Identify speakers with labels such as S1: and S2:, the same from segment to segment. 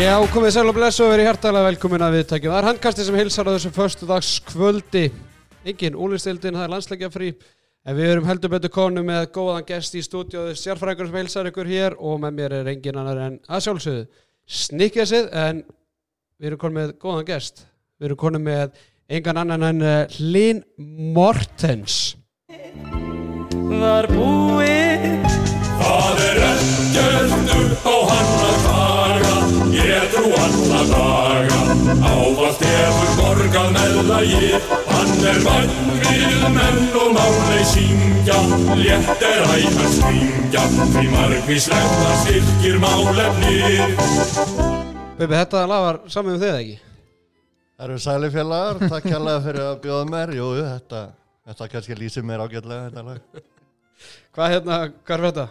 S1: Já, komið sæl og blessu og verið hjartalega velkomin að viðtækjum. Það er handkastið sem hilsar á þessu föstudagskvöldi. Engin úlistildin, það er landsleikja frí. En við erum heldur betur konu með góðan gest í stúdíóðu, sérfræðingur sem hilsar ykkur hér og með mér er engin annar en að sjálfsögðu. Snikkið sig, en við erum konu með góðan gest. Við erum konu með engan annan en eh, Hlyn Mortens.
S2: var búið
S3: Það er ekkert upp á hann að fara, ég trú alla daga. Ávalt hefur borgað með lagi, hann er vann við menn og máli syngja. Létt er æg að stingja, því margvíslegt að styrkir málefnið.
S1: Bubi, þetta lag var saman um þið eða ekki?
S4: Það eru sælifélagar, takk hérlega fyrir að bjóða mér. Jú, jú, þetta, þetta kannski lýsir mér ágætlega þetta lag.
S1: Hvað hérna, hvað er þetta?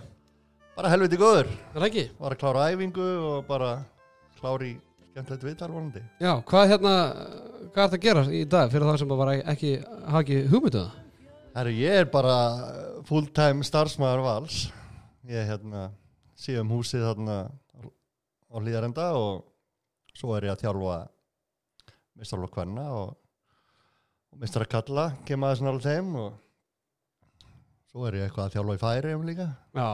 S4: Bara helviti góður.
S1: Er það ekki?
S4: Var að klára æfingu og bara klára í skemmtilegt viðtal vonandi.
S1: Já, hvað hérna, hvað er það að gera í dag fyrir þá sem að bara ekki hafa ekki hugmyndu það?
S4: Herru, ég er bara fulltime starfsmæður vals. Ég hérna sé um húsið þarna á hlýðarenda og svo er ég að þjálfa mistarlokk hvenna og, og mistar að kalla, kem aðeins nála þeim og svo er ég eitthvað að þjálfa í færi um líka.
S1: Já,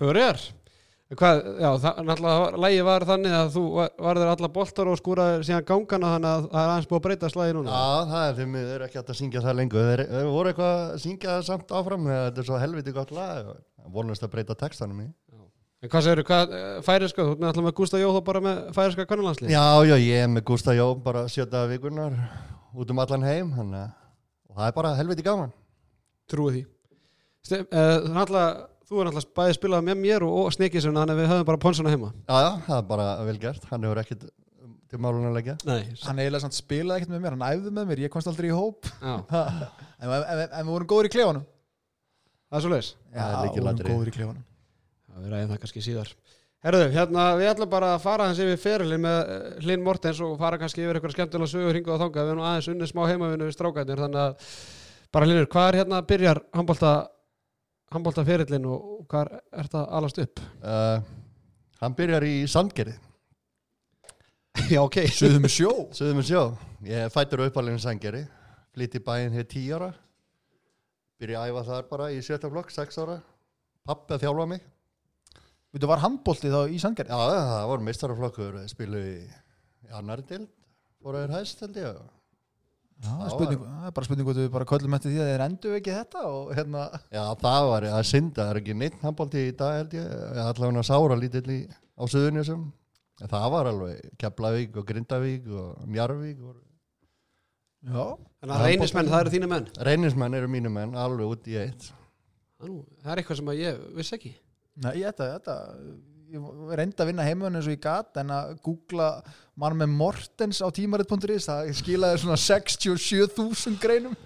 S1: fyrir Hvað, já, það, náttúrulega lægi var þannig að þú varður alla boltar og skúraði síðan gangana þannig að það er aðeins búið að breyta slæði núna
S4: Já, það er því miður ekki hægt að syngja það lengur. Þeir, þeir voru eitthvað að syngja það samt áfram þegar þetta er svo helviti gott lag og vonast að breyta textanum í.
S1: En hvað segirðu, hvað færiska, þú náttúrulega með Gústa Jóð og bara með færiska kannalanslið
S4: Já, já, ég er með Gústa Jó bara sjöta vikunar út um allan heim hann, og það er bara helviti gaman.
S1: Trúið því Ste, uh, náttúrulega, Þú er náttúrulega bæði spilað með mér og, og snikið sem þannig að við höfum bara ponsuna heima
S4: Já, já, það er bara vel gert. Hann hefur ekkit um, til málun að leggja.
S1: Nei,
S5: hann eiginlega samt spilaði ekkert með mér, hann æfði með mér ég komst aldrei í hóp
S1: já,
S5: en, en, en, en við vorum góður í klefanum
S1: það er svo leis
S4: það er
S5: við vorum
S4: lykilatriði.
S5: góður í klefanum
S1: Það verður aðeins það kannski síðar. Herðu, hérna, við ætlum bara að fara hans yfir ferilinn með eh, Hlyn Mortens og fara kannski yfir eitthvað skemmtilega sögur hringu á þangað. Við erum nú aðeins unnið smá heimavinu við strákarnir, þannig að bara Hlynur, hvað er hérna byrjar handbólta, handbólta ferilinn og og hvað er- er þetta alast upp?
S4: Uh, hann byrjar í Sandgerði,
S1: Já, ok.
S5: Suðu með sjó
S4: sögðum við sjó. Ég er fættur uppalinn í Sandgerði, flytt í bæinn hér 10 ára, byrja að æfa þar bara í sjötta flokk, 6 ára. Pappi að þjálfa mig.
S5: Þú var handbólti þá í Sandgerði
S4: Já, það voru mistaraflokkur spiluð í í annarri dild voru þeir hæst held ég
S5: Já, það er spurning- það er bara spurning hvort við bara köllum eftir því að þeir endur ekki þetta og hérna
S4: Já, það var að synda, það er ekki neitt handbólti í dag held ég, allavega sára lítill í, á Suðunjössum en það var alveg Keflavík og Grindavík og Njarvík og
S5: já,
S1: Þannig að reynismenn, það eru þínu menn.
S4: reynismenn eru mínu menn alveg út í eitt
S1: Það er nú- það er eitthvað sem að ég vissi ekki.
S5: Nei, þetta, þetta ég reyndi að vinna heimöðun eins og ég gat en að googla mann með Mortens á tímarit.is það skilaði svona 67.000 greinum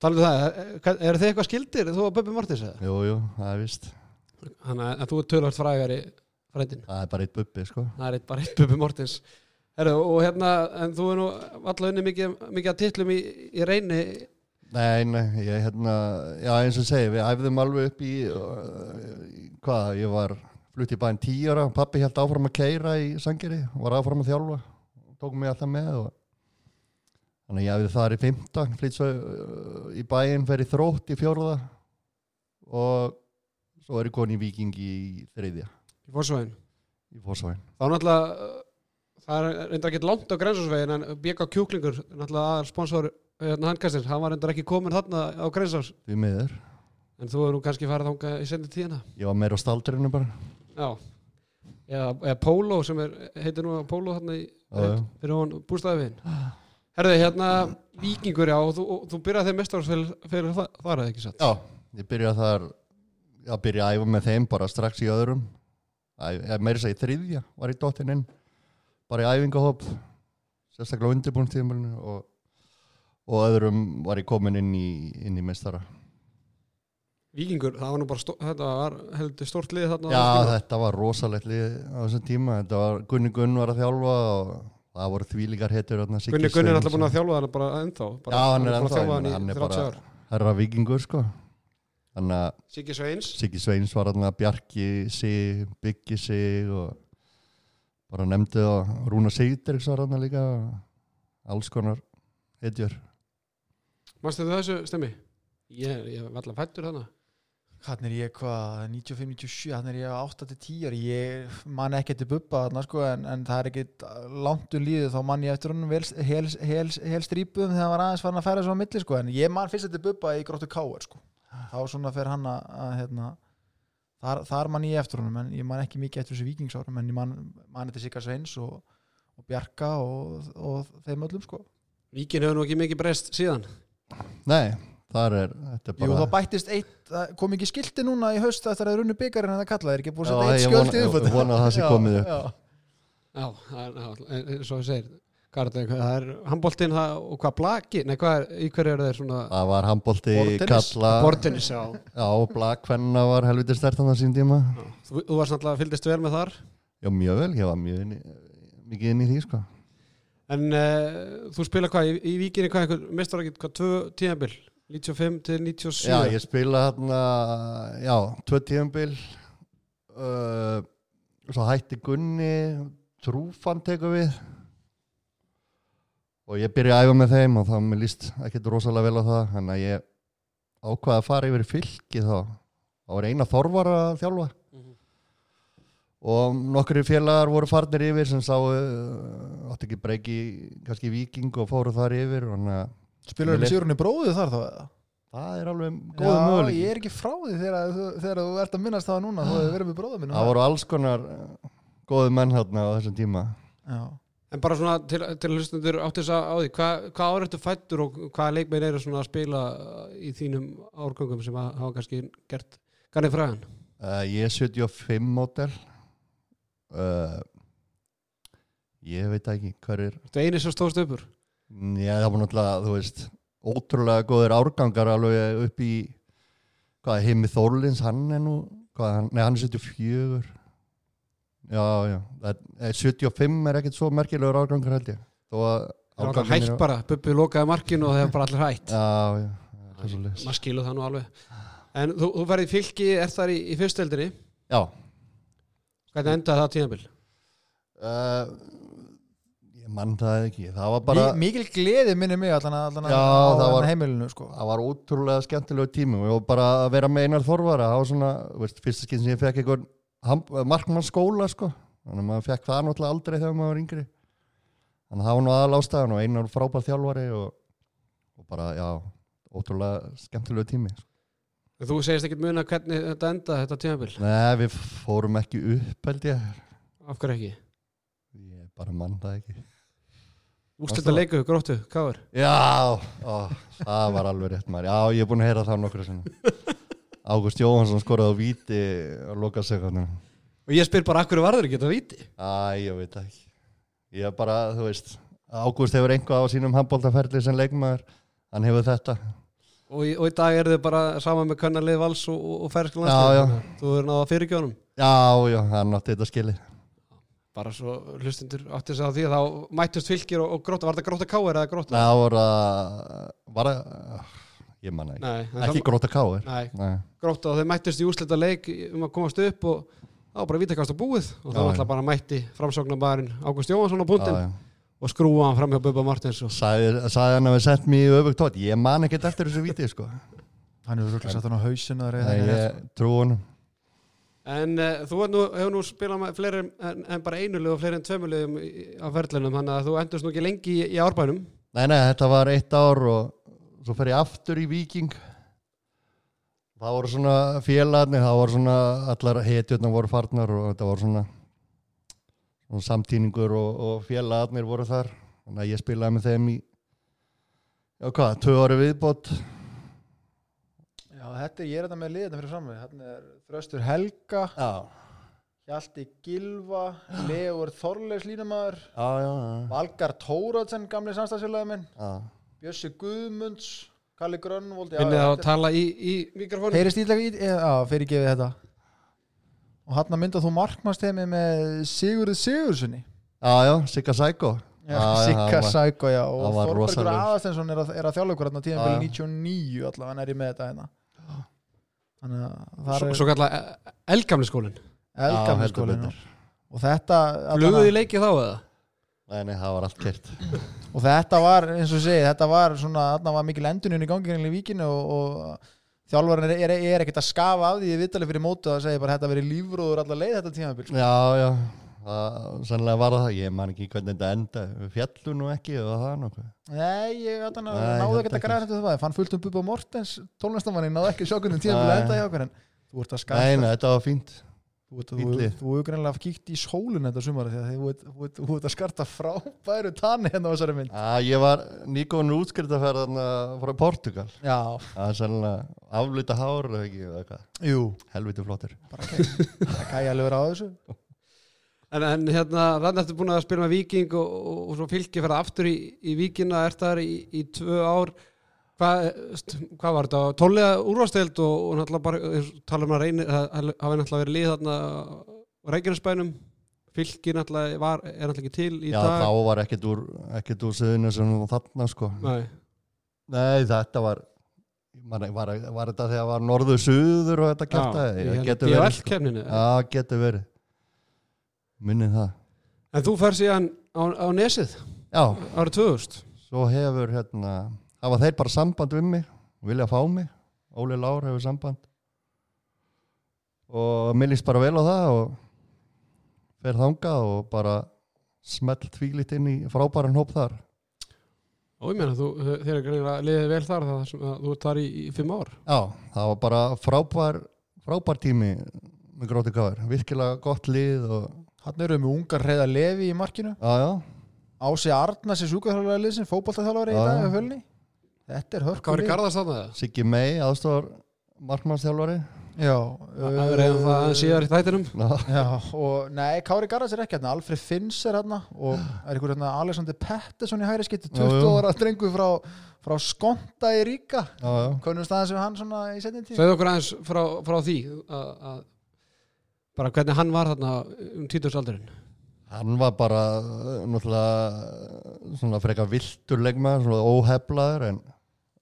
S1: Talum það, eh, hvað- eru þið eitthvað skildir þú og Böbbi Mortens eða?
S4: Jú, jú, það er vist
S1: Þannig að- að þú er tölvart frægari frændin.
S4: Það er bara eitt bubbi, sko
S1: það er eitt bara eitt Bubi Mortens Heru, og hérna, en þú er nú alltaf unni mikið, mikið að titlum í, í reyni
S4: Nei, nei, ég hérna, já eins og segi, við æfðum alveg upp í, uh, í- hvað, ég var flutt í bæinn tíu ára, pappi held áfram að keira í sangeri, var áfram að þjálfa, tók mig alltaf með og þannig að ég æfði þar í fymta, flytt svo uh, í bæinn, fer í þrótt í fjórða og svo er ég koni í viking í þriðja,
S1: í fórsvæðin
S4: í fórsvæðin.
S1: þá náttúrulega uh, það er reyndar ekki langt á grensásvegin en BK Kjúklingur, náttúrulega aðal sponsor hérna handkastins, hann var reyndar ekki komin þarna á grensás,
S4: Því miður,
S1: en þú er nú kannski farið þanga í sendi tíðina
S4: ég var meira á staldrinu bara,
S1: já, eða, eða Polo sem er, heitir nú Polo þarna í
S4: Já, já.
S1: fyrir hún bústæðin herðu, hérna, vikingur já, og þú, og þú byrjaði þeim mestarásfélag fyrir þar eða ekki satt
S4: Já, ég byrja þar að byrja að æfa með þeim bara strax í öðrum meira þess að í þriðja var ég dottinn inn bara í æfingahopp sérstaklega undirbúnstíðumölinu og, og öðrum var ég komin inn í, inn í mestara
S1: Víkingur, það var nú bara stó, þetta var heldur stórt lið þarna
S4: Já,
S1: það
S4: þetta var rosalegt lið á þessum tíma þetta var Gunni Gunn var að þjálfa og það voru þvílíkar hettur þarna, Siggi
S1: Gunni Gunni er alltaf
S4: Sveinsson.
S1: búin að þjálfa hann bara ennþá bara,
S4: Já, hann
S1: búinn
S4: er
S1: að
S4: ennþá,
S1: þjálfa
S4: ég
S1: hann í
S4: meina, hann er
S1: 30
S4: bara-
S1: ár
S4: herra vikingur sko þannig að
S1: Siggi Sveins
S4: Siggi Sveins var hann að bjargi sig, byggi sig og bara nefndi það Rúna Seyderks var hann líka alls konar heitjör
S1: Mástu þau þessu, Stemmi? Ég, ég var alltaf fættur þannig
S5: hann er ég hvað, 95-97 hann er ég 8-10 ári ég man ekki eftir bubba þarna sko en, en það er ekkit langt um líðið þá man ég eftir honum vel, hel, hel, hel strípum þegar hann var aðeins farin að færa svo á milli sko en ég man fyrst eftir bubba í gróttu káar sko þá svona fer hann að, að hérna, þar, þar man ég eftir honum en ég man ekki mikið eftir þessu vikingsárum en ég man, man eftir Sigga Sveins og, og Bjarka og, og þeim öllum sko
S1: Víkin hefur nú ekki mikið breyst síðan
S4: nei, þar er þetta er
S5: Jú,
S4: bara
S5: þá bættist eitt, það kom ekki skilti núna í haust eftir að runnu byggarinn en það kallaði, er ekki búið
S4: Já,
S5: að setja eitt
S4: ég
S5: skjöld
S4: vona-
S5: í uppfætt
S4: ég vona að það sé komið upp.
S1: Já, það er- já, en- en svo þú segir Garda, það er handbóltinn og hvað blaki, nei hvað er, í hverju eru þeir svona
S4: það var handbólti
S5: Borðtennis?
S4: kalla
S1: bortinni sá
S4: já, blakvenna var helviti stert hann á sín tíma
S1: Þú, þú varst náttúrulega fylgdist vel með þar
S4: já, mjög vel, ég var mjög inn í, mikið inn í því sko
S1: en uh, þú spila hvað, í, í víkinni hvað einhver, mestur ekki, hvað, tvö tíðanbill 95 til 97
S4: Já, ég spila hérna, já, tvö tíðumbil, uh, svo hætti Gunni, Trúfan tekur við og ég byrja að æfa með þeim og þá mér líst ekkert rosalega vel á það, þannig að ég ákvaði að fara yfir í fylki þá, þá var eina þorvar að þjálfa
S1: Mhm.
S4: og nokkri félagar voru farnir yfir sem sáu, uh, átti ekki breyki, kannski viking og fóru þar yfir, þannig að
S5: Spilur
S4: Ég
S5: við
S4: leit-
S5: Sigurunni bróðu þar þá eða?
S4: það er alveg góð möguleik.
S5: Já, ég er ekki frá því þegar, þú- þegar þú ert að minnast það núna þú hefur verið með bróðu minn
S4: Ah. Það voru alls konar eh, góðu menn hérna á þessum tíma.
S5: Já,
S1: En bara svona til, til að hlustendur átt þess að á því, hva, hvað ára ertu fættur og hvaða leikmenn eru svona að spila í þínum árgöngum sem að hafa kannski gert kannið fræðan?
S4: Uh, ég er 75 mótel. Uh, ég veit ekki hverjir.
S1: Þetta eini sem stóðst uppur?
S4: Já, það var náttúrulega, þú veist, ótrúlega góður árgangar alveg upp í, hvað, Heimi Þórlins, hann er nú, hvað, hann- nei, hann er 74. Já, já, það, eh, 75 er ekkert svo merkilegur árgangar held ég. Þó að
S1: Það var alltaf hætt
S4: eru-
S1: bara, Bubbi lokaði markinu og það var bara allir hætt.
S4: Já, já, það er svo leys.
S1: Maður skilur það nú alveg. En þú, þú ferði fylki, er þar í, í fyrstöldinni,
S4: Já,
S1: hvernig endaði það tíðanbíl?
S4: Uh, ég mann það ekki það var bara,
S5: bara... Mikil gleði minni mig allan að, allan að
S4: Já,
S5: á
S4: það var-
S5: hérna heimilinu sko
S4: það var ótrúlega skemmtilegu tími og ég var bara að vera með einar þorvara það var svona, þú veist, fyrsta skinn sem ég fekk einhvern ham- markmannsskóla sko þannig að maður fekk það náttúrulega aldrei þegar maður var yngri þannig að það var nú aðal ástæðan og einar frábær þjálfari og, og bara, já, ótrúlega skemmtilegu tími sko.
S1: En þú segist ekkert muna hvernig þetta endaði þetta tíðanbíl?
S4: Nei, við fórum ekki upp held ég
S1: Af hverju ekki?
S4: ég bara mann það ekki
S1: Ústelda leikuðu, gróttu, káður?
S4: Já, ó, það var alveg rétt maður Já, ég er búin að heyra það nokkru sinni Ágúst Jóhansson skoraði á víti og loka sig hann
S1: Og ég spyr bara, af hverju varður ekki þetta víti?
S4: Æ, ég veit það ekki Ég er bara, þú veist Ágúst hefur einhvað á sínum handbóltaferli sem leikmaður Hann hefur þetta
S1: Og í, og í dag eru þið bara sama með könnarlið vals og, og, og fersk
S4: Já, já.
S1: Þú verður náða fyrirgjónum.
S4: Já, já, hann átti þetta skili
S1: bara svo hlustundur átti þess að því að þá mættust fylgir og, og gróta, var þetta gróta káir eða gróta?
S4: Það var að Var að, ég manna ekki
S1: Nei, en
S4: Ekki
S1: þá-
S4: gróta káir
S1: Nei,
S4: Nei,
S1: gróta og þeir mættust í úslita leik um að komast upp og þá var bara vítakast á búið og þá
S4: Já,
S1: var alltaf bara mætti framsóknarbærin Ágúst Jóhansson á punktin
S4: já, já.
S1: og skrúa hann fram hjá Bubba Martins og
S4: Sagði, sagði hann að við sett mér í öfugt tótt Ég man ekkert eftir þessu víti, sko
S5: Hann hefur röglega satt hann á hausinu að reyða
S4: Nei, ég trú honum
S1: En uh, þú ert nú, hefur nú spilað með fleiri en, en bara einulegu og fleiri en tveimulegum á ferlinum, þannig að þú endurst nú ekki lengi í, í árbænum.
S4: Nei, nei, þetta var eitt ár og svo fer ég aftur í Viking. Það voru svona félagarnir, það voru svona allar hetjurnar voru farnar og þetta voru svona, svona samtíningur og, og félagarnir voru þar. Þannig að ég spilaði með þeim í, já hvað, tvö ári viðbót.
S5: Já, þetta er, ég er þetta með liðina fyrir framöðu Þetta er Þröstur Helga,
S4: Já,
S5: Hjalti Gilva Legur Þorleifs línumæður
S4: já, já, já.
S5: Valgar Tóratsen, gamli samstagsfélagið minn
S4: já.
S5: Bjössi Guðmunds, Kalli Grönnvold
S1: Finnið það að tala í, í mikrofónu?
S5: Heyrist ídlega í, já, fyrir gefið þetta Og hann að mynda þú markmannstemi með Sigurð Sigurðssoni
S4: Já, já, Sigga Sæko.
S5: Sigga Sæko, já Og
S4: hann var
S5: Þorbergur
S4: rosalegur.
S5: Aðastensson er, að- er að þjálfa okkur hérna tíðan
S4: Já, já.
S5: fyrir 99 allavega hann er ég með þetta hérna Þannig að það
S1: Svo,
S5: er
S1: svo kalla elgamli skólinn.
S4: Já,
S5: elgamli
S4: heldur
S5: skólinn
S4: betur.
S5: og og þetta,
S1: Fluguðu í
S5: allan,
S1: leiki þá eða?
S4: Nei, nei, það var allt kert
S5: og þetta var eins og ég segi, þetta var svona, þarna var mikil endunum í gangi hérna í víkinu og, og þjálfarinn er, er, er ekkert að skafa af því viðtalið fyrir mótu að segja bara þetta verið lífróður allar leið þetta tímabil sko.
S4: Já, já, það, sannlega var það Ég man ekki hvernig þetta enda Við fjallu nú ekki og það nokkuð
S5: Nei, ég þarna,
S4: Nei, þetta
S5: náðu ekkert að
S4: ekki.
S5: græða þetta það fann fullt um Bubba Mortens, tónlistamannin náðu ekki sjókunum tímabil
S4: Nei.
S5: að enda hjá okkur en þú ert að skasta
S4: Nei, nei, þetta var fínt
S5: Þú veit að
S4: Fínn
S5: þú-
S4: lið.
S5: þú hefur greinlega kíkt í sólun þetta sumar því að þið- þú ert- þú ert- þú ert að skarta frábæru tanni hérna á þessari mynd.
S4: Já, ég var nýkónu útskriðtaferð þarna frá Portugal
S5: Já,
S4: Það er sannlega aflita hár eða ekki, eða eitthvað.
S5: jú,
S4: Helviti flottur
S5: bara kæja lögur á þessu.
S1: En, en hérna, rann eftir búin að spila með Viking og, og, og svo fylki fyrir aftur í, í Víkina, ert það í, í tvö ár hvað st- hvað var þetta, tónlega úrvasteld og, og náttúrulega bara, tala um að reyni það það hafi náttúrulega verið lið þarna á Reykjanesbænum, fylki náttúrulega var, er náttúrulega ekki til í
S4: Já,
S1: dag
S4: þá var ekkert úr, ekkert úr söðinu sem þarna sko.
S1: Nei,
S4: Nei, þetta var man, var, var þetta þegar var norður suður og þetta kjarta
S1: já,
S4: getur verið sko.
S1: kemninu
S4: Já, getur verið Minnið það
S1: En þú fer síðan á, á Nesið
S4: Já,
S1: árið 2000
S4: svo hefur hérna hafa þeir bara samband við mig vilja fá mig, Óli Lár hefur samband og mér líst bara vel á það og fer þangað og bara smelt tvílitt inn í frábæran hóp þar
S1: Og ég meina, þú, eh, þeir eru greinilega liðið vel þar það sem að þú ert þar í, í fimm ár
S4: Já, það var bara frábær, frábær tími með gróti gáður, virkilega gott lið og
S5: Hann eru með ungar reyða lefi í markinu.
S4: já, já,
S5: Ási Arna sem sjúkaþjálfarlið sem fótballtæðþjálfari í
S4: Já.
S5: dag á hölni. Þetta er hörku
S1: Kári Garðars þarna það?
S4: Siggi May, aðstofar markmannstjálfari
S5: Já. uh,
S1: Það er eða hérna það síðar í þættinum
S4: Já,
S5: Já, og nei, Kári Garðars er ekki hérna, Alfred Finns er hérna og er ykkur hérna Alexander Pettersson í hæri skytti,
S4: Já, já.
S5: 20 ára drengu frá, frá Skonda í Ríka,
S4: já,
S5: konum staðan sem hann svona í setjum tíð.
S1: Segðu okkur aðeins frá, frá því að, að bara hvernig hann var þarna um títursaldurinn
S4: hann var bara eh, náttúrulega eh, svona frekar viltur leikmaður, svona óheflaður en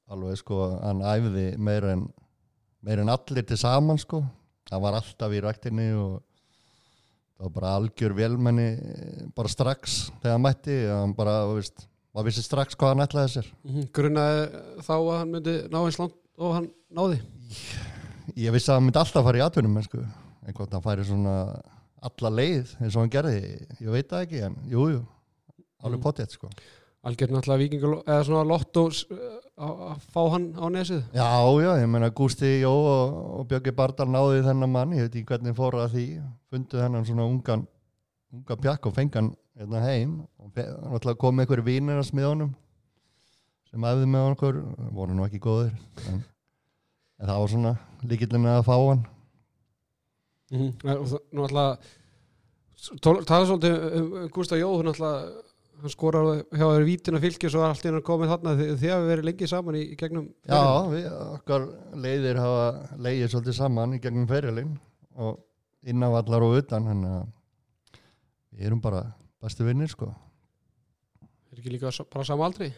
S4: alveg sko, hann æfði meir en, meir en allir til saman sko, hann var alltaf í ræktinni og það var bara algjör velmenni eh, bara strax þegar hann mætti, hann bara, þú veist maður vissi strax hvað hann ætlaði sér
S1: Grunnaði Mhm, þá að hann myndi ná eins langt og hann náði
S4: Ég vissi að hann myndi alltaf fara í atvinnum en sko, en hvort hann færi svona alla leið eins og hann gerði ég veit það ekki, en jú, jú alveg
S1: Mm.
S4: potið, sko
S1: Algjörn náttúrulega vikingur eða svona lotto eh, að að fá hann á Nesið
S4: Já, já, ég meina Gústi Jó og, og Björgi Bardal náði þennan mann ég veit ekki hvernig fór að því fundu þennan svona ungan unga pjakk og fengan hérna heim og fe- náttúrulega komið einhverju vínir að smið honum sem æfði með okkur voru nú ekki góðir en, en það var svona líkillin að fá hann
S1: Mm -hmm. Nú alltaf tala svolítið um- um Gústa Jó hún alltaf hann skorar hjá þér vítina fylgis og allt innan komið þarna Þi- þið hafi verið lengi saman í, í gegnum
S4: Já, við, okkar leiðir hafa leiðið svolítið saman í gegnum ferilinn og innanvallar og utan þannig að við erum bara bestu vinnir sko
S1: er ekki líka sa- bara sama aldri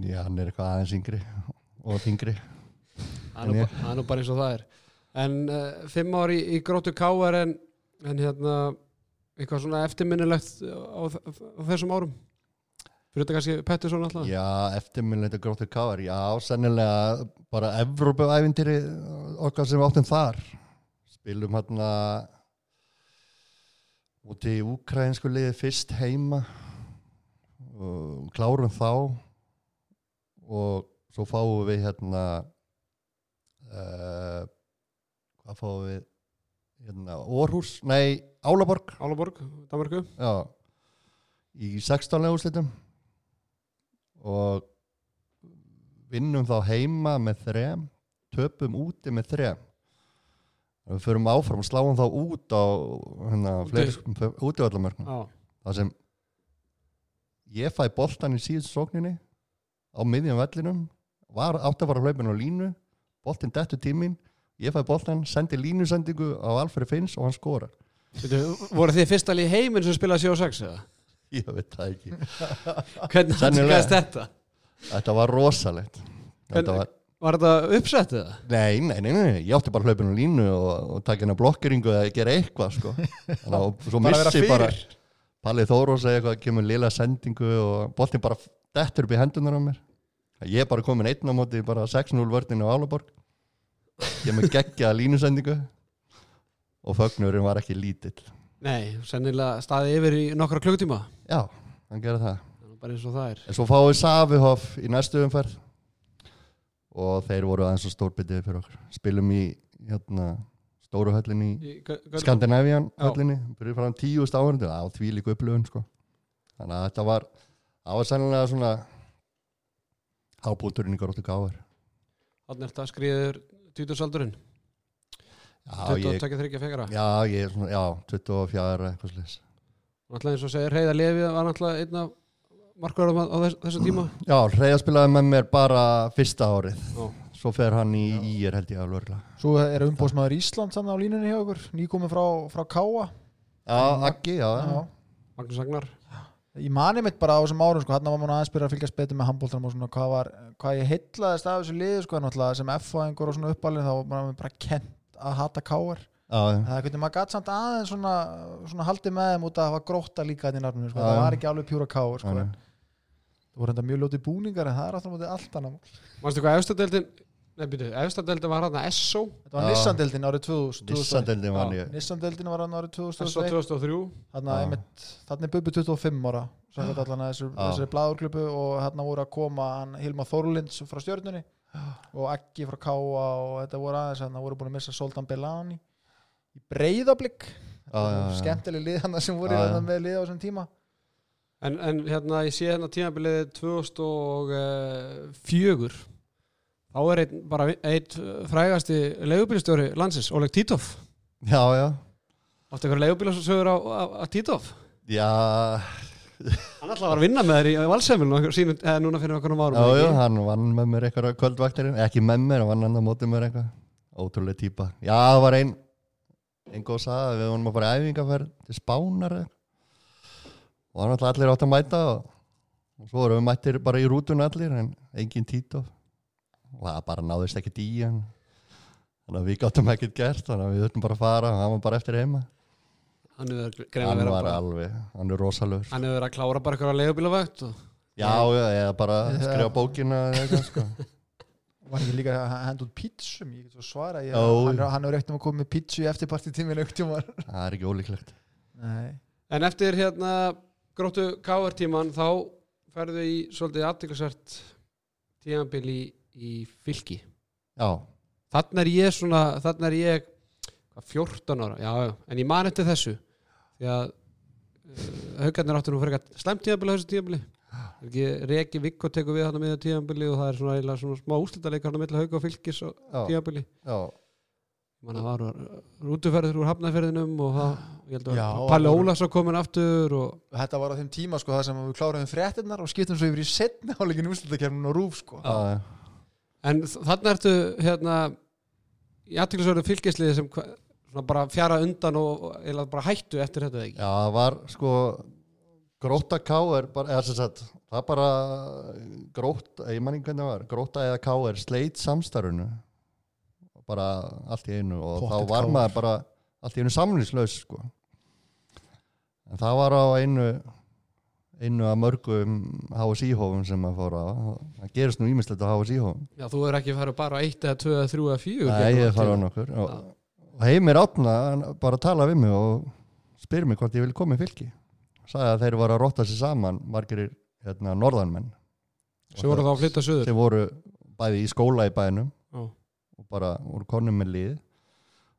S4: Já, hann er eitthvað aðeins yngri og þingri
S1: það er nú
S4: En ég-
S1: ba- það er nú bara eins og það er en uh, fimm ár í, í gróttu káar en, en hérna eitthvað svona eftirminnilegt á, þ- á þessum árum fyrir þetta kannski Pettersson alltaf
S4: Já, eftirminnleita gróttur káar Já, sennilega bara Evrópuævindiri okkar sem við áttum þar spilum hérna úti í ukrainsku liði fyrst heima og klárum þá og svo fáum við hérna uh, hvað fáum við hérna, Orhus, nei, Álaborg
S1: Álaborg, Danmarku
S4: Já, í 16 úrslitum og vinnum þá heima með þrem, töpum úti með þrem. Og Við förum áfram og sláum þá út á hérna,
S1: Úti.
S4: fleiri útivallamörknum.
S1: Já,
S4: Það sem ég fæ boltan í síðust sókninni á miðjum vellinum, var átt að fara hlaupin á línu, boltin dettu tímin, ég fæ boltan, sendi línusendingu á Alfred Finns og hann skorar.
S1: Veitu, voru þið fyrsta lið í heiminn sem spilaði 7-6 eða?
S4: Ég veit það ekki.
S1: Hvernig
S4: Sennilega.
S1: atvikaðist þetta?
S4: Þetta var rosalegt
S1: En-
S4: Þetta var
S1: Var þetta uppsett eða?
S4: Nei, nei, nei, nei, ég átti bara hlaupinu línu og, og taka hennar blokkeringu eða gera eitthvað sko. Þannig að svo
S5: Bara vera
S4: missi bara
S5: fyrir.
S4: Palli Þóru segja eitthvað, kemur lila sendingu og boltin bara dettur upp í hendunar á mér Ég er bara komin einn á móti bara 6-0 vörðinu á Álaborg kemur geggja línusendingu og fögnurinn var ekki lítill
S1: Nei, sennilega staði yfir í nokkra klukkutíma
S4: Já, hann gera það
S1: Það er Bara eins og það er
S4: En svo fáum við Savihoff í næstu umferð og þeir voru aðeins og stórbyrðið fyrir okkur. Spilum í hérna, stóru höllinni í
S1: Í gö- gö-
S4: Skandinavian
S1: Já.
S4: höllinni, byrjuð fram tíu stáðundu, á því líka upplöfun sko. Þannig að þetta var, það var sennilega svona hábúturinn í gróttu gáðar.
S1: Þannig er þetta skriður 20-saldurinn
S4: Já, ég,
S1: 22-23 fengara
S4: já, ég, er svona, já, 24 eitthvað slis.
S1: Náttúrulega eins og segir Reyðar Levi var náttúrulega einn af markverðum á þess,
S4: Mm.
S1: þessu tíma
S4: Já, Reyja spilaði með mér bara fyrsta árið,
S1: Já.
S4: svo fer hann í ír held ég alveg örgulega.
S5: Svo er umbóðsmaður Ísland saman á línunni hjá okkur, nýkomið frá, frá Káa.
S4: Já, Aggi, já, já.
S5: Já.
S1: Magnús Agnar
S5: Ég mani mitt bara á þessum árum, sko, hann var maður aðeins byrja að fylgjast betur með handbóltanum og svona hvað, var, hvað ég heitlaðist af þessu liðu, sko, en náttúrulega sem F-fæðingur og svona uppalinn þá var maður bara kent að hata Káar.
S4: já, já.
S5: Það er hvernig maður gætt samt aðeins svona, svona haldið með þeim út að hafa grótta líka þetta í nafninu, sko,
S4: Já,
S5: það
S4: já.
S5: var ekki alveg pjúra Káar, sko,
S4: Já, já.
S5: en það voru enda mjög ljóti búningar en það er aftur á móti allt annað. mál.
S1: Manstu hvað efstadeldin Nei, byrju, efstadeldin var hann að SO
S5: Þetta var
S4: Já.
S5: Nissandeldin árið 2000.
S4: Dissandeldin var ég
S5: Nissandeldin var hann árið
S1: SO
S5: 2001.
S1: 2003
S5: Þannig
S4: Já.
S5: að einmitt, þannig er Bubbi 25 ára samkvæmt allan að þessu,
S4: Já.
S5: þessari bladurklubbu og hérna voru að koma hann Hilma Þorlinds frá stjörnunni og Eggi frá Káa og þetta voru aðeins þannig að voru búin að missa Soltan Belani í breyðablík
S4: já, já.
S5: skemmtileg lið hann sem voru
S4: Já, já.
S5: hérna með lið á þessum tíma
S1: En, en hérna, ég sé hérna tímabilið 2004 þá er einn, bara einn frægasti leigubílstjóri landsins, Oleg Títov
S4: Já, já
S1: Áttu ykkur leigubílasögur á, á, á Títov
S4: Já,
S1: Hann alltaf var að vinna með þér í valsefnilun sínum, eða núna fyrir okkur um árum
S4: já, já,
S1: ekki?
S4: hann vann með mér eitthvað kvöldvaktirinn, ekki með mér, hann vann hann á móti mér eitthvað, ótrúlega típa Já, það var ein, ein góð saga við vonum að fara í æfingarferð til spánar eða eitthvað. og hann alltaf allir átt að mæta og, og svo vorum við mættir bara í rútun allir en engin Tito og það bara náðist ekki í hann þannig að við gáttum ekkert gert þannig að við þurftum bara að fara og hann var bara eftir heima
S1: Hann hefur greina
S4: hann
S1: verið
S4: var
S1: að, að,
S4: alveg, hann er rosalur
S1: hann hefur verið að klára bara ykkur að leigubílavægt og
S4: Já, já, eða bara
S5: Já.
S4: skrifa bókina eða eitthvað, sko.
S5: var ekki líka að henda út pítsum ég get svo svara, ég,
S4: Ó.
S5: hann, hann hefur ekkert um að koma með pítsu í eftirparti tíminu auktumar
S4: Það er ekki ólíklegt.
S5: Nei,
S1: En eftir hérna gróttu káartíman þá ferðu í svolítið aðtiklisvert tímabili í, í fylki
S4: Já,
S1: Þannig er ég svona, þannig er ég hvað, 14 ára, já, já, en ég man eftir þessu því að uh, haugarnir áttur nú fyrir eitthvað slæmt tíðanbili þessu tíðanbili ekki Reki Viggo tekur við hann að miða tíðanbili og það er svona, eiginlega svona smá úslitaleik hann að milli hauga og fylgis og
S4: já,
S1: tíðanbili
S4: já.
S1: Man, það var uh, rútuferður úr hafnaferðinum og það, ég held
S5: Já,
S1: að Palli
S5: það voru-
S1: Ólafsson kominn aftur og
S5: þetta var á þeim tíma sko, það sem við kláraðum fréttinnar og skiptum svo yfir í setna áleikin úrslutakefnun og rúf sko.
S4: já, já.
S1: En þannig ertu hérna í aðtýrlisverðu fylgisliði sem hva- svona bara fjara undan og, og eða bara hættu eftir þetta eða ekki
S4: Já, það var sko, gróta K er bara, eða sem sagt, það bara gróta, ég man ekki hvernig það var, gróta eða K er sleit samstarfinu, bara allt í einu og
S5: Pottet
S4: þá var
S5: KR.
S4: maður bara allt í einu samlýslaus, sko. En það var á einu, einu af mörgum HSI-hófum sem maður fór á, það gerist nú ímislegt á HSI-hófum.
S1: Já, þú er ekki farið bara á 1 eða 2 eða 3 eða hérna, 4
S4: Nei, ég fara á nokkur og, og heimir átna bara að tala við mig og spyr mig hvort ég vil koma í fylki sagði að þeir voru að rotta sér saman margir hérna, norðanmenn
S1: Sem voru þá að flytta söður
S4: sem voru bæði í skóla í bænum
S1: Já.
S4: og bara voru konum með lið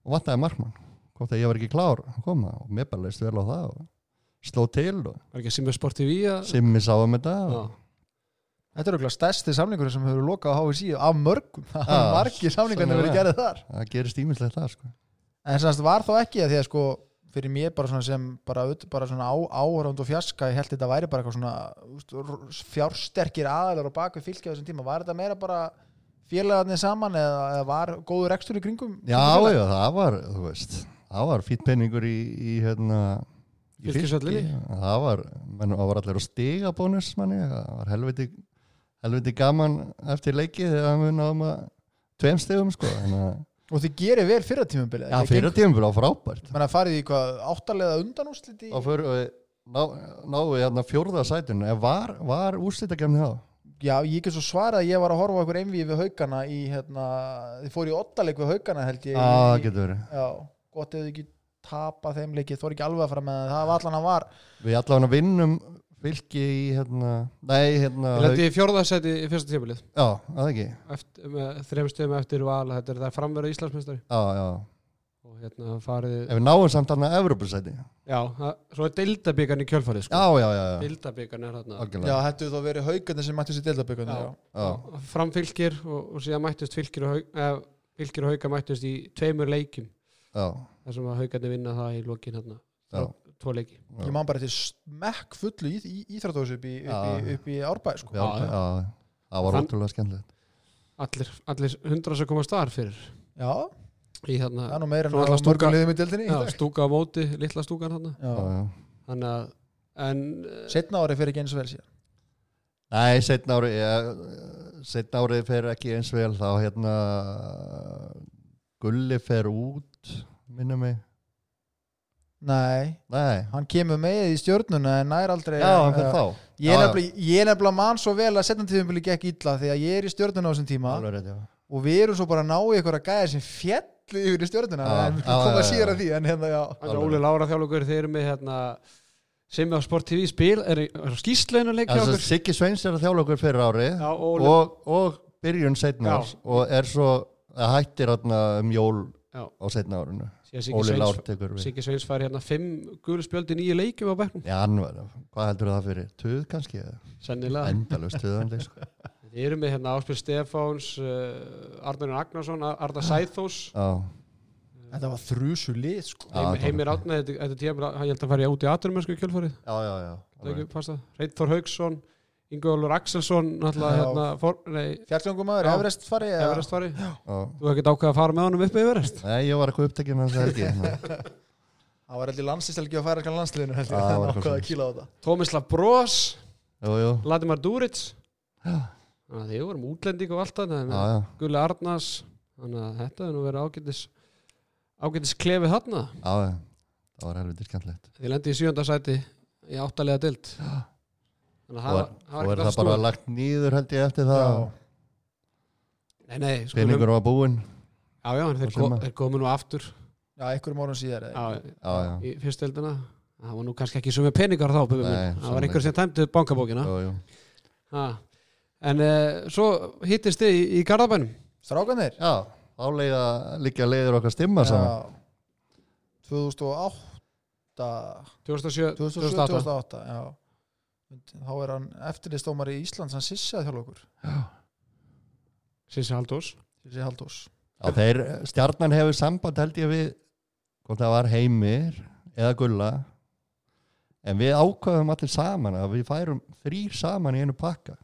S4: og vantaði markmann hvort að ég var ekki klár að koma og mér bara leist vel á það og sló til og
S1: Var ekki Simmi Sport TV að
S4: simmi sáum þetta og
S1: Já.
S5: Þetta er auðvitað stærsti samlingur sem hefur lokað á HVC af mörgum, það
S4: Já,
S5: er margir samlingar sem
S4: sannarlega.
S5: verið gerðið þar.
S4: það gerist ímislegt það sko.
S5: En sem sagt var þá ekki að því að sko fyrir mér bara svona sem bara, ut- bara svona á, áhörund og fjarska, ég held þetta væri bara eitthvað svona úst, r- fjársterkir aðalar og bakvið fylgja á þessum tíma, var þetta meira bara félagarnir saman eða, eða var góður ekstur í kringum?
S4: Já, já, það var, þú veist, það var fýtt penningur í, í hérna í
S1: Fylkisvellinni.
S4: Fylki. Það var, menn, það var allir á stiga bónus, manni, það var helviti, helviti gaman eftir leiki þegar við náðum að tveim stegum sko en að,
S5: og þið gerir vel fyrra tímabilið
S4: já, fyrir tímum var frábært
S5: menn að farið í hvað áttalega undanúsliti
S4: þá fyrir við ná- náðu við hérna fjórða sætun en var, var úrslitagemni þá
S5: já, ég ekki svo svarað að ég var að horfa á okkur einvið við haugana í hérna, þið fóru í ottaleg við haugana held ég
S4: Já, það
S5: í,
S4: getur verið.
S5: já, gott ef þið ekki tapa þeim leikið, þú er ekki alveg að fara með það það var allan að var
S4: Við allavega vinnum fylki í hérna, nei hérna,
S1: Ég lendi í fjórðarsæti í fyrsta tímabilið
S4: já, að ekki,
S1: eftir, með þrem stöðum eftir val þetta er það framverða Íslandsmeistari
S4: já, já.
S1: og hérna farið
S4: Ef við náum samt hann að Evrópusæti, já,
S1: já, það- svo er deildabíkan í kjölfarið sko.
S4: já, já, já,
S1: deildabíkan er þarna
S5: já,
S4: algjörlega,
S5: hættu þá verið haugana sem mættu sér deildabökunni
S1: Já.
S5: já.
S4: já,
S1: framfylgir og, og síðan mættust fylgir og, haug, eh, fylgir og hauka mættust í tveimur leikjum
S4: já,
S1: þar sem að haukarnir vinna það í lokin hérna
S4: já,
S1: tvo leiki
S4: Já.
S5: ég man bara til smekk fullu í, í, íþrættóðs upp, í- upp, í-
S4: Já.
S5: upp í árbæ sko.
S4: já,
S1: Já, já.
S4: já, það var
S1: Þann-
S4: ótrúlega skemmtilegt.
S1: allir, allir hundra sem komast þar fyrir
S5: já,
S1: í þarna
S5: það er nú meira en
S1: Svo ætla
S5: að
S1: að stúka-
S5: mörgum liðum í deildinni
S1: já, stúka á móti, litla stúkan þarna
S4: Já,
S5: já.
S4: já.
S1: þannig að en eh,
S5: setna ári fyrir ekki eins og vel síðan
S4: Nei, setna ári, setna árið fer ekki eins vel, þá hérna, Gulli fer út, minnum mig,
S5: nei,
S4: nei,
S5: hann kemur með í stjórnuna en nær aldrei
S4: já, hann fer
S5: Já.
S4: þá, Já,
S5: Ég er
S4: já.
S5: nefnilega- ég er nefnilega mann svo vel að setna tíðumbili gekk illa því að ég er í stjórnuna á þessum tíma
S4: alveg rétt, já.
S5: og við erum svo bara að ná í ykkur að gæða sem fjall yfir í stjórnuna
S4: Já,
S5: en við
S4: já,
S5: komum
S4: já,
S5: að
S4: já.
S5: síðar að því en hérna já
S1: Þannig að Óli Lára þjálfugur þeir eru með hérna, sem á Sport TV spil er, í- er skýstlegin að leika hjá
S4: Þess að
S1: okkur
S4: Siggi Sveins er að þjála okkur fyrir ári
S1: Já, og Óli-
S4: og, og byrjun setna
S1: Já.
S4: árs og er svo að hættir þarna um jól
S1: Já.
S4: á setna árinu
S1: Síðan Siggi
S4: Óli Lár
S1: Sveins-
S4: tekur við
S1: Siggi Sveins fær hérna fimm gul spjöldi nýju leikjum á bekknum
S4: Já, hann var, hvað heldur það fyrir? Tuð kannski? eða?
S1: sennilega,
S4: Endalaust tuðanleik sko.
S1: þeir eru með hérna Áspil Stefáns uh, Arnurinn Agnarsson, Ar-
S4: Ah.
S1: Arda Sæþós
S4: Já,
S5: þetta var þrjusu lið sko
S4: Já,
S1: Heim,
S4: þetta var-
S1: Heimir Átna, þetta, þetta tíma hann held að fara í út í aturmörsku kjölfarið
S4: já, já, já. alveg.
S1: Reitþór Haugsson Ingólfur Axelsson náttúrulega
S5: Já.
S1: hérna, for, nei,
S5: fjallgöngumæður,
S1: Já.
S5: Everest fari eða-
S1: Everest fari
S4: Já.
S1: þú hefði ekkert ákveð að fara með honum upp í Everest
S4: Nei, ég var eitthvað upptekinn hans helgi hérna.
S5: það var heldur landslýstelgi að fara eitthvað landsliðinu heldur
S4: Já,
S5: þannig
S4: var eitthvað
S5: að ákvaða að
S4: svoleiðis.
S5: kýla á það
S1: Tómislav Brós,
S4: Jú, jú,
S1: Vladimir Duric þannig að þið vorum útlending og allt
S4: já,
S1: það
S4: já
S1: Gulli Arnars þannig að þetta er nú verið ágætis ágætis klefið þarna
S4: Já, já, það var helviti skemmtilegt
S1: þið lendi í sjönda sæti í áttalega dild þannig að það
S4: Og
S1: var-
S4: og
S1: var
S4: er
S1: ekkert
S4: það
S1: að
S4: bara
S1: snúa
S4: lagt nýður held ég eftir það
S5: Já.
S1: nei, nei, skulum,
S4: Pinningur var búinn
S1: já, já, en þeir,
S4: Og
S1: ko
S4: sumar.
S1: þeir komu nú aftur
S5: já, einhverjum árum síðar eða-
S1: á,
S4: Já, já,
S1: í fyrstöldina það var nú kannski ekki sumi peningar þá Bubbi
S4: Nei,
S1: minn. það var
S4: sannlega
S1: einhver sem tæmdi bankabókina
S4: jú, jú
S1: ha. en uh, svo hittist þið í, í Garðabænum
S5: strákanir
S4: Já, álega líka leiður okkar stimma saman
S5: Já. 2008
S1: 2007,
S5: 2007,
S1: 2008
S5: 2008 já. þá er hann eftirlistómar í Íslands hann sissið þjálfur
S1: Sissi Haldós
S5: sissið Haldós
S4: Já, þeir, stjarnan hefur samband held ég við hvort það var heimir eða gulla en við ákvaðum allir saman að við færum þrýr saman í einu pakka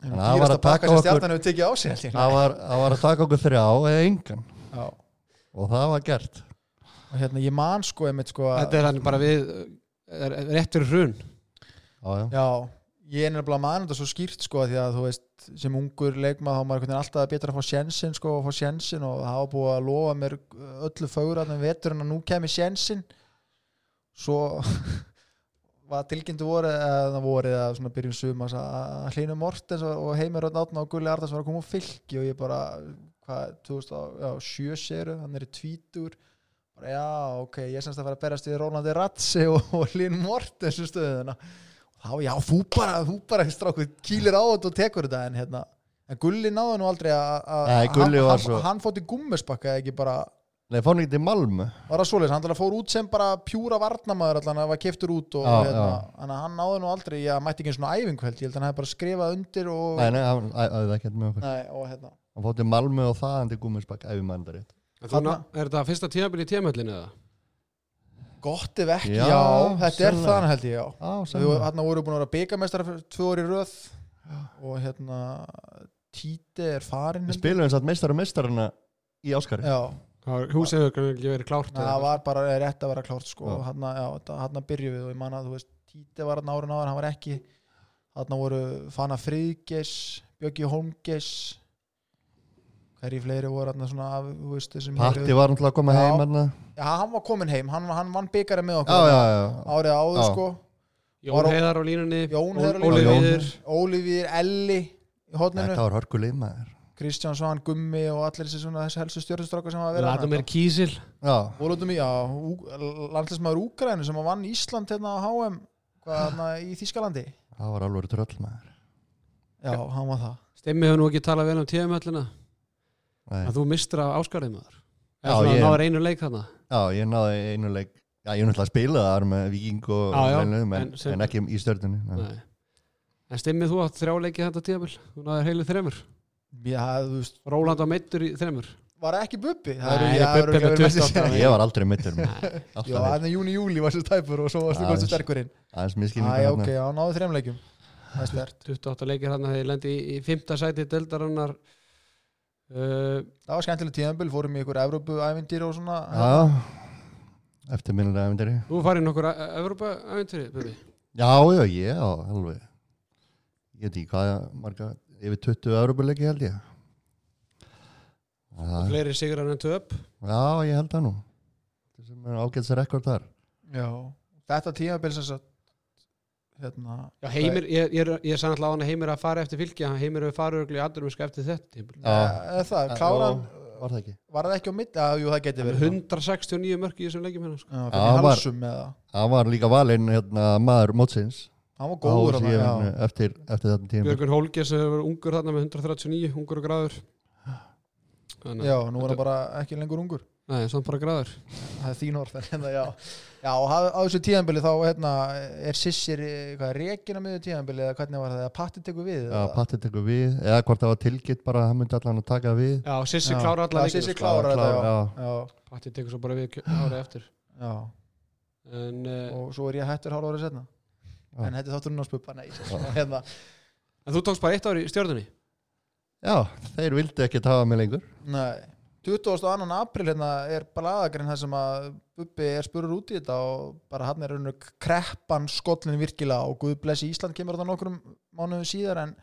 S5: En
S4: Hann
S5: dýrasta
S4: var að taka
S5: pakka sem
S4: okkur-
S5: stjarnan hefur tekið á sig held ég.
S4: það var, það var að taka okkur þrjá eða engan
S5: Já.
S4: og það var gert
S5: og hérna ég man sko einmitt sko að-
S1: þetta er hann bara við er, er rétt fyrir hrun
S4: já, já.
S5: já, ég er nefnilega man þetta svo skýrt sko því að þú veist sem ungur leikmað þá maður einhvern veginn alltaf betra að fá sjensin sko að fá sjensin og það var búið að lofa mér öllu fögurarnum vetur en að nú kemur sjensin svo var tilkynntu voru að það voru að svona byrjum sum að hlýnum Mortens og og Heimir Rönd Átna og Gulli Arðars var að koma úr fylki og ég bara hvað, 2007 séru, hann er í tvítur bara já, ok, ég semst að fara að berast við Rólandi Ratsi og, og Hlynum Mortens um stöðuna og þá, já, þú bara, þú bara stráku, kýlir á þetta og tekur þetta en hérna, en Gulli náði nú aldrei að að-
S4: Nei, Gulli
S5: hann-
S4: var
S5: hann-
S4: svo-
S5: hann fótt í gummisbakka eða ekki bara
S4: Nei, fór nýtt í Malmö
S5: var það svoleiðis, hann alltaf fór út sem bara pjúra varnamaður allan, hann var keftur út og
S4: Já,
S5: hérna,
S4: já.
S5: þannig að hann náði nú aldrei ég mætti ekki einu svona æfingu held, ég held að hann hefði bara skrifað undir og,
S4: Nei, nei, hann aðeins ekkert með okkur
S5: Nei, og hérna
S4: Hann fór til Malmö og það hann til Gúmisbakk ef við mann það rétt
S1: Þarna, er þetta fyrsta tímabili í tímahöllinu eða?
S5: gott ef ekki,
S4: Já,
S5: já, þetta er
S4: sennilega.
S5: þannig held ég, já
S4: Já, sem
S5: Við, hérna voru búin að vera byggamestara tvö orði röð og hérna Títi er farin
S4: Við
S5: held ég.
S4: spilum satt meistar og meistarana í Áskari
S5: Já,
S1: Það var- Húsið hefur ekki verið klárt
S5: Nei,
S1: eða
S5: það
S1: eitthvað.
S5: var bara rétt að vera klárt sko.
S4: Já.
S5: og hérna, já, þetta- hérna byrjuð við og ég man að þú veist, Títi var hérna árun áður hann var ekki, hérna voru Fana Friðgeis Bjöggi Holmgeis hverju fleiri voru þarna svona af, þú veist, þessum
S4: Patti
S5: héruðum?
S4: var náttúrulega að koma
S5: Já.
S4: heim hérna.
S5: Já, hann var komin heim, hann, hann vann byggara með
S4: Já,
S5: okkur
S4: já, já.
S5: árið áður
S4: Já.
S5: sko
S1: Jón
S5: Var-
S1: Heiðar á línunni
S5: Jón Heiðar á
S1: Óli
S4: línunni.
S1: Viður
S5: Ólífið, Elli í hotninu,
S4: Þetta var hörkuleið maður.
S5: Kristján Svan, Gummi og allir þessi svona þessi helstu stjórnustrákar sem hafa verið
S1: Vladimir Kísil
S4: Já,
S5: Volodum í, já, Ú- landslismæður Úgrænu sem vann Ísland hérna á HM hvað, hérna, í Þískalandi
S4: það var alveg tröll maður.
S5: Já, hann var það
S1: Stemmi hefur nú ekki talað vel um tíðumöllina
S4: Nei.
S1: að þú mistur af áskarið maður
S4: Já,
S1: eða svona
S4: ég-
S1: ég... náður einu leik þarna
S4: Já, ég náði einu leik. Já, ég er náttúrulega að spila þar með viking og
S1: Já, já,
S4: Velnum, en,
S1: en sem-
S4: en ekki í stjörnunni. Nei.
S1: Nei. en Stemmi þú átt þrjá leiki þetta tíðumöll þú náður heilu þremur
S5: Já, þú veist,
S1: Róland á meittur í þremur
S5: var það ekki Bubbi?
S1: Nei,
S5: já,
S1: Bubbi
S5: örugglega
S1: með
S5: verið mest
S1: 28
S5: að-
S1: ára.
S4: Ég var aldrei mittur
S5: Já,
S4: Alltaf heill.
S5: þannig júni júli var sér tæpur og svo varstu
S4: Já,
S5: komstu
S4: veist.
S5: sterkurinn
S4: Aðeins miskinningur
S5: Æ, ok,
S4: hérna.
S5: já, náðu þreimleikjum Það er stert,
S1: 28 leikir þarna þegar ég lendi í, í fymta sæti deildarinnar uh,
S5: það var skemmtileg tíðanböl fórum í ykkur Evrópu-ævindir og svona
S4: Já, eftir minnilega æfindari.
S1: þú farið nokkur Evrópa-æventri Bubi
S4: Já, já, ég á alveg. Ég veit ekki hvað marga, yfir 20 európuleiki held ég. Já,
S1: fleiri sigrar en töp
S4: já, ég held það nú. Það sem er ágæðs rekord þar.
S5: Já, þetta tíðanböl sem sagt hérna,
S1: Já, heimir, ég, ég, er- ég er sannlega á hann að heimir að fara eftir fylgja heimir hefur farið örglu í aðdurumiska eftir þetta tímabil.
S4: Já.
S5: eh, Það, kláran
S4: Var það ekki?
S5: Var það ekki á mitt? Já, jú, það geti
S1: Hann er
S5: verið
S1: 169 mörg í þessum leikjum hérna sko.
S5: Já, fyrir
S4: Já, var-
S5: halsum með það
S4: Það var líka valinn hérna maður mótsins.
S5: Hann var góður
S4: Á
S5: hann,
S4: síðan,
S5: já
S4: eftir, eftir þarna tíma.
S1: Björgur Hólkes hefur verið ungur þarna með 139 ungur og gráður Þannig,
S5: Já, nú er hann bara ekki lengur ungur
S1: Nei, samt bara gráður
S5: Það er þín orð en hérna, já Já, og á á þessu tíðanbili þá hérna, er Sissir, eh, hvað, rekin á miður tíðanbili eða hvernig var það, að patti tekur við
S4: Já,
S5: eða?
S4: Patti tekur við, eða hvort það var tilgitt bara að hann myndi allan að taka við.
S1: Já, Sissi
S5: Já.
S1: klára
S5: Já,
S1: allar leikjum
S5: Sissi
S1: sko.
S5: klárar þetta,
S4: klár-
S5: já.
S4: já.
S5: Já,
S1: Patti tekur svo bara við kjö- árið eftir
S5: já
S1: En, uh,
S5: og svo er ég hættur hálf árið setna
S4: Já.
S5: en þetta er þátturinn á spubba nei, hérna,
S1: en þú tókst bara eitt ár í stjórnunni
S4: Já, þeir vildi ekki tafa mig lengur.
S5: nei 22. april hérna er blaðagrinn þar sem að Bubbi er spurur út í þetta og bara hann er rauninu kreppan skollin virkilega og Guð blessi Ísland kemur þetta nokkrum mánuðum síðar en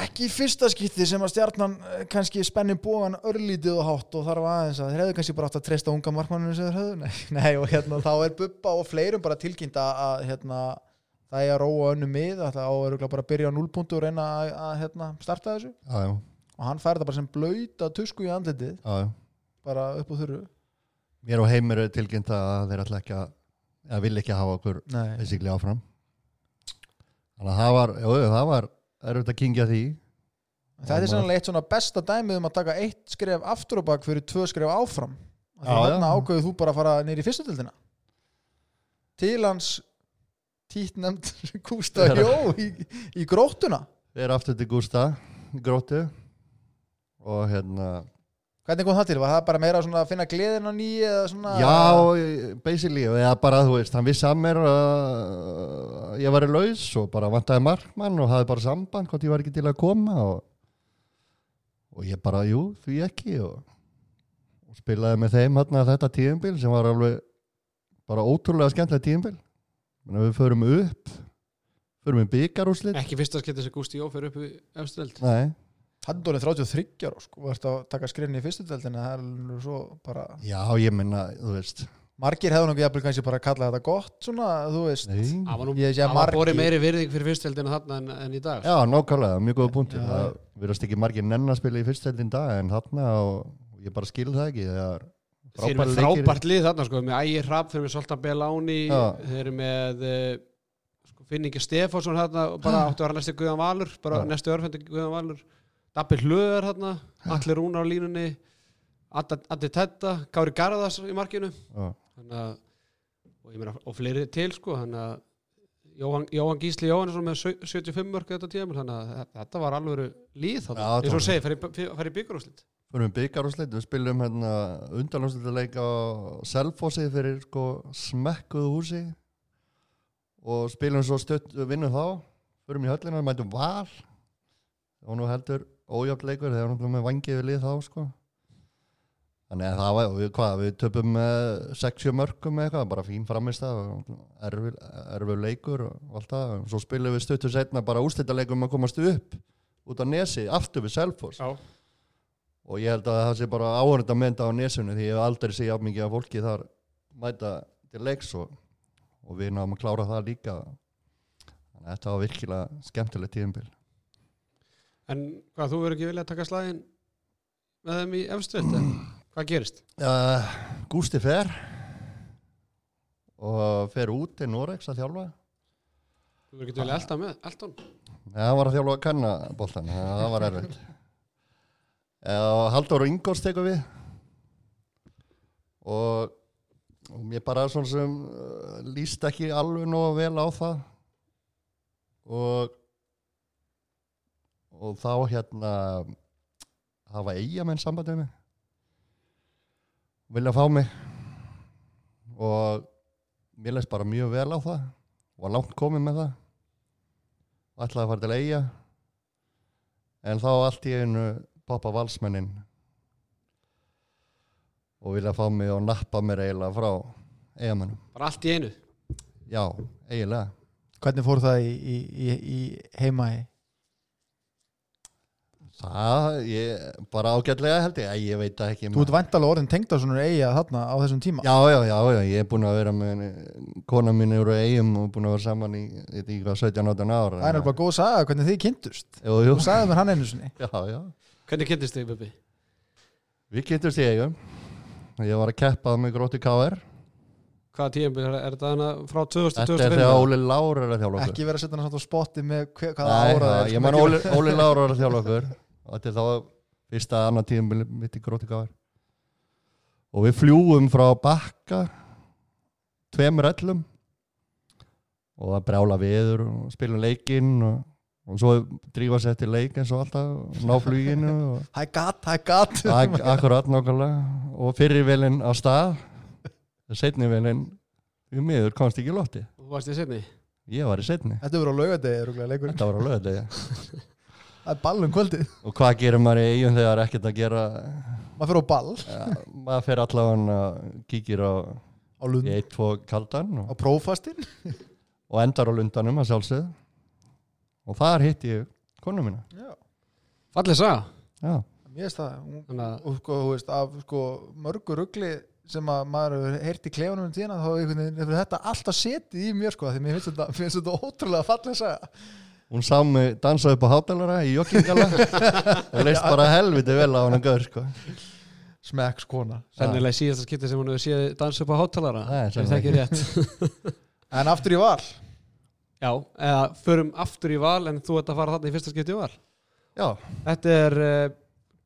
S5: ekki í fyrsta skipti sem að stjarnan eh, kannski spenni bóðan örlítið og hátt og þarf aðeins að þeir hefðu kannski bara átt að treysta unga markmanninu sem þeir höfðu nei, nei, og hérna þá er Bubba og fleirum bara tilkynnt að- að hérna, það er að róa önnu mið að það á örugglega bara að byrja á 0 punktu og reyna að, að hérna, starta þessu
S4: Já, já,
S5: og hann fær þetta bara sem blöyta tusku í andlitið
S4: já, já.
S5: bara upp úr þurru
S4: Mér og heimir er tilgjönd að þeir ætla ekki að, að vilja ekki hafa okkur
S5: Nei.
S4: basically áfram. Þannig að það var, jú, jú, það var erfitt að kingja því.
S5: þetta er sannlega eitt svona besta dæmið um að taka eitt skref aftur og bak fyrir tvö skref áfram Af því
S4: Já,
S5: þarna
S4: já.
S5: ákveður þú bara að fara neyri í fyrstu tildina til hans títnemnd Gústa
S4: Þeirra.
S5: Jó í, í gróttuna
S4: Þeir eru aftur til Gústa, gróttu og hérna,
S5: hvernig kom það til, var það bara meira svona að finna gleðin á nýju eða svona
S4: já, basically, eða bara, þú veist, hann vissi að mér að ég var í laus og bara vantaði markmann og hafði bara samband hvort ég var ekki til að koma og, og ég bara, jú, því ekki og, og spilaði með þeim hérna þetta tíðumbil sem var alveg bara ótrúlega skemmtilega tíðumbil. Við förum upp, förum í byggarúslit.
S1: Ekki fyrsta skipti sem Gústi Jó fyrir upp í efstöld
S4: Nei.
S5: hann er orðinn 33 ára sko, varst að taka skrifin í fyrstu tildina það er nú svo bara
S4: Já, ég minna, þú veist
S5: margir hefðu nokkuð jafnvel kannski bara að kalla þetta gott svona, þú veist
S4: Nei.
S1: Það var nú
S5: Mm. Ég sé að
S1: það var
S5: margir-
S1: borið meiri virðing fyrir fyrstöldina þarna en, en í dag sko.
S4: Já, nákvæmlega, mjög góða punktur
S5: Já.
S4: Það verðast ekki margir nenn að spila í fyrstældin dag en þarna og ég bara skil það ekki það er
S1: Þeir eru með
S4: leikir.
S1: frábært lið þarna sko, með Ægir Hrapp, þeir eru með Soltan Beláni
S4: Já.
S1: þeir eru með eh, sko, Finningi Stefánsson þarna og bara áttu að vera næstu Guðan Valur bara
S4: Já.
S1: næstu örfendi Guðan Valur Dabbi Hlöðar þarna, Allir Rúnar á línunni Adda- Addi Tetta Kári Garðars í markinu
S4: Já.
S1: þannig að og, ég meina, og fleiri til sko þannig að Jóhann, Jóhann Gísli Jóhannesson með sau- 75 mörg þetta tíðamil þannig að þe- þetta var alveg líð þannig,
S4: Já,
S1: eins og
S4: tók.
S1: segi, fær í byggarúslit
S4: Förum við byggar og við spilum hérna undanúslitleik á Selfossi fyrir sko smekkuðu húsi og spilum svo stött vinnum þá, förum í höllina mætum val og nú heldur ójátt leikur, þegar hann með vangið við lið þá sko þannig að það var, og við, hvað, við töpum með 60 mörgum eða eitthvað, bara fín framist það, erfur, erfur leikur og allt það, svo um spilum við stuttur setna bara úrslitaleikum að komast upp út á nesi, aftur við Selfoss
S1: Já.
S4: og ég held að það sé bara áhörnda mynda á nesunu því ég hef aldrei séð jafn mikið af fólki þar mæta til leiks og, og við náðum að klára það líka þannig að þetta var virkilega skemmtilegt tíðumbil
S1: En hvað, þú verður ekki viljað að taka slæðin með þeim í efstuð? Hvað gerist?
S4: uh, Gústi fer og fer út til Norex að þjálfa
S1: Þú verður ekki viljað elda með, Elton?
S4: Nei, hann var að þjálfa að kanna boltan það var erfitt og Halldór Ingóls tekur við og, og mér bara svona sem uh, líst ekki alveg nóg vel á það og og þá hérna hafa eigamenn sambandið mig vilja fá mig og mér leist bara mjög vel á það var langt komið með það ætlaði að fara til eiga en þá allt í einu poppa valsmennin og vilja fá mig og nappa mér eiginlega frá eigamennum
S1: Bara allt í einu.
S4: já, eiginlega
S5: Hvernig fór það í, í, í, í heima í?
S4: það, ég, bara ágætlega held ég, Æ, ég veit það ekki
S5: Þú ert væntalega orðin tengd á svona eiga þarna á þessum tíma
S4: já, já, já, já, ég er búin að vera með kona mín eru eigum og búin að vera saman í, í, í 17-18 ára
S5: Það er alveg góð saga hvernig þið kynntust
S4: jú, jú,
S5: Þú sagði mér hann einu sinni
S4: já, já
S1: Hvernig kynntist þig, Bubi?
S4: við getum stegum ég var að keppa með gróti KR
S1: Hvaða tíðanbyrð er, er þetta hana frá 2000
S4: þetta er þegar Óli Lár er að þjálfa okkur
S5: Ekki vera að setja hann svona á spotti með hver, hvaða
S4: Nei,
S5: ára
S4: það,
S5: það er sko,
S4: ég man Óli, Óli Lára að þjálfa okkur og þetta er þá fyrsta annar tíum mitt í gróti gáðar og við fljúum frá bakka tveimur ellum og það brjála viður og spilum leikinn og, og svo drífa sér til leik eins og alltaf og ná fluginu og
S5: Það er gatt, það er gatt
S4: Ak akkurat nákvæmlega og fyrir velin á stað setni velin um miður komst ekki í lotti
S1: Þú varst í sinni.
S4: ég var í setni,
S5: Þetta verður á laugadegi
S4: þetta var á lögadegi
S5: Það er ball um kvöldið
S4: og hvað gerir maður í eigum þegar ekkert að gera
S5: Maður fyrir á ball
S4: Ja, maður fer allavega kíkir á
S5: á lund
S4: í eitt, tvo kaldan
S5: á
S4: og,
S5: prófastin
S4: og endar á lundanum að sjálfsögð og þar hitti ég konu mína
S5: Já,
S1: Fallið sá.
S4: já,
S5: mér veist það Hún-
S1: Þannig að
S5: og sko, þú veist, af sko mörgu ruggli sem að maður hefur heyrt í klefunum um tíðina, þá einhvern veginn hefur þetta alltaf setið í mér sko, því mér finnst þetta, finnst þetta ótrúlega fallega að segja
S4: hún sá mig dansa upp á hátalara í joggingala og leist bara helviti vel á hann að gaur sko.
S5: smekks kona
S1: sennilega í síðasta skipti sem hún hefur séð dansa upp á hátalara.
S4: Nei,
S1: Ef það ekki er rétt.
S5: en aftur í val,
S1: Já, eða förum aftur í val en þú ert að fara þarna í fyrsta skipti í val.
S4: já,
S1: Þetta er uh,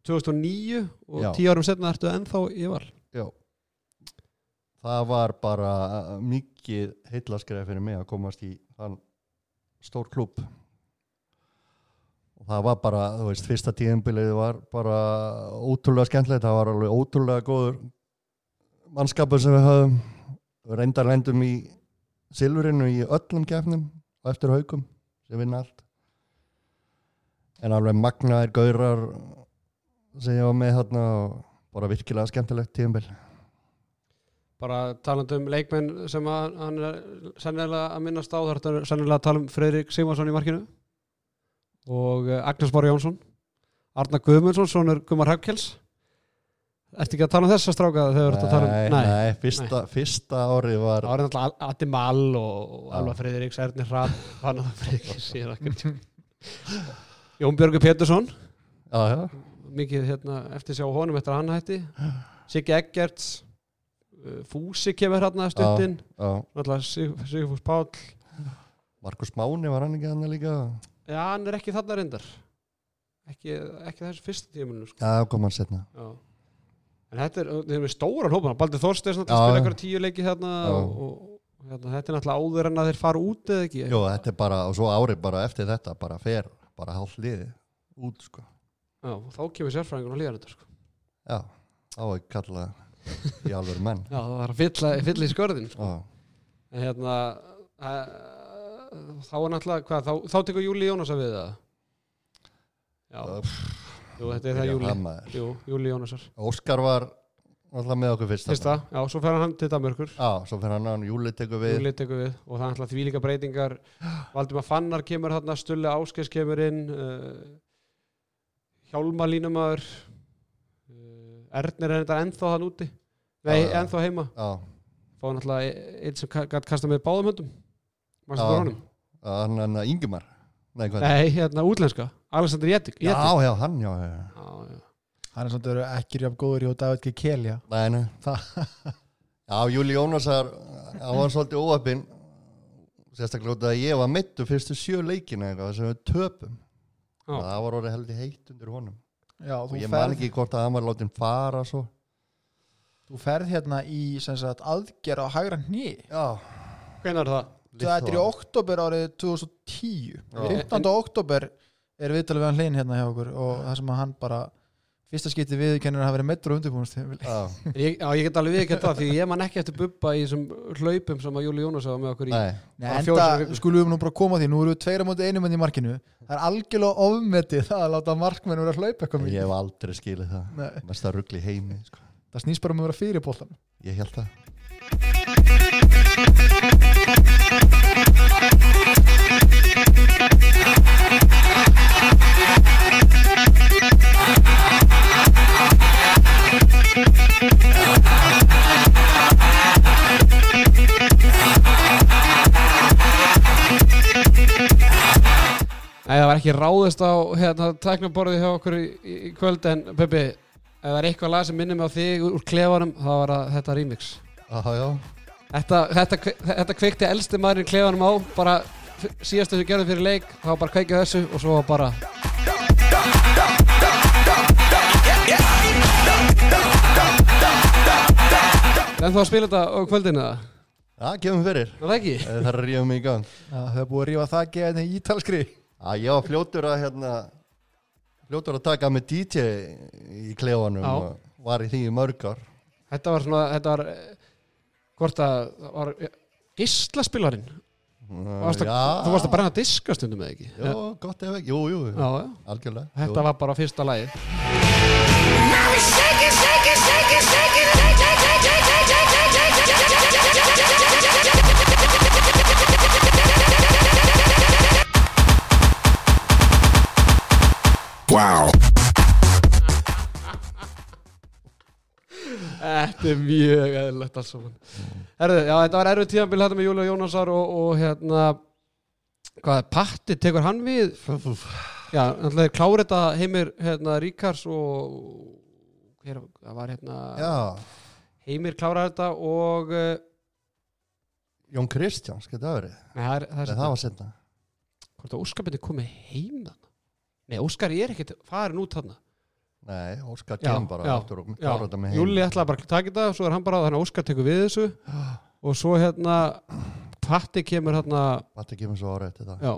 S1: 2009 og
S4: Já.
S1: tíu árum setna ertu ennþá í val.
S4: já það var bara uh, mikið heillaskref fyrir mig að komast í þann stór klúb og það var bara, þú veist, fyrsta tíðinbilið var bara ótrúlega skemmtilegt það var alveg ótrúlega góður mannskapur sem við höfum við reyndar lendum í silfurinu í öllum gefnum og eftir haukum sem vinna allt en alveg magnaðir gaurar sem ég var með þarna og bara virkilega skemmtilegt tíðinbil
S1: bara talandi um leikmenn sem að, hann er sennilega að minnast á þar er sennilega að tala um Freyrik Simonsson í markinu og eh, Agnes Bár Jónsson Arna Guðmundsson, sonur Guðmar Hafkels Ertu ekki að tala um þessa stráka þegar þú ert að tala um
S4: nei, nei, fyrsta, fyrsta ári var
S1: Það var náttúrulega Atti Mal og og
S4: Já.
S1: Alva Freyðriks, Erni Hrafn, Fanna Freyðriks síðan ekkert Jón Björgur Pétursson,
S4: já, já,
S1: mikið hérna, eftir sjá honum eftir að hann hætti Siggi Eggerts eh, Fúsi kemur hérna
S4: Já.
S1: stundin
S4: já.
S1: náttúrulega Sig- Sigfús Páll
S4: Markus Máni var hann ekki hann líka
S1: já, hann er ekki þarna reyndar ekki, ekki þessu fyrsta tímunum sko.
S4: já, kom hann setna
S1: Já. en þetta er, þeir eru með stóran hópa Baldur Þorsteins
S4: Já,
S1: náttúrulega
S4: já.
S1: spila eitthvað tíu leiki þarna
S4: Já.
S1: og, og hérna, þetta er náttúrulega áður en að þeir fara út eða ekki
S4: Jó, þetta er bara, og svo ári bara eftir þetta bara fer, bara hálf liði út, sko
S1: Já, og þá kemur sérfræðingun og líðan þetta sko.
S4: Já, þá er kalla í alveg menn
S1: já, það var að fylla, fylla í skörðin sko.
S4: Já,
S1: en hérna að, þá er náttúrulega, hvað, þá, þá tekur Júli Jónas að við það já, Jú, þetta er það Júli
S4: maður.
S1: Jú, Júli Jónasar
S4: Óskar var alltaf með okkur fyrst
S1: Fyrsta, já, svo fer hann til Danmörkur
S4: þarna. Já, svo fyrir hann án Júli tekur við
S1: Júli tekur við og það er alltaf því líka breytingar Valdimar Fannar kemur hann eh, Stulli Áskeis kemur inn uh, Hjálma línumæður Ernir er þetta ennþá þann úti Nei,
S4: Já, já.
S1: ennþá heima
S4: já,
S1: Fá náttúrulega einn sem gætt kasta með báðum höndum Manstu
S4: Já.
S1: hvað honum?
S4: hann hann Ingimar Nei, hvað?
S1: Nei, hérna útlenska Alexander Jettik
S4: já, já, hann, já, já.
S1: já, já.
S5: Hann er samt að vera ekki rjáf góður í og David G. Kelja
S4: Nei, nei.
S5: Það-
S4: Já, Júli Jónasar, hann var svolítið óöppin, sérstaklega út af að ég var mittu fyrstu sjö leikina eitthvað sem við töpum.
S1: Já.
S4: Það var orðið heldur heitt undir honum.
S5: Já,
S4: Og
S5: þú
S4: ég man
S5: ferð,
S4: ekki hvort að hann var látið fara svo.
S5: þú ferð hérna í sem sagt, aðgerð á hægra hni
S4: Já.
S1: Hvernig er það?
S5: Þetta er í oktober árið 2010
S1: En-
S5: 15. oktober er viðtalið við hann hlein hérna hjá okkur og það sem að hann bara fyrsta skipti viðkennir að hafa verið meittur og undirbúinst
S4: Já,
S1: Ég, já, ég get alveg viðkjönt það því ég man ekki eftir bubba í þessum hlaupum sem að Júli Jónas hafa með okkur í
S4: nei.
S5: Nei,
S1: Bara fjórum sinnum
S5: enda
S1: viku.
S5: skulum við nú bara koma að því, nú eru við tveira mútið einu mann hérna í markinu Það er algjörlega ofmetið það að láta markmenn vera að hlaupa eitthvað
S4: Ég
S5: mikið
S4: hef aldrei skilið það.
S5: Nei,
S4: Mesta ruggli heimi, sko.
S5: Það snýst bara um að vera fyrir bóltan
S4: Ég held það.
S1: Nei, það var ekki ráðist á hérna, tæknaborði hjá okkur í, í kvöld en Peppi, ef það er eitthvað lag sem minnir mig á þig úr, úr klefanum, þá var það þetta remix
S4: Já, já.
S1: Þetta, þetta, kve- þetta kveikti elsti maðurinn í klefanum á bara f- síðast þessu gerðum fyrir leik þá bara kveikið þessu og svo var bara En þá að spila þetta á kvöldinu það?
S4: Já, gefum fyrir.
S1: Er það ekki?
S4: Eh, Það er að ríða mig í gang.
S5: Það er búið að rífa það geðin í ítalskri
S4: Já, ég var fljótur að hérna fljótur að taka með DJ í klefanum
S1: Já.
S4: og var í því í mörg ár.
S1: Þetta var svona, þetta var eh, hvort að það var gíslaspilarinn varst að, Þú varst að brenna diska stundum eða ekki
S4: Jó, gott ef ekki, jú, jú, jú.
S1: Já, já.
S4: algjörlega
S1: Þetta var bara fyrsta lagið
S2: Now we shake it, shake it, shake it, shake it, shake it, shake it, shake it, shake it, shake it, shake it, shake it, shake it, shake it.
S1: Þetta er mjög eðlilegt alls saman Herðu, já, þetta var erfið tíðanbíl hérna með Júli og Jónasar og, og hérna hvað, Patti, tekur hann við
S4: Fúf.
S1: já, náttúrulega klára þetta heimir hérna, Ríkars og hver, það var hérna
S4: Já,
S1: heimir klára þetta og uh,
S4: Jón Kristjáns, getur það verið
S1: nei, það, er, það,
S4: Nei,
S1: er
S4: það var setna
S1: hvort að Óskar byrni komið heim þarna nei, Óskar er ekkert farin út þarna
S4: Nei, Óskar
S1: Já,
S4: kem bara
S1: já,
S4: aftur og
S1: já.
S4: klára þetta með heim
S1: Júli ætlaði bara að taka þetta svo er hann bara, þannig að Óskar tekur við þessu
S4: Ah.
S1: og svo hérna Patti kemur hérna
S4: Patti kemur svo ára eftir það
S1: já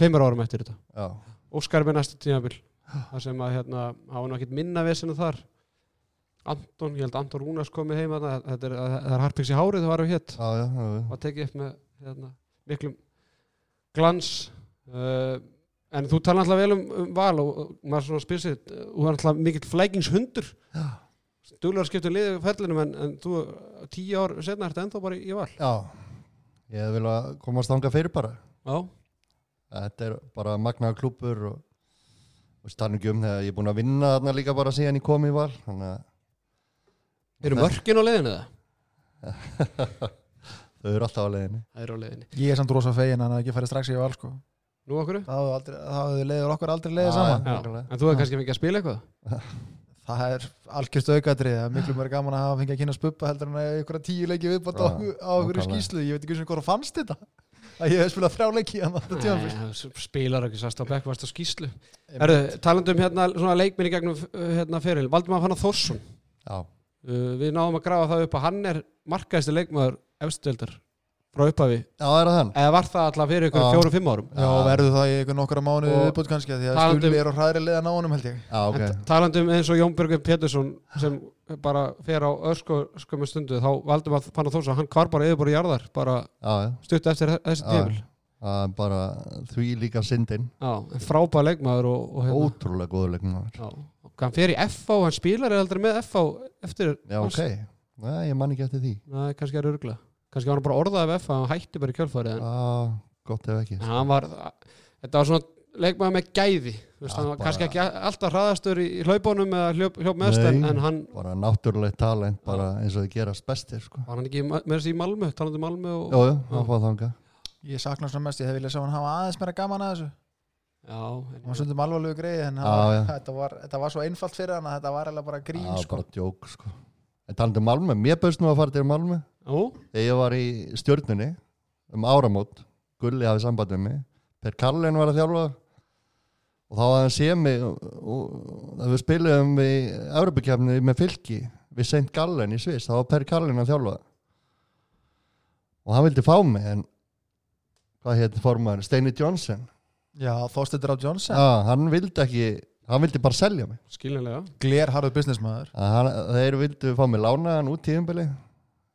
S1: tveimur árum eftir þetta
S4: Já,
S1: Óskar er með næsta tímabil það sem að hérna, hafa nú ekkert minna vesinu þar Anton, ég held að Anton Rúnars komið heim þarna, þetta er, það er harpiks í hárið það var við hétt
S4: já, já, já, já.
S1: og tekið upp með hérna, miklum glans uh, en þú tala alltaf vel um, um val og, og maður svona spyrsir þú er alltaf mikill flækingshundur duglegar skiptu liðið í ferlinum en, en þú uh, tíu ár setna ertu ennþá bara í, í val
S4: já. Ég vil að komast þangað fyrir bara
S1: já,
S4: Þetta er bara magnaða klúpur og og stannu ekki um þegar ég er búin að vinna þarna líka bara síðan ég kom í val þannig að
S1: eru
S4: Nei.
S1: mörkin á leiðinu það?
S4: þau eru alltaf á leiðinni
S1: það eru á leiðinu
S5: Ég er samt rosa fegin að hann ekki farið strax í val sko
S1: nú okkur?
S5: Það hafði aldrei- það hafði leiður okkur aldrei leiðið
S4: Já,
S5: saman
S1: Já,
S4: Nákvæmlega.
S1: en þú hefði kannski fengið að spila eitthvað
S5: Það er algjörst aukatrið Það er miklu mér gaman að hafa fengið að kynna spuppa heldur en að eiga ykkur tíu leiki viðbátt á
S4: Já,
S5: okkur- á okkur í
S4: nákvæmlega.
S5: skýslu Ég veit ekki sem hvort fannst þetta að ég hef spilað þrjá leiki hann þetta tíma
S1: Nei, þú spilar ekki sast á bekk, varst á skýslu Erðu, talandi um hérna svona leikminni gegnum uh, hérna feril, Valdimar Fannar Þórsson
S4: Já,
S1: uh, við náðum að grafa það upp að hann er markaðist leikmaður efstöldar frá upphafi,
S4: já, það er það hann
S1: eða var það alltaf fyrir ykkur
S4: Já.
S1: fjórum-fimm árum
S5: Já, verður það í einhvern nokkra mánuði
S1: Og-
S5: viðbútt kannski því að
S1: Talandi um-
S5: Stulli er á hraðri leiðan á honum held ég
S4: Já, ok
S1: en talandi um eins og Jón Björgvin Pétursson sem bara fer á ösku skömmu stundu, þá Valdimar Fannar Þórsson hann hvar bara yfirbúri jarðar, bara
S4: Já, já,
S1: stutt eftir þessi
S4: Já.
S1: tímil
S4: það er bara því líka syndin
S1: frábæð leikmaður og, og hérna
S4: Ótrúlega góður leikmaður
S1: Já, og hann fer í FH, hann spilar er aldrei með FH eftir
S4: Já, ok. Nei, ég man ekki eftir því.
S1: Nei, kannski er örgla Kannski var hann bara orðað af FH, hann hætti bara í kjölfarið en
S4: Ah, gott ef ekki.
S1: en hann var, þetta var svona leikmaður með gæði Þú veist,
S4: Já,
S1: hann var
S4: bara-
S1: kannski ekki a- alltaf hraðastur í, í hlaupunum eða hljóp, hljóp mest en,
S4: Nei.
S1: en hann
S4: bara náttúrulegt talent bara eins og þið gerast bestir sko.
S1: var hann ekki í Ma- meira þessi í Malmö, talandi um Malmö og,
S4: Jú, jú, hann fóð þanga
S5: Ég sakna hans svona mest, ég hef viljað sjá hann hafa aðeins meira gaman að þessu
S1: já,
S5: Hann var
S1: en,
S5: sundum alvarlegu greið en
S4: Já,
S5: ah,
S4: já.
S5: þetta, var, þetta var svo einfalt fyrir hann að þetta var eiginlega bara grín
S4: Það var
S5: sko.
S4: bara djók sko. En talandi um Malmö, mér bauðst nú að fara til Malmö
S1: jú,
S4: Þegar ég var í stjörnunni um áramót Gulli hafði samband með mig Per Karlin var að þjálfa og þá hafði hann séð mig og, og, að við spiluðum við Evropakefni með fylki við St. Gallen í Sviss þá var Per Karlin að þjálfa og hann vildi fá mig en hvað hétt formaður? Steini Johnson
S5: Já, Þorsteinn Drá Johnson
S4: Já, hann vildi ekki hann vildi bara selja mig
S1: skiljanlega
S5: Gler harður businessmaður
S4: Að hann, þeir vildu fá mig lánaðan út tíðumbili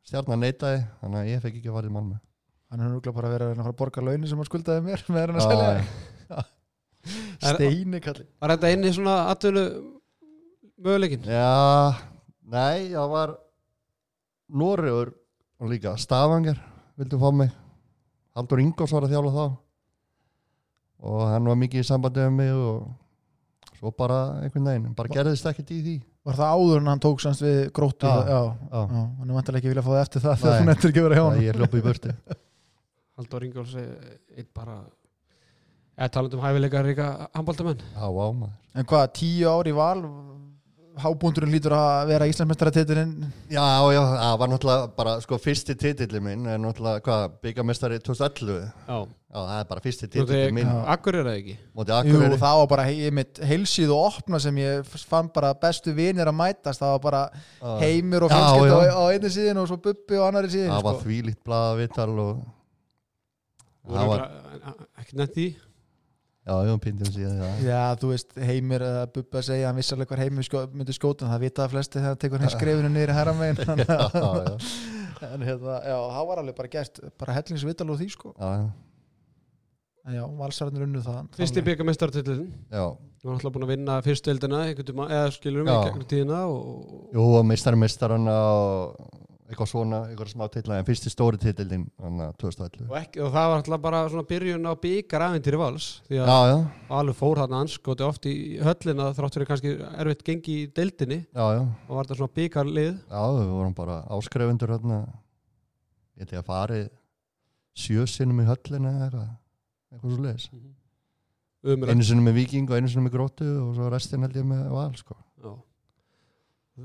S4: stjarnan neitaði þannig að ég fekk ekki að fara í Malmö
S5: Hann er núglega bara verið að reyna að fara að borga launin sem hann skuldaði mér með hann að selja
S4: Já,
S1: Er-
S5: Steini kalli
S1: var þetta inn í svona atvölu möguleikin
S4: Já, nei, það var Noregur og líka Stavanger vildu fá mig Haldur Ingós var að þjála þá og hann var mikið í sambandi með mig og svo bara einhvern veginn, bara gerðist ekkert í því
S5: Var það áður en hann tók sannst við gróttu
S4: Já.
S5: Já,
S4: Já.
S5: já. Hann er vantilega ekki vilja fá það eftir það
S4: Nei.
S5: þegar hún endur ekki að vera hjá
S4: það
S5: hann
S4: ég hljópa í burti
S1: Haldur Ingjóls eitt bara eða talandi um hæfileika ríka handbóltamenn
S4: Já, á maður
S5: En hvað, tíu ár í val Hábúndurinn lítur að vera Íslandsmestaratitirinn
S4: Já, já, það var náttúrulega bara, sko, fyrsti titilli minn er náttúrulega, hvað, byggamestari 2011 Já,
S1: já,
S4: það er bara fyrsti
S1: þú
S4: titilli minn
S1: veit, akkur er það ekki
S4: Móti
S5: Jú,
S4: Akureyri
S5: það var bara hei, mitt heilsíð og opna sem ég fann bara bestu vinir að mætast það var bara
S4: Já.
S5: heimur og
S4: Já,
S5: fjölskylda
S4: já.
S5: á, á einni síðin og svo bubbi á annari síðin
S4: Það var
S5: sko.
S4: þvílíkt blaðavital og
S1: Þú
S4: Það
S1: eru
S4: var-
S1: örugglega- ekki nefnt því
S4: Já, já, pindum síðan, já
S5: Já, þú veist, heimir eða bubbi að segja hann vissalega hvar heimir sko, myndi skjóta en það vita það flesti þegar það tekur hann skrefinu niður í herramein en
S4: Já, já.
S5: hérna, já, það var alveg bara gert bara hellingsvital og því sko
S4: Já, já.
S5: en já, valsararnir unnu það
S1: fyrsti
S5: Alveg.
S1: byggamestartillin
S4: Já,
S1: Þú var alltaf búin að vinna fyrstu eldina eða skilurum
S4: Já.
S1: í gegnum tíðina og
S4: jú, og meistari meistarana og eitthvað svona, eitthvað smá titla en fyrsti stóri eh, titillin, þannig að 2011
S1: og, ekki, og það var alltaf bara svona byrjun á byggar aventýri vals því
S4: Já,
S1: að
S4: já,
S1: Valur fór þarna anskoti oft í höllina þrátt fyrir kannski erfitt gengi í deildinni
S4: já, já,
S1: og var þetta svona byggarlið
S4: já, við vorum bara áskrefundur hérna ég ætti að fari sjö sinnum í höllina eða eitthvað, eitthvað svo leiðis
S1: umrætt
S4: einu sinnum með viking og einu sinnum með gróttu og svo restin held ég með val, sko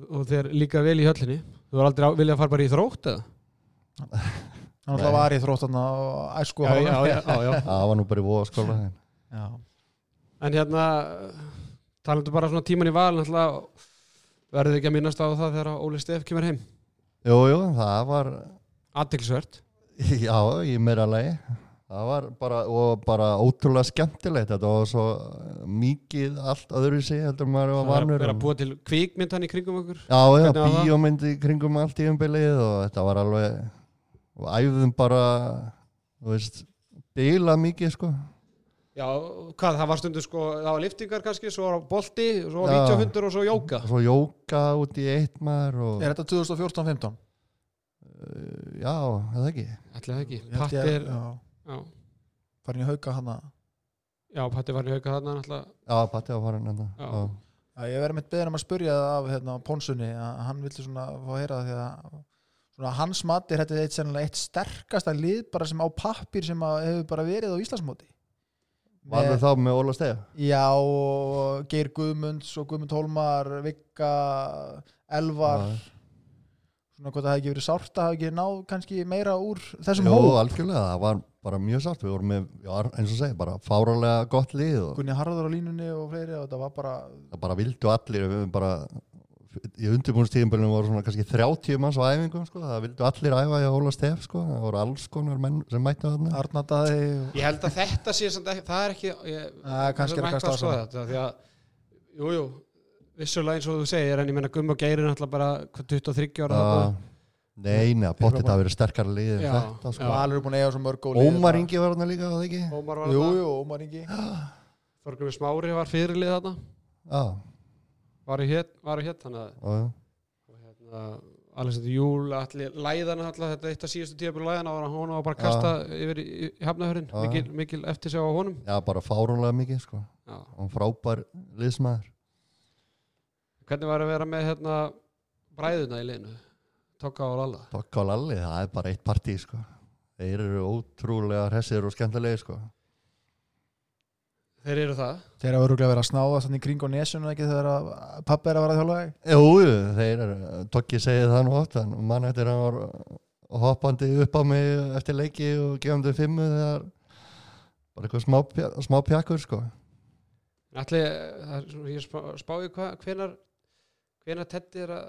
S1: og þeir líka vel í höllinni þú var aldrei á, vilja að fara bara í þrótt eða?
S5: hann alltaf var í þróttan á æsku
S1: já, já, já, já, já.
S4: það var nú bara í voðaskóla en
S5: já.
S1: en hérna talandu bara svona tíman í val náttúrulega verður ekki að minnast á það þegar Óli Steff kemur heim
S4: Jú, jú, það var,
S1: aðtilsvert
S4: já, í meira lagi það var bara, og bara ótrúlega skemmtilegt, þetta var svo mikið allt öðru sig heldur en maður
S1: það var
S4: var
S1: að
S4: vanur
S1: vera
S4: en-
S1: að búa til kvíkmyndan í kringum okkur
S4: Já, já,
S1: Hvernig var það?
S4: bíómyndi kringum allt í umbilið og þetta var alveg og æfðum bara þú veist, bila mikið sko
S1: Já, hvað, það var stundu sko, það var liftingar kannski, svo var bolti, svo var
S4: Já.
S1: vítjóhundur og svo jóka.
S4: og svo jóka út í eitt maður og,
S5: er þetta 2014-15?
S4: já, eða ekki
S1: Ætli það ekki,
S5: Ég held
S1: Patti
S5: ég-
S1: er,
S5: já,
S1: já,
S5: farin í hauka hana
S1: já, Patti var í hauka þarna náttúrulega.
S4: Já, Patti var farin hérna. enda
S1: Já.
S4: Já,
S5: Já, ég verði mitt beðin um að spurja það af hérna, Ponsunni, að hann vildi svona fá að heyra það því að svona, að hans mati er þetta eitt, sennilega eitt sterkasta lið bara sem á pappir sem að hefur bara verið á Íslandsmóti
S4: var
S5: Með-
S4: við þá með Óla Stega
S5: Já, og Geir Guðmunds og Guðmund Hólmar, Vikka Elvar
S4: Já.
S5: svona hvort það hefði ekki verið sárt að hafa ekki náð kannski meira úr þessum
S4: Jó,
S5: hóp
S4: algjörlega, það var bara mjög sátt við vorum með, já, eins og segi, bara fáralega gott lið og
S5: Gunni Harður á línunni og fleiri og það var bara
S4: það bara vildu allir við höfum bara í undirbúinstíðinbölinu voru svona kannski 30 manns á æfingum sko, það vildu allir æfa í Óla Stef sko, það voru alls konar menn sem mættu þarna
S5: Arnataði og...
S1: Ég held að þetta sé samt ekki, það er ekki, ég,
S5: Æ, kannski er
S1: það
S5: að
S1: eitthvað
S5: kasta
S1: að skoða þetta, því að, jú, jú, vissulega eins og þú segir, en ég menna Gummi og Geir er náttúrulega bara hvað, 23 ára.
S4: Já,
S1: þarna.
S4: Ah, Nei, neða, bóttið það verið sterkara lið en
S1: Já,
S4: þetta sko.
S5: Valur er búin að eiga svo mörg góð
S4: Ómar Ingi var hann líka, var það ekki?
S1: Ómar var
S5: Jú,
S1: þarna,
S5: jú, Ómar Ingi
S1: Þorgrumi Smári var fyrirlið þarna,
S4: Já,
S1: var í hétt, var í hétt, þannig að,
S4: já, já.
S1: og hérna, Alexander Júl, allir læðana allar, þetta er eitt af síðustu tíðabur læðana og hann var bara að kasta yfir í, í hafnahörin
S4: Já.
S1: mikil, mikil eftir á honum
S4: Já, bara fárunlega mikið, sko.
S1: Já.
S4: Hún frábær liðsmaður.
S1: Hvernig var að vera með hérna bræðuna í liðinu? Tokka og Lalla
S4: Tokka og Lalli, það er bara eitt partí, sko. Þeir eru ótrúlega hressir og skemmtilegi, sko.
S1: Þeir eru það
S5: Þeir eru öruglega verið að snáða þannig í kring og nesun ekki þegar að pappi er að vera að þjálfa þig.
S4: Jú, jú, þeir eru, Tokki segið það nú oft, en mann eftir hann var hoppandi upp á mig eftir leiki og gefandi fimmu þegar bara eitthvað smá, pja- smá pjakkur, sko.
S1: Allir, það er svona, ég spá, spái hvað, hvenar hvenar Teddy er að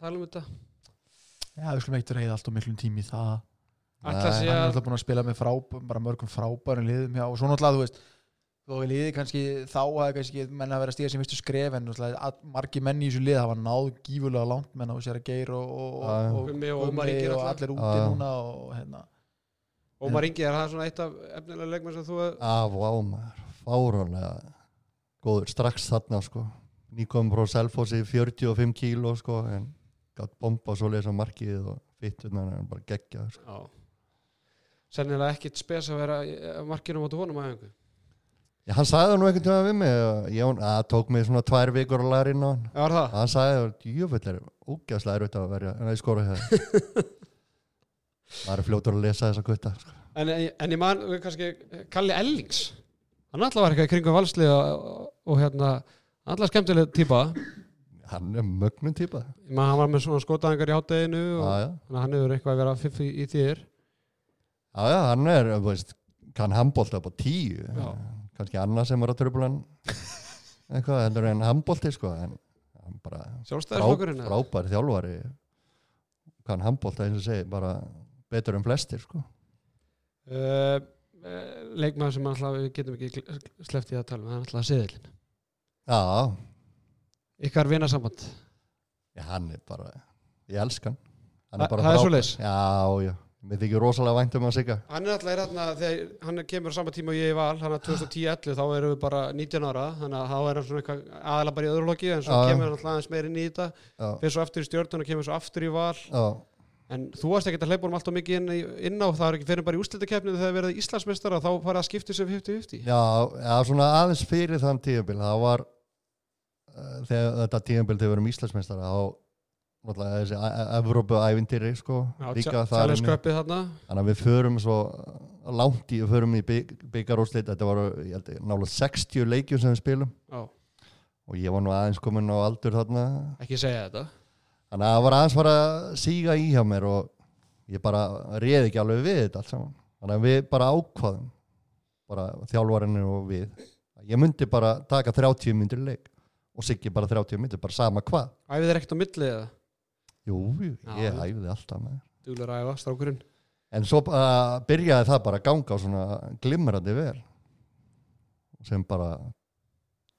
S1: tala um þetta
S5: Já, við skulum ekkert reyða allt og miklum tími í það.
S1: Alla
S4: Nei,
S1: sé
S5: Hann er
S1: að
S5: alltaf búin að spila með fráb, bara mörgum frábærum liðum hjá og svo náttúrulega, þú veist, þó við liði kannski þá að kannski menn að vera að stíða sem vistu skref en náttúrulega að margi menn í þessu lið hafa náð gífulega langt menn á sér að geir og, og,
S4: Já.
S5: og, og,
S1: Gummi og Ómar Ingi
S5: og
S1: náttúrulega.
S5: allir úti
S4: Já.
S5: núna og hérna.
S1: Ómar Ingi er það svona eitt af efnilega leikmenn sem þú
S4: Af og á Ah, maður, fáránlega góður strax þarna sko nýkom frá Selfossi 45 kíló sko en gætt bomba svo lesa markið og fittunar en bara geggja sko.
S1: Já Sennilega ekkit spes að vera eh, markinu móti honum aðeins
S4: Já, hann sagði það nú einhvern tíma við mig að ég- að það tók mig svona tvær vikur að læra inn á hann
S1: Já, er það?
S4: hann sagði það, jöfull er ógæðslega erfitt að verja en það skora hér það er fljótur að lesa þessa gutta sko.
S1: En, en ég man, við kannski, Kalli Ellings Hann alltaf var eitthvað í kringum valsliða og, og hérna, alltaf skemmtileg típa
S4: hann er mögnum típa
S1: Ég man, hann var með svona skotaðingar í hátteginu og
S4: já, já.
S1: þannig að hann hefur eitthvað að vera fiffi í þér
S4: Já, já, hann er, þú veist, kann handbólta upp á tíu,
S1: Já.
S4: kannski annað sem er á tröflan, eitthvað, heldur en handbólti, sko, en hann bara
S1: Sjálfstæðisflokkurinn eða?
S4: frábær þjálfari, kann handbólta, eins og segi, bara betur en flestir, sko.
S1: uh, uh, Leikmaður sem alltaf við getum ekki sleft í að tala um, hann alltaf seðilin
S4: Já,
S1: Ykkar vinasamband
S4: já, hann er bara, ég elska hann. hann
S1: Þa- það er
S4: frábær.
S1: svoleiðis?
S4: Já, já, mér þykir rosalega vænt um að sigga.
S1: Hann er alltaf er þarna, þegar hann kemur á sama tíma og ég í val, hann er 2010-11, þá erum við bara 19 ára, þannig að þá er hann svona eitthvað aðalega bara í öðru loki, en svo
S4: Já, já.
S1: kemur hann alltaf aðeins meir inn í þetta,
S4: Já,
S1: fyrir svo aftur í stjórnun og kemur svo aftur í val,
S4: já,
S1: en þú varst ekkert að hleypa honum alltaf mikið inn, í- inn á, það er ekki fyrir bara í úslitakefninu þegar verið Íslandsmeistara, þá farið að skipta sér 50-50.
S4: já, já, svona aðeins fyrir þann tíðanbíl, það var, uh, þegar þetta tíðanbíl þegar við erum Íslandsmeistara, þá náttúrulega þessi Evrópu ævindýri sko, líka þar
S1: Charles
S4: inni.
S1: Köppið þarna,
S4: þannig að við förum svo langt í, við förum í byggaróslit þetta var ég held, ég, nálega 60 leikjum sem við spilum
S1: já,
S4: og ég var nú aðeins komin á aldur þarna
S1: ekki segja þetta.
S4: þannig að það var aðeins var að síga í hjá mér og ég bara reði ekki alveg við þetta allt saman þannig að við bara ákvaðum bara þjálfarinnu og við ég myndi bara taka 30 myndir leik og siggi bara 30 myndir, bara sama hvað
S1: Æfið er ekkert á milli eða,
S4: jú, jú, ég
S1: Já.
S4: æfði alltaf með
S1: duglar að æfa, strákurinn.
S4: En svo uh, byrjaði það bara að ganga svona glimrandi vel sem bara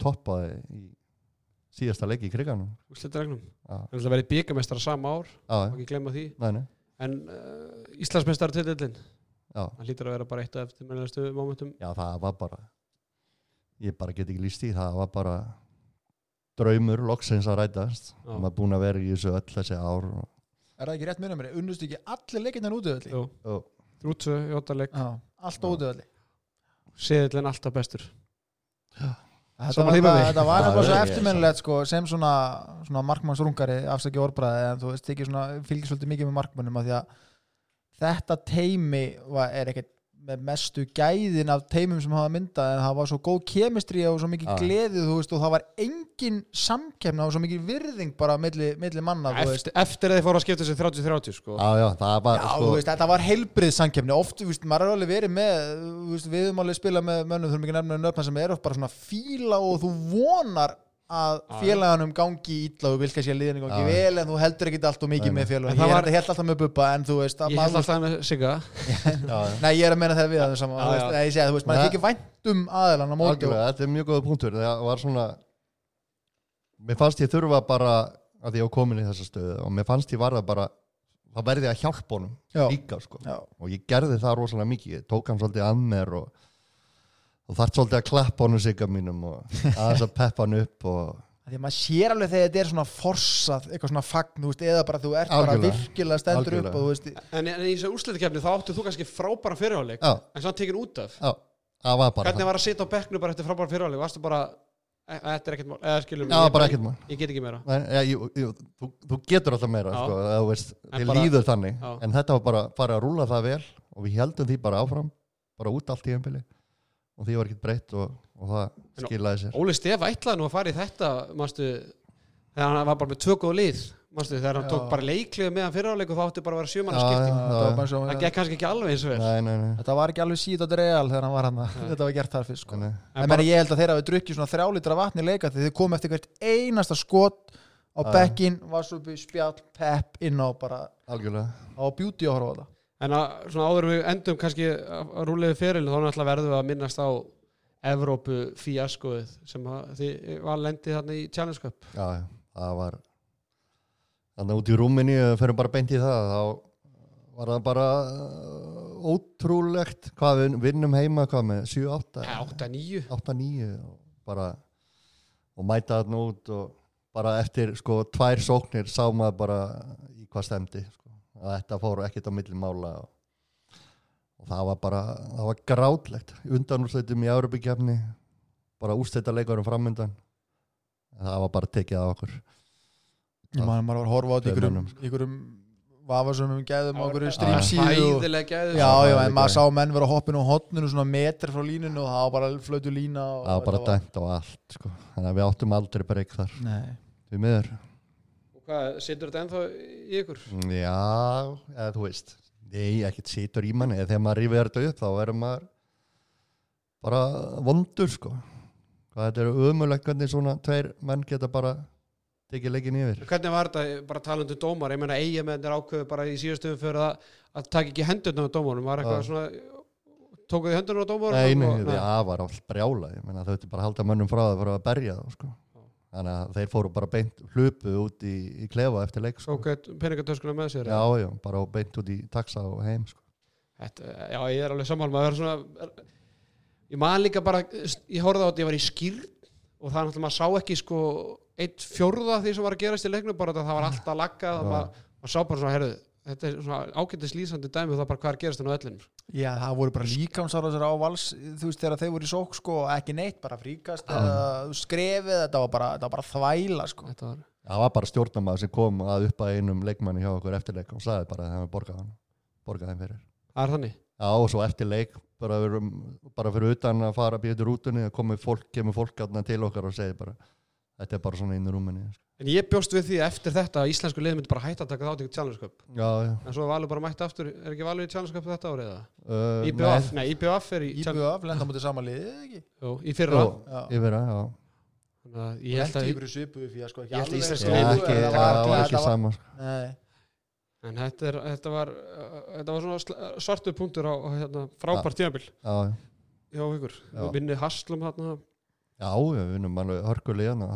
S4: toppaði í síðasta leik í kriganum.
S1: Úslitaregnum.
S4: Já.
S1: Það er alltaf verið byggamestara sama ár,
S4: Já,
S1: má ekki glemma því.
S4: nei, nei,
S1: En uh, Íslandsmeistara titillin,
S4: já,
S1: hann hlýtur að vera bara eitt af eftirminnilegustu momentum
S4: já, það var bara, ég bara get ekki líst í, það var bara draumur loksins að rætast.
S1: Já.
S4: Maður búin að vera í þessu öll þessi ár. Og,
S5: Er það ekki rétt munum mér? Unnust ekki allir leikirnar úti öllu?
S1: Jú,
S4: og,
S1: þrjútsu í óttaleg
S5: Já, allt
S4: Já.
S5: úti öllu.
S1: seðillin alltaf bestur
S5: Þetta
S1: Sama
S5: var,
S1: tíma
S5: þetta,
S1: við.
S5: þetta var
S4: Já,
S5: nefnilega svo
S4: ég-
S5: eftirminnilegt sko, sem svona, svona markmannsrungari afsaki orðbræði en þú veist ekki svona fylgir svolítið mikið með markmannum af því að þetta teimi var, er ekkert með mestu gæðin af teimum sem hafa myndað en það var svo góð kemistri og svo
S4: Já.
S5: mikið gleði þú veist og það var engin samkemna og svo mikið virðing bara milli, milli manna þú veist
S1: eftir, eftir að þið fóru að skipta sér 30-30 sko.
S4: já, já, það var,
S5: Já,
S4: sko,
S5: þú veist, þetta var heilbrið samkefni oft, þú veist, maður er alveg verið með þú veist, við höfum alveg spilað með mönnum þurfum ekki nefnir nöfna sem er oft bara svona fíla og þú vonar að félaganum gangi ítla og þú vilka sé að liðinu gangi
S4: Já.
S5: vel en þú heldur ekki allt og mikið með
S1: En
S5: félaganum
S1: það
S5: ég
S1: var-
S5: var... held alltaf með bubba en þú veist að
S1: ég held
S5: maður,
S1: alltaf með Sigga
S4: já, já.
S5: nei ég er að meina þegar við aðeins saman
S1: Já,
S5: þú veist,
S1: já.
S5: nei, ég segi að þú veist, maður
S4: Nei.
S5: er ekki vænt um aðelan á móti og-
S4: Algjörlega, þetta er mjög góða punktur það var svona mér fannst ég þurfa bara að ég var komin í þessa stöðu og mér fannst ég varða bara það verði að hjálpa honum
S5: Já.
S4: líka sko.
S5: Já.
S4: og ég gerði það rosalega mikið ég tók hann svolítið að mér og, og þarf svolítið að klappa honum sigga mínum og aðeins að peppa hann upp og
S5: að því að maður sér alveg þegar þetta er svona forsað, eitthvað svona fagn, þú veist, eða bara þú ert bara
S4: Algjörlega.
S5: virkilega stendur
S4: Algjörlega.
S5: upp og þú veist,
S1: En, en í þessu úrslitakefni þá áttu þú kannski frábæra fyrirháleik
S4: Já.
S1: en svo hann tekin út af
S4: Já, það var bara
S1: Hvernig var að sitja á bekknu bara eftir frábæra fyrirháleik Varstu bara, "E- þetta er ekkert mál eða skilur mig,
S4: Já,
S1: ég-
S4: bara ekkert mál.
S1: Ég get ekki meira
S4: Nei, já, jú, jú, þú, þú getur alltaf meira
S1: Já.
S4: sko, eða þú veist,
S1: En
S4: þið
S1: bara-
S4: líður þannig
S1: Já.
S4: en þetta var bara farið að rúla það vel og við heldum því bara áfram bara út allt í einbili og því var ekkert breytt og, og það
S1: En-
S4: skilaði sér
S1: Óli Stef ætlaði nú að fara í þetta manstu, þegar hann var bara með tvö góð lið manstu, þegar hann
S5: Já.
S1: tók bara leiklið meðan fyrirháleik og þá áttu bara að vera sjömanna
S4: Já,
S1: skipting
S4: já.
S5: það var bara svo,
S1: Það gekk kannski ekki alveg eins og vel
S4: Nei, nei, nei,
S5: þetta var ekki alveg síðan real þegar hann var hann, þetta var gert þar fyrst, sko.
S4: nei.
S5: En bara, ég held að þeir hafi drukkið svona þrjálítra vatni leika þegar þeir komu eftir hvert einasta skot á
S4: Já.
S5: bekkin, vassubi, spjall, pepp inn á bara,
S4: algjörlega
S5: á beauty að horfa á það.
S1: En að, svona áður en við endum kannski að rúlega fyrir þá náttúrulega verðum við að minnast á Evrópu fíaskoðið sem að þið var lendið þarna í Challenge Cup
S4: Já, já, það var þannig út í rúminni fyrir bara beint í það þá var það bara uh, ótrúlegt hvað við vinnum heima hvað með 7-8
S1: 8-9
S4: 8-9 og bara og mæta þarna út og bara eftir sko tvær sóknir sá maður bara í hvað stemdi sko. að þetta fór ekkert á milli mála og, og það var bara það var grátlegt undanúrsleitum í Európikefni bara úrsteita leikarum framundan En það var bara tekið af okkur
S5: Ég man, maður var að horfa á þetta í
S4: Tveim
S5: einhverjum,
S4: mönnum,
S5: einhverjum vafasumum gæðum á einhverju streamsíðu og-
S1: Æðilega gæðið
S5: Já,
S4: Það
S5: já,
S4: er
S5: en maður
S4: líka-
S5: sá menn vera hoppin á hotninu svona metr frá líninu og það var bara flötu lína og
S4: það var bara
S5: þetta
S4: dæmt á allt sko. þannig að við áttum aldrei breyk þar
S5: Nei,
S4: við miður
S1: Og hvað, situr þetta ennþá í ykkur?
S4: Já, eða þú veist Nei, ekkert situr í manni eða þegar maður rífið þetta upp þá verður maður bara vondur sko hvað þetta eru ömulegt hvernig svona tveir menn geta bara tekið leikin yfir
S1: Hvernig var þetta, bara talandi um dómar ég meina eiga með þetta ákveðu bara í síðastöfum fyrir að, að taka ekki hendurna á dómarum var eitthvað
S4: Já.
S1: svona tókuðu hendurna á dómarum
S4: Nei, nei,
S1: og-
S4: nei, það var alls brjála ég meina þau þetta bara að halda mönnum frá það fyrir að berja þá sko þannig að þeir fóru bara beint hlupu út í, í klefa eftir leik sko
S1: og peningatöskuna með sér
S4: Já, já, bara beint út í taxa og heim sko
S1: Þetta, já, ég er alveg sammál maður er svona ég man líka bara, ég horfði á þetta, ég var í skýrn og það er náttúrulega, maður sá ekki sko eitt fjórða af því sem var að gerast í leiknum bara þetta, það var alltaf laggað og maður, maður sá bara svona, herðu, þetta er svona ágætis lýsandi dæmi og það bara hvað er að gerast inn á sko. öllinu
S5: já, það voru bara líkamsárasar á vals þú veist, þegar þeir voru í sók sko, og ekki neitt, bara fríkast eða skrefið, þetta var bara, þetta var bara þvæla sko.
S1: þetta var,
S4: Það var bara stjórnamaður sem kom að upp að einum leikmanni hjá okkur eftir leik og sagði bara að það var borgað hann borgað þeim fyrir
S1: það er þannig
S4: Já, og svo eftir leik bara, við erum, bara fyrir utan að fara býða til rútunni og komið fólk, kemur fólk aðna til okkar og segir bara, þetta er bara svona inn í rúminni sko.
S1: en ég bjóst við því að eftir þetta að íslensku lið myndi bara hætta að taka þátt í Challenge Cup
S4: Já, já
S1: en svo er Valur bara mætt aftur, er ekki Valur í Challenge Cup þetta árið eða?
S4: uh,
S1: IBF, nei, IBF er í, Challenge-
S5: Íbjöf, lenda mútið samanliðið, ekki?
S1: jú, í fyrra
S5: Já.
S4: Yfir að, já
S1: Þannig að ég held
S5: Lenda
S1: að-
S5: ykkur í svipu fyrir sko, ekki
S1: Ég held að
S5: alveg
S1: íslenska
S5: eins
S4: Já,
S5: og-
S1: liðið
S4: ekki,
S5: en
S1: var-
S4: það
S5: þetta
S4: var ekki
S5: þetta var-
S4: sama sko.
S5: Nei.
S1: En þetta, er, þetta, var, uh, þetta var svona sl- svartur punktur á, á hérna, frábært tímabil
S4: Já, já,
S1: hjá ykkur.
S4: Já.
S1: Vinni Haslum þarna.
S4: já, já, við vinnum alveg hörkulegana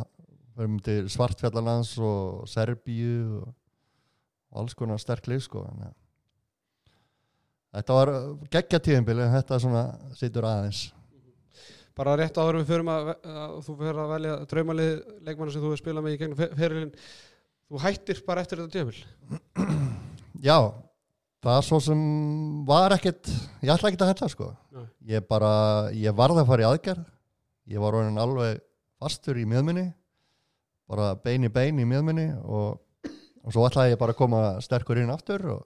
S4: Við erum til Svartfjallanlands og Serbíu og og alls konar sterk lið sko en, ja. Þetta var uh, geggja tíðinbili, þetta svona situr aðeins
S1: Bara rétt áður en við förum að, ve- að þú fyrir að velja draumalið leikmanna sem þú hefur spilað með í gegnum fe- ferilinn. Þú hættir bara eftir þetta tímabil.
S4: Já, það svo sem var ekkert, ég ætla ekkert að hætta sko.
S1: Nei.
S4: Ég bara, ég varð að fara í aðgerð, ég var orðin alveg fastur í miðminni, bara bein í bein í miðminni og, og svo ætlaði ég bara að koma sterkur inn aftur og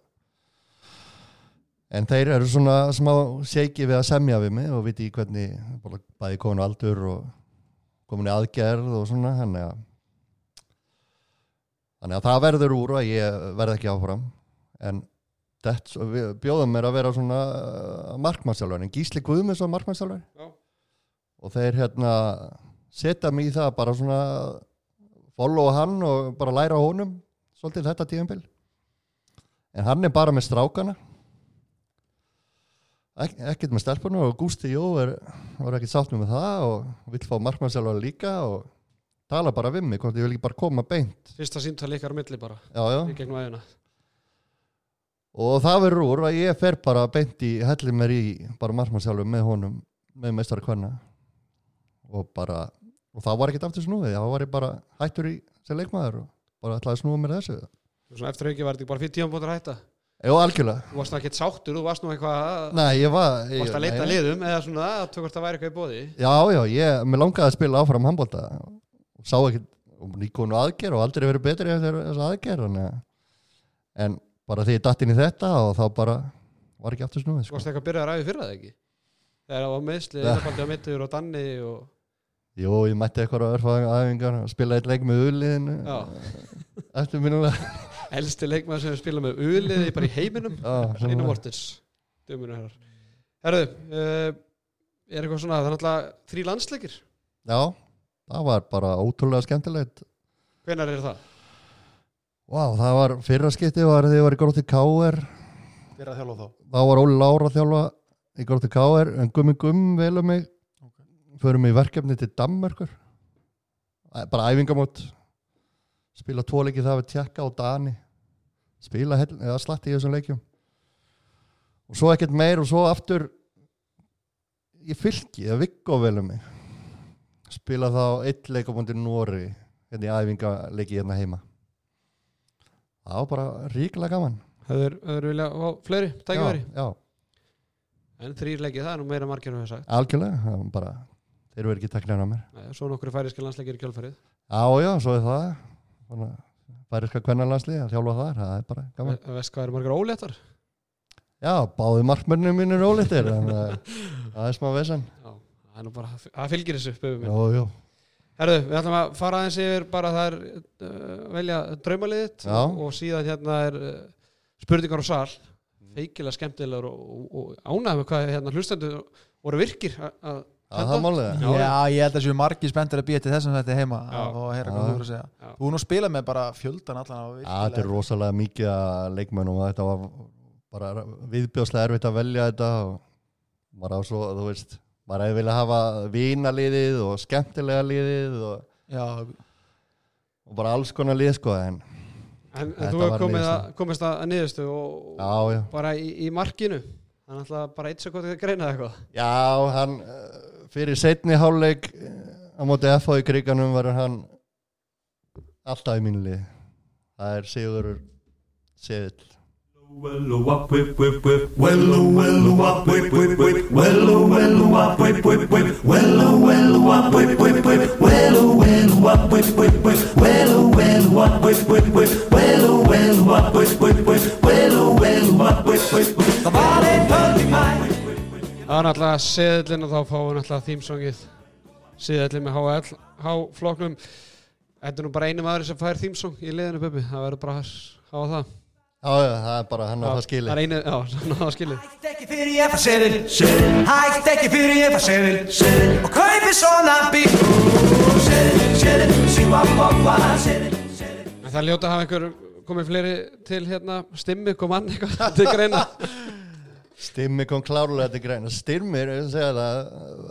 S4: En þeir eru svona smá seiki við að semja við mig og viti í hvernig bara bæði komin á aldur og komin í aðgerð og svona þannig að, þannig að það verður úr að ég verð ekki áfram en þetta, svo- við bjóðum mér að vera svona markmannsjálfur, en Gísli Guðmunds var markmannsjálfur
S1: Já.
S4: og þeir hérna setja mig í það bara svona followa hann og bara læra á honum svolítið þetta tíðanbíl en hann er bara með strákana Ek, ekkert með stelpunum og Gústi Jó er, var ekkert sáttum með það og vill fá markmannsjálfur líka og tala bara við mig hvort ég vil ekki bara koma beint
S1: Fyrsta síntal ykkar á milli bara
S4: já, já.
S1: í gegnum aðeina.
S4: og það verður úr að ég fer bara beint í hellir mér í bara margmannsjálfum með honum með meistari hvenna og bara, og og það var ekkert aftur snúið, þá var ég bara hættur í sem leikmaður og bara ætlaði að snúa mér að þessu
S1: Svona eftir auki var þetta ekki bara fyrir tímanbútur að hætta
S4: Jó, algjörlega,
S1: Þú varst nú ekkert sáttur, þú varst nú eitthvað
S4: nei, ég var ég,
S1: Varst að leita
S4: nei,
S1: liðum eða svona að tökast að væri eitthvað í bóði
S4: Já, já, ég, mér langaði að spila áfram handbólta og sá ekkert og nýkonu aðgerð og aldrei verið betri eftir þessa aðgerð en, en bara því ég datt inn í þetta og þá bara var ekki aftur snúið
S1: Þú
S4: sko.
S1: varst eitthvað að byrja að ræði fyrir það ekki Þegar það var meðsli,
S4: Ja.
S1: innafaldi á mittur og danni og...
S4: Jó, ég mætti eitthvað á örfaðingar og spilaði eitt leik með uliðinu
S1: Já,
S4: eftir minnulega
S1: elsti leikmaður sem spila með uliði bara í heiminum Einar Mortens Dömunu herrar Herðu, uh, er eitthvað svona, það er náttúrulega þrý landsleikir
S4: Já, það var bara ótrúlega skemmtilegt
S1: Hvenær er það?
S4: Vá, það var fyrra skipti var þegar ég var í grótti K.R.
S5: Fyrir að þjálfa þá
S4: þá var Óli Lára að þjálfa í grótti K.R. en gummi gumm velum mig förum í verkefni til Danmörkur Æ, bara æfingamót spila tvo leiki það við tjekka og Dani spila hell, eða slatti í þessum leikjum og svo ekkert meir og svo aftur ég fylki eða Viggo velum mig spila þá eitt leikamóti Nóri hérna í æfingaleiki hérna heima það var bara ríkilega gaman
S1: Hefur, hefur viljað fá fleiri, tækifæri
S4: já, já.
S1: En þrýr leikið, það er nú meira margir en við sagt
S4: Algjörlega, það var bara þeir eru ekki teknir af mér.
S1: Nei, Svo nokkru færiski landsleikir í kjálfarið
S4: Já, já, svo er það Svona, færiska kvennalandslið að þjálfa þar, það er bara gaman.
S1: Ve- Veist hvað eru margar óléttar?
S4: Já, báði markmörnum mínir ólittir en uh, það er smá vesen.
S1: Já, það er nú bara, það fylgir þessu böfum
S4: Jó, jó,
S1: Herðu, við ætlum að fara aðeins yfir bara þær uh, velja draumaliðitt
S4: Já.
S1: og, og síðan hérna er uh, spurningar og sal feikilega skemmtilegur og, og, og ánægum hvað hérna hlustendur voru virkir a- að
S4: það er það málega.
S1: Já.
S5: Já, ég held að séu margir spenntir að býja til þessum þetta heima
S1: Já.
S5: og heyra
S4: Já.
S5: hvað þú eru að segja
S1: Já.
S5: Þú er nú að spila með bara fjöldan allan á
S4: Já, þetta er rosalega mikið að leikmönnum og þetta var bara viðbjóðslega erfitt að velja þetta og maður á svo, þú veist, maður hefði vilja hafa vinaliðið og skemmtilega liðið og,
S5: Já,
S4: og bara alls konar lið, sko, en
S1: En, en
S4: Þetta
S1: þú hefur
S4: var
S1: komið að,
S4: niðurstaða.
S1: komist að að niðurstu og, og
S4: já, já.
S1: bara í, í markinu þannig alltaf bara eitt sekund að greina eitthvað
S4: Já, hann eh, fyrir setni hálfleik eh, á móti FH í kriganum var hann alltaf í mínu lið það er Sigurur Seðill
S3: Wello oh, wap whip whip whip Wello wello oh, wap whip whip whip Wello wello wap whip whip whip Wello wello wap whip whip whip Wello wello wap whip whip whip Wello wello wap whip whip whip Wello wello wap whip whip whip Wello wello wap whip whip whip The body perfect mind
S1: Það er náttúrulega seðlinn og þá fáum við náttúrulega þýmsongið seðlinn með HL H-flokknum Þetta er nú bara einu maður sem fær þýmsong í liðinu Bubbi, það verður bara að hafa það
S4: Já, já, það er bara hann á það
S1: Það
S4: skilið
S1: er einu, já, hann á það skilið
S6: Hætt ekki fyrir ég fær seðil Hætt ekki fyrir ég fær seðil Og kaupi svona bíl Seðil, seðil, síma bópa Seðil, seðil
S1: En það er ljóta að hafa einhver komið fleiri til hérna stimmi, kom ann eitthvað til greina
S4: Stimmi kom klárlega til greina Stimmir, ég vil segja það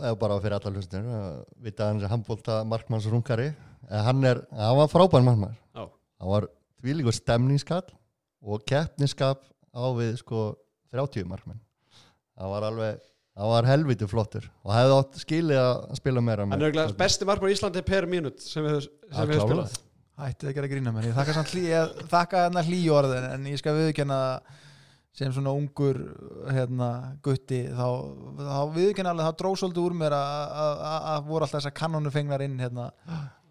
S4: eða bara fyrir alla hlustunir vita að hann er handbólta markmanns rungari hann, er, hann var frábær markmann
S1: Já,
S4: hann var tvílíkur stemningskall og keppniskap á við sko 30 markmenn það var alveg það var helviti flottur og hefði átt skilið að spila meira
S1: hann er auðvitað besti markmann í Íslandi per mínút sem hefur
S4: Já,
S1: sem hefur
S4: klárlega.
S1: spilað
S5: hætti ekki að grína mér Ég þakka samt hlý, ég þakka hérna hlý orðin en ég skal viðurkenna sem svona ungur hérna, gutti þá, þá viðurkenna alveg þá dró svolítið úr mér að- að að- að voru alltaf þessar kannonu fengnar inn hérna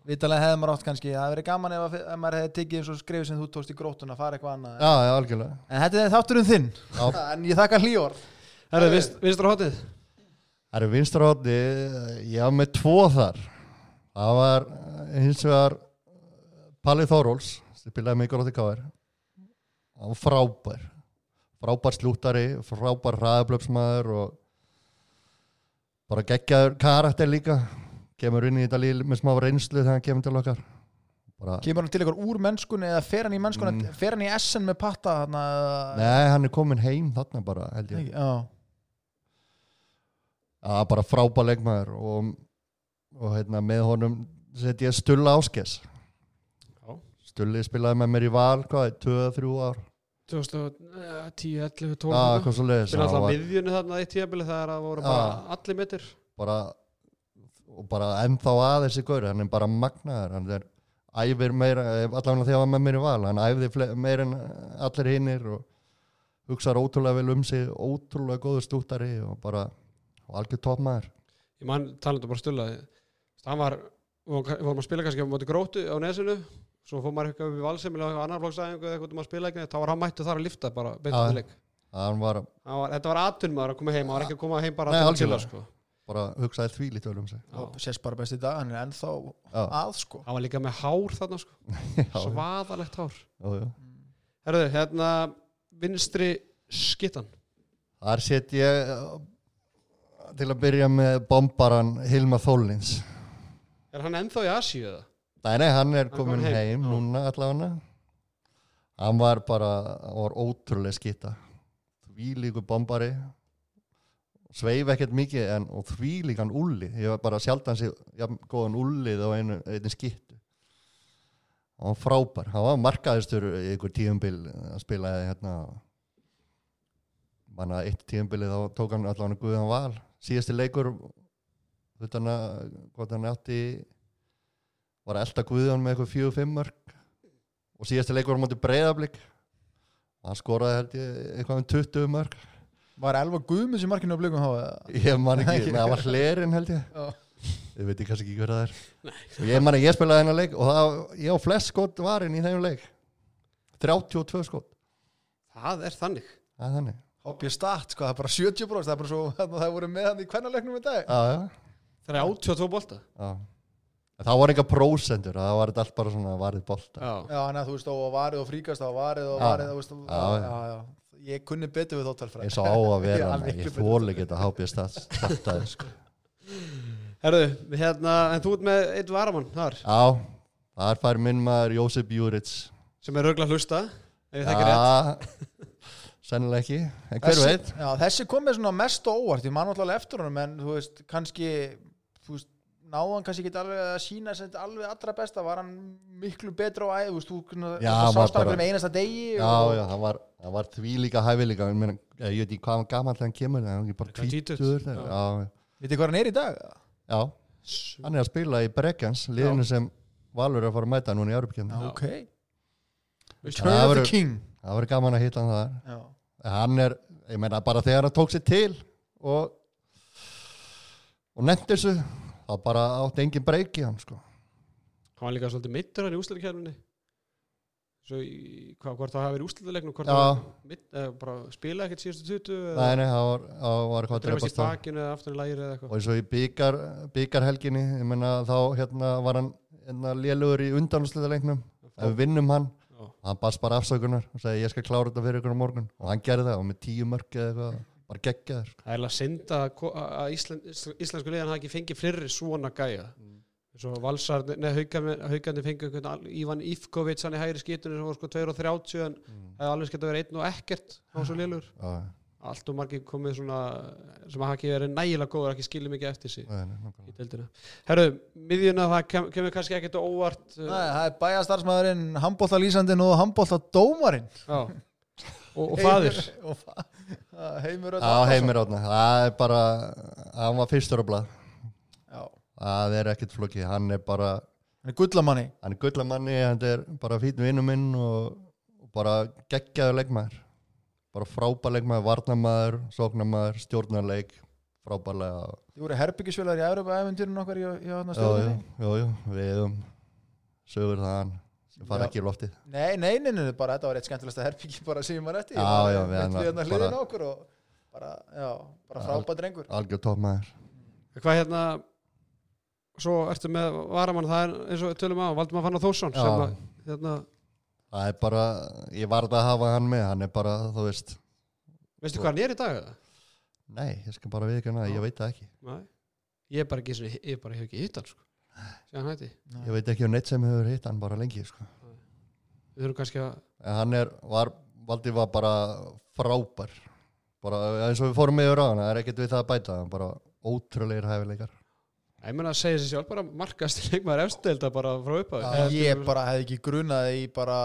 S5: Vitalega hefði maður átt kannski, það hefði verið gaman ef, að- ef maður hefði tekið eins og skrifið sem þú tókst í grótuna að fara eitthvað annað
S4: já, já, algjörlega
S5: En þetta er þátturinn þinn
S4: Já.
S5: En ég þakka hlýjór
S1: Herru, vinst- vinstra hotið
S4: það eru vinstra hótti ég var með tvo þar það var eh, hins vegar Palli Þóróls sem spilaði með Gróti Káir hann var frábær frábær slúttari, frábær hraðablöpsmaður og bara geggjaður karakter líka kemur inn í þetta líl með smá reynslu þegar hann kemur til okkar bara,
S5: Kemur hann til ykkur úr mennskunni eða fer hann í mennskuna fer hann í SN með patta hana,
S4: Mm. nei, hann er komin heim þarna bara held ég
S5: Ekki, já.
S4: Já, bara frábær leikmaður og, og hérna, með honum sett ég Stulla Áskes
S1: Já.
S4: Stulli spilaði með mér í val hvað, 2-3 ár
S1: 2010, 11,
S4: Já,
S1: 12
S4: hvað svo leiðis
S1: Spila alltaf miðjunni þarna í tíabili það er að voru bara allir mittir
S4: bara og bara ennþá aðeins í gaur hann er bara magnaður, hann er æfir meira, allavega þegar hann var með mér í val hann æfði fle- meira en allir hinnir og hugsaði ótrúlega vel um sig ótrúlega góður stúttari og bara og algjör toppmaður
S1: ég mann talandu bara stulla hann var, við vorum við vorum að spila kannski á móti grótu á nesinu svo fór maður eitthvað upp í valsemilega og annar flokksæðingu eða eitthvað um að spila eitthvað þá var hann mættu þar að lifta bara beint
S4: Já.
S1: til leik
S4: hann var
S1: Hann var, þetta var atun maður að koma heim, hann var ekki að koma heim bara
S4: Nei,
S1: til að
S4: algjörlega.
S1: chilla, sko.
S4: bara hugsaði því lítið vel um sig
S1: Já.
S5: og sést bara best í dag, hann er ennþá
S4: já,
S5: að sko
S1: hann var líka með hár þarna sko.
S4: já, já,
S1: svaðalegt hár
S4: já.
S1: Herðu, hérna vinstri skittan
S4: þar set ég uh, til að byrja með bombaran Hilma Þólins
S1: er hann ennþá í Asíu eða?
S4: Nei, nei, hann er
S1: kominn
S4: komin heim,
S1: heim, já.
S4: núna allavega hann var bara hann var ótrúlega skita því líku bombari sveif ekkert mikið en, og því líkan ulli ég var bara sjaldan sér ja, góðan ullið á einu, einu skittu hann var frábær, hann var markaðistur í einhver tíumbil að spilaði hérna manna eitt tíumbilið þá tók hann allavega Guðan Val síðasti leikur þetta hann að hvort hann átti var að elda Guðjón með eitthvað fjögur fimm mörg og síðasti leikur var á móti breyðablík og hann skoraði held ég eitthvað um 20 mörg
S5: var Elva Guðmunds í markinu á blikum þá
S4: ég man ekki, neða það var hlerinn held ég ég veit ég kannski ekki hver það er og ég man að ég spilaði þennan leik og það, ég á flest skot varinn í þeim leik 32 skot,
S1: það er þannig
S4: það er þannig
S5: hoppið start sko, það er bara 70 það er bara svo, það voru með hann í kvennalegnum í dag
S4: já, já,
S1: það er 82 bolta
S4: já En það var eitthvað prósendur, það var þetta allt bara svona varðið bolta
S1: já.
S5: já, neða, þú veist, og varið og fríkast og varið og
S4: Já.
S5: varið, þú veist og-
S4: Já, já.
S5: já, já, ég kunni betur við þóttalfræð
S4: eins og á að vera
S5: Já,
S4: hana.
S5: miklu
S4: ég
S5: betur.
S4: þóli ekki þetta hápjast að starta sko.
S1: Herðu, hérna, en þú ert með eitt varamann þar
S4: Já, þar fær minn maður Jósef Júrits
S1: sem er örgla hlusta ef ég þekki rétt
S4: Já, sennilega ekki En hver
S5: Þessi-
S4: veit,
S5: Já, þessi kom með svona mest á óvart, ég man alltaf eftir honum en þú veist, kannski þú veist, náðan kannski ekki alveg að sína sem þetta alveg allra besta, var hann miklu betra á æði, þú veist, þú kunna-
S4: Já,
S5: þú
S4: var
S5: sást hann
S4: bara-
S5: bara... með einasta degi
S4: já,
S5: og,
S4: já, það var, það var því líka hæfileika Ég meina, ég veit ekki hvað hann gamall hann kemur Það er hann ekki bara
S1: Eitthvað tvítugt,
S4: tvítur þegar-
S1: já.
S4: já.
S5: Vitið hvað hann er í dag?
S4: já, hann er að spila í Brekjans Liðinu sem Valur er að fara að mæta núna í Europakefni
S5: Ok,
S1: Veistu-
S5: Turn
S4: Það
S5: of the
S4: verður-
S5: King
S4: Það var gaman að hitta hann þar
S5: Já,
S4: En Hann er, ég meina, bara þegar hann tók sér til Og Og nefnt þessu Það bara átti engin breyki hann, sko
S1: hann var líka svolítið mittur hann í úslutakefninni svo í, hvað, hvort það hafi verið úslutalegnum hvort
S4: Já.
S1: það hafi mitt, eða bara spila ekkert síðustu tutu
S4: Nei, nei, það var, það var eitthvað að
S1: drefast í
S4: drepast á.
S1: bakinu eða aftur í læri eða
S4: og
S1: eitthvað
S4: eins og í byggar, byggarhelginni ég menna þá hérna var hann hérna lélugur í undanúslutalegnum ef við vinnum hann
S1: Já.
S4: hann baðst bara afsökunar og segi ég skal klára þetta fyrir ykkur á morgun og hann gerði það og með tíu mörg eða eitthvað bara geggjaður sko.
S1: það er alveg að synda að ko- að Ísland, íslensku liðan hafi ekki fengið fleiri svona gæja
S4: Mm.
S1: eins og valsar, neða haugandi fengið einhvern al- Ivan Ivkovic hann í hægri skýtunni sem var sko 2 og 30 en
S4: Mm.
S1: hefði alveg skett að vera 1 og ekkert á svo liðlur
S4: Já,
S1: allt og margir komið svona sem hafa ekki verið nægilega góður ekki skilið mikið eftir sig
S4: nei, nei,
S1: í
S4: nákvæmlega.
S1: deildina. Herru, miðjuna það kem, kemur kannski ekkert á óvart
S5: Nei,
S1: uh,
S5: það er bæjastarsmaðurinn, handbóltalýsandinn og handbóltadómarinn
S1: já. og, og fadir
S5: Og fa- Já, Heimir Öll
S4: Já, heimir átna, það er bara hann var fyrstur á blað
S5: Já,
S4: það er ekkert flókið, hann er bara
S5: hann er gullamanni
S4: hann er gullamanni, hann er bara fýtn vinnu minn og, og bara geggjaður leikmaður bara frábær leikmaður, varnamaður, sóknamaður stjórnarleik, frábærlega og
S5: Þið voru herbyggisfélagur í Európa-æventýrun okkar hérna í, í, í, í,
S4: Jú, jú, jú, jú, við hefum sögur þaðan sem fara
S5: Já.
S4: ekki í loftið
S5: Nei, nei, nei, nei, bara þetta var eitt skemmtilegsta herbyggi bara sem ég maður eftir
S4: Já,
S5: Bara
S4: já, við
S5: beint
S4: hann-
S5: við hérna
S4: bara-
S5: hliðin á okkur og bara, já, bara frábæð drengur
S4: algjör toppmaður
S1: hvað hérna svo ertu með varamann það er eins og við tölum á, Valdum að fanna Þórsson
S4: Já.
S1: sem að, hérna,
S4: það er bara, ég varð að hafa hann með hann er bara, þú veist,
S1: veistu hvað hann er í dag eða?
S4: nei, ég skal bara viðkjöna það, ég veit það ekki
S1: Nei. ég er bara ekki einu sinni- ég bara hef ekki hitt hann sko. síðan hætti,
S4: ég veit ekki um neitt sem hefur hitt hann bara lengi sko.
S1: við þurfum kannski að
S4: en hann er, var, Valdi var bara frábær bara eins og við fórum með ráðan, það er ekkert við það að bæta hann bara ótrúleir hæfileikar
S1: ég meina að segja sér sjálf bara markast leikmaður efstelda bara frá uppa
S5: Ég bara hefði ekki grunað í bara,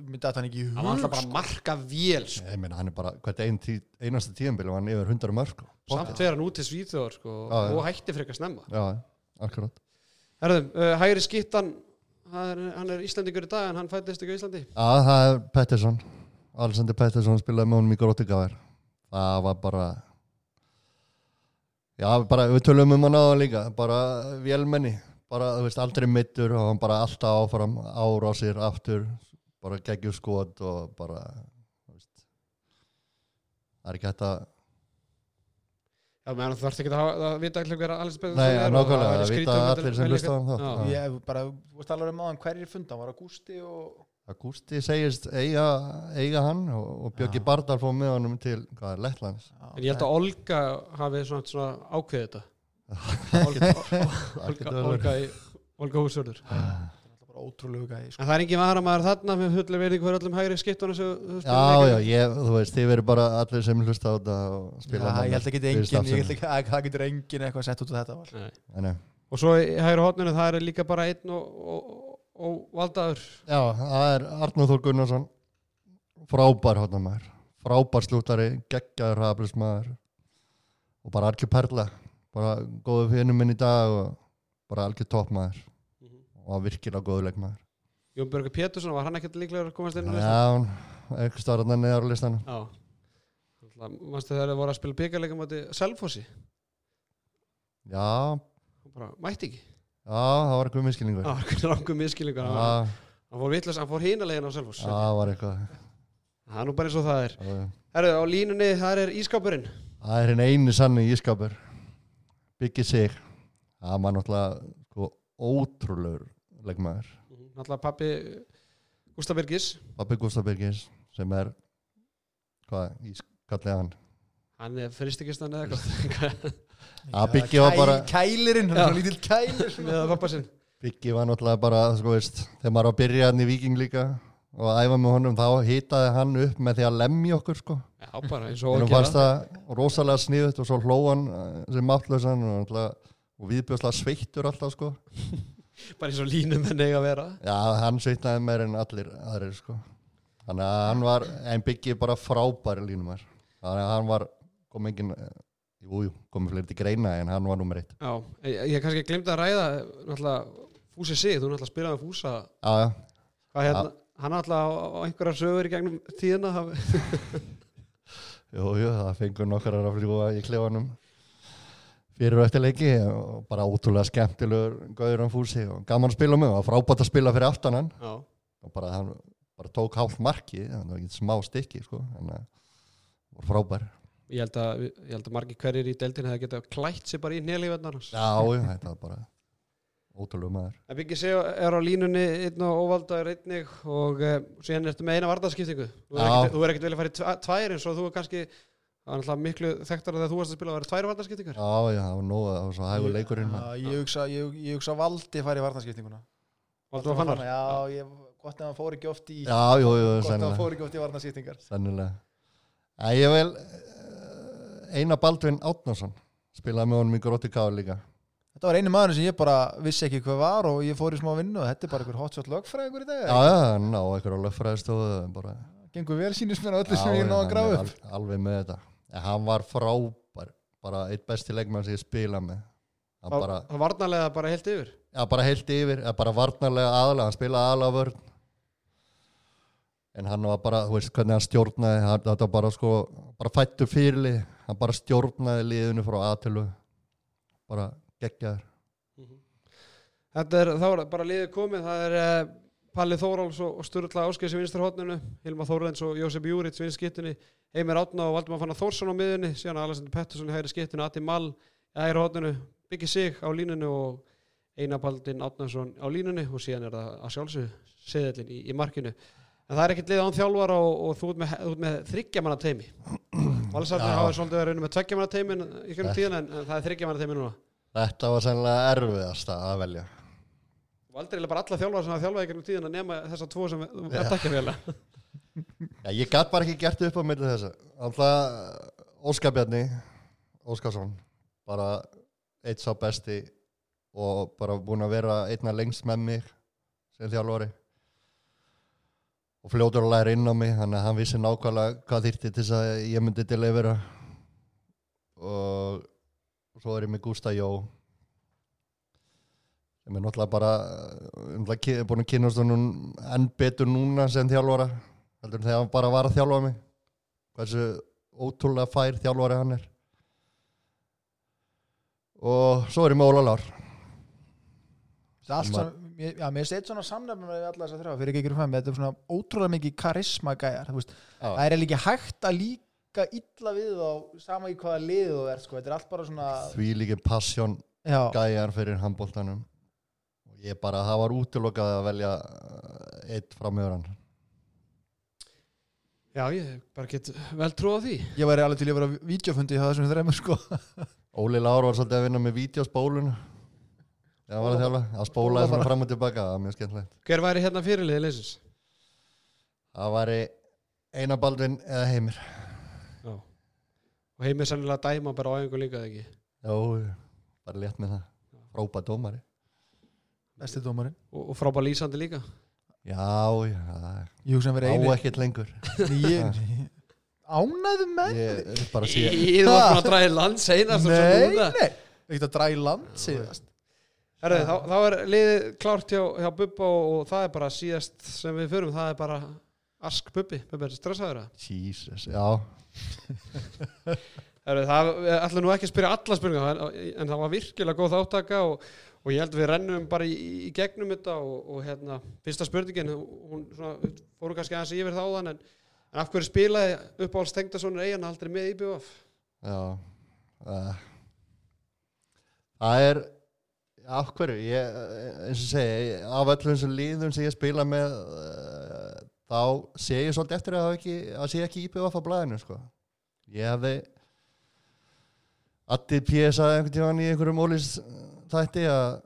S5: myndi að hann ekki í
S1: hann var alltaf
S5: hug
S1: bara marka vél sko.
S4: ég meina, hann er bara, hvert ein tí, einasta tíðanbili var hann yfir 100 mörg
S1: samt verið hann út til Svíþjóðar sko,
S4: Já, já.
S1: og hætti frekar snemma
S4: já, akkurat
S1: Herðum, uh, hægri skittan hann er, hann er Íslandingur í dag en hann fættist ekki á Íslandi
S4: Já, það er Pettersson Alexander Pettersson spilaði með honum í gróttigafær það var bara já, bara við tölum um hann á það líka bara vélmenni bara, þú veist, aldrei mittur og hann bara alltaf áfram ára á sér aftur bara geggjur skot og bara þú veist það er ekki hægt að
S1: Já, menn þú þarfst ekki að, hafa- að vita allir hver að allir spennast
S4: Nei, nákvæmlega, það vita allir sem hlusta á hann þá. Já.
S5: Ég hef bara, þú veist alveg um aðan hverjir funda, var Augusti og
S4: Agústi segist eiga, eiga hann og, og Björki
S5: Já.
S4: Bardar fór með honum til, hvað er, Lettlands
S5: Já,
S1: En ég held að Olga hafi svona, svona ákveðið þetta Olga, Olga, Olga, í- Olga Húsvörður
S5: það er bara ótrúlegu gæði sko.
S1: En það er engin varamæður þarna með hullu verið hver öllum hægri skittunum sem þú
S4: Já,
S1: spilaði
S4: já,
S1: leikinn.
S4: ég, þú veist, þið verður bara allir sem hlusta á þetta og
S5: Já,
S4: spila
S5: ég held ekki
S4: fyrir
S5: engin, ég
S4: starfsemi.
S5: held ekki að það getur engin eitthvað sett út á þetta var.
S1: Nei.
S4: Nei, nei.
S1: Og svo í hægri hotninu það er líka bara einn og, og, og valdaður
S4: Já, það er Arnur Þór Gunnarsson frábær hotnamaður frábær slúttari, geggjaður haflismæður og bara algjör perla bara góðu fyrir minn í dag og bara algjör toppmaður
S5: Mhm.
S4: og virkilega góðu leikmaður
S1: Jón Björgur Pétursson, var hann ekkert líklegur að komast inn á listan?
S4: Já, hún, einhvers staðar þarna neðar á listanum
S1: Já Manstu þegar þau voru að spila byggarleikum á þetta Selfossi,
S4: Já,
S1: Hann bara mætti ekki
S4: já, það var eitthvað miskilningur
S1: Það var einhvern rangum
S5: Ah,
S1: miskilningur Hann var-
S4: Já,
S1: hann fór vitlaus, hann fór hínalegin á Selfoss
S4: já, það var eitthvað
S1: Það er nú bara eins og það er
S4: Já, já.
S1: Herru, á línunni þar er ískapurinn
S4: Það er henni einu sannu ískapur Biggi sig Það var náttúrulega sko, ótrúlegur leikmaður
S1: Náttúrulega pappi Gustaf Birgis
S4: Pappi Gustaf Birgis sem er hvað, ískallið hann
S1: Hann er fristikistan eða eitthvað
S4: Já, Biggi var bara-
S5: Kælirinn, hann
S1: Já.
S5: er svona lítill kælir
S1: Með að pappa sinn
S4: Biggi var náttúrulega bara sko, veist, þegar maður var að byrja hann í Viking líka og að æfa með honum þá hitaði hann upp með því að lemja okkur sko
S1: Já, bara eins og
S4: og
S1: að
S4: hann fannst það rosalega sniðut og svo hló hann eh, sem aftlöðsan og, náttúrulega- og viðbjörslega sveittur alltaf sko
S1: Bara eins og línum en eiga að vera
S4: Já, hann sveitnaði meir en allir aðrir sko. Þannig að hann var en byggið bara frábæri línumar Þannig að hann var kom engin eh, jú, jú, komið fleiri til greina en hann var nummer eitt
S1: Já, ég, ég kannski glemt að ræða Náttúrulega Fúsi sig, þú náttúrulega spilaði með Fúsa
S4: Já, já,
S1: Hvað hérna, hann náttúrulega á, á einhverja sögur í gegnum tíðina haf-
S4: jú, jú, það fengur nokkar að fljúa í klefanum fyrir og eftir leiki og bara ótrúlega skemmtilegur gauður hann fúsi og gaman að spila með og frábært að spila fyrir aftan hann
S1: Já,
S4: og bara hann bara tók hálf marki, þannig að smá stykki sko, en að var frábær
S1: ég held að, ég held að margir hverjir í deildin hefði getað klætt sér bara í nélífennarnas
S4: Já, jú, þetta var bara ótrúlega maður
S1: En Biggi Sig er á línunni einn og óvaldaður einnig og uh, síðan ertu með eina vardaskiptingu Þú er
S4: Já.
S1: ekkert- þú er ekkert vilja að fara í tva- tvær eins og þú er kannski það var náttúrulega miklu þekktar þegar þú varst að spila að vera tvær vardaskiptingar
S4: Já, já, það var nóg, það var svo hægur leikurinn maður.
S5: Já, Ég Ah, hugsa, ég, ég hugsa að Valdi fari í varnarskiptinguna
S1: Valdur og Fannar
S5: Já, ég, gott að hann fór ekki oft í
S4: Já, jú, jú,
S5: Gott að hann
S4: sennilega,
S5: fór ekki oft í varnarskiptingar
S4: sennilega. Æ, ég vil eh, Einar Baldvin Átnarsson spilaði með honum í Gróti Káður líka
S5: Þetta var einu maður sem ég bara vissi ekki hvað var og ég fór í smá vinnu og þetta er bara einhver hotshot lögfræðingur í dag
S4: Já, já, hann á einhverja löffræðistóðu bara,
S5: Gengur vel sínist mér á öllu
S4: Já,
S5: sem ég
S4: já,
S5: ná að
S4: hann
S5: gráða
S4: er
S5: upp
S4: al- Alveg með þetta en Hann var frábær, bara eitt besti leikmann sem ég spila með Hann
S1: Það
S4: bara,
S1: það varnarlega bara heilt yfir
S4: já, bara heilt yfir, eða bara varnarlega aðalega, hann spilaði aðalega vörn en hann var bara, þú veist hvernig hann stjórnaði hann- þetta var bara sko, bara fættu fyrirlið hann bara stjórnaði liðinu frá aðtölu bara geggjaður
S1: Þetta er, þá er bara liðið komið, það er uh, Palli Þóráls og, og Sturla Áskeis í vinstra hótninu, Hilma Þórlens og Jósef Júrits í skittinni, Heimir Átna og Valdumar Fannar Þórsson á miðunni, síðan Alessandur Pettersson í hægri skittinu, Ati Mall í hægri hótninu, Byggi Sig á línunni og Einar Paldin Átnarsson á línunni og síðan er það að sjálfsögðu seðallin í, í markinu. En það er ekkert lið án þjálfara og, og þú ert með, þú ert með þryggjamanna teimi. Valsarnir hafa svolítið að reyna með tveggjamanna teimin í kjörnum tíðan en, en það er þryggjamanna teimi núna.
S4: þetta var sennilega erfiðast að velja
S1: og aldrei eiginlega bara alla þjálfara sem hafa þjálfað í gegnum tíðina nema þessa tvo sem er takkja vel
S4: já, ég gat bara ekki gert upp á milli þessu alltaf eh, Óskar Bjarni Óskarsson bara eitt sá besti og bara búin að vera einna lengst með mig sem þjálfari og fljótur að læra inn á mig þannig að hann vissi nákvæmlega hvað þýrti til þess að ég myndi til að vera og svo er ég með Gústa Jó ég með náttúrulega bara um það búin að kynast honum enn betur núna sem þjálfara heldur en þegar hann bara var að þjálfa mig hversu ótrúlega fær þjálfari hann er og svo er ég með Óla Lár
S5: Það er allt
S4: Sem að-
S5: svona, mér- já, mér seti svona samnefnum við alla þess að þrjá, fyrir ekki ykkur fæmi, þetta er svona ótrúlega mikið karisma gæjar, þú veist,
S4: Já.
S5: það er eiginlega ekki hægt að líka illa við þá, sama í hvaða liðu þú ert, sko, þetta er allt bara svona,
S4: því líkin passjón
S5: já,
S4: gæjar fyrir handbóltanum og ég bara, það var útilokað að velja eh, einn framöður hann
S1: Já, ég bara get vel trúa því.
S5: ég væri alveg til ég var að vídeofundi hjá þessum þreymur, sko,
S4: Óli Lár var svolítið að vinna með vídeospólun það var að þjálfa að spólaði svona fram og tilbaka, það var mjög skemmtilegt
S1: Hver væri hérna fyrirliðið leysins?
S4: það væri Einar Baldvin eða Heimir
S1: Já. Og heimir sannilega dæma bara á einhver líka eða ekki.
S4: Jó, bara létt með það frábæð dómari
S5: besti dómarinn,
S1: Og, og frábæð lýsandi líka.
S4: Já, já, það
S5: ég hugsa að vera
S4: á
S5: eini,
S4: ekkert lengur
S5: ég, ánæðu menn,
S4: ég er bara að sé
S1: Ég var búin að draga í land seinast og svo
S5: nei,
S1: núna.
S5: nei, ekkert að dræ land, síðast,
S1: Herðu, þá, þá er liðið klárt hjá, hjá Bubba og, og það er bara síðast sem við förum, það er bara ask Bubbi, Bubbi er stressaður það.
S4: Jesus, já,
S1: Herðu, það við ætlum nú ekki að spyrja alla spurninga en, en það var virkilega góð áttaka og, og ég held við rennum bara í, í gegnum þetta og, og hérna, fyrsta spurningin hún svona, fóru kannski aðeins yfir þáðan en, en af hverju spilaði uppáhalds Tengdasonur eigin aldrei með IBF?
S4: já uh, Það er af hverju, ég, eh, eins og segi ég- af öllum þessum liðum sem ég spila með uh, þá sé ég svolítið eftir að, hafa ekki, að sé ekki íbjöf á blæðinu sko. ég hefði Addi PSaði einhvern tíðan í einhverjum ólís þætti að